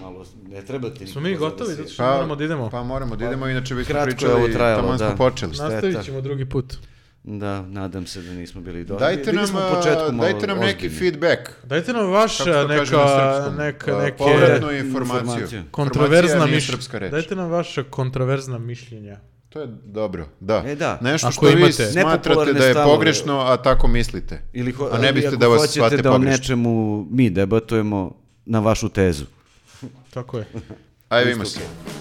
Malo, Ne treba ti
Smo
niko
mi
za
gotovi, zato
desijet.
što moramo da idemo.
Pa moramo da idemo, inače bismo
kratko je ovo
pričali,
trajalo,
tamo smo
da.
počeli.
Šta je
Nastavit
ta-
ćemo drugi put.
Da, nadam se da nismo bili dobro.
Dajte
Bili
nam,
smo u početku
a,
malo
dajte nam neki
ozbiljni.
feedback.
Dajte nam vaša
Kako se to
neka,
kaže na srpskom? Pa,
neka,
A,
neke
povratnu
informaciju.
informaciju.
kontroverzna
Informacija nije srpska
mišljenja.
reč.
Dajte nam vaša kontroverzna mišljenja.
To je dobro, da.
E, da.
Nešto
Ako
što vi
imate-
smatrate
Nepopularne
da je
stavove.
pogrešno, a tako mislite.
Ili ho-
a ne
ili
biste
ako
da vas
hoćete
shvate
da o
pogrešno.
nečemu mi debatujemo na vašu tezu.
Tako je.
Ajde, vidimo se.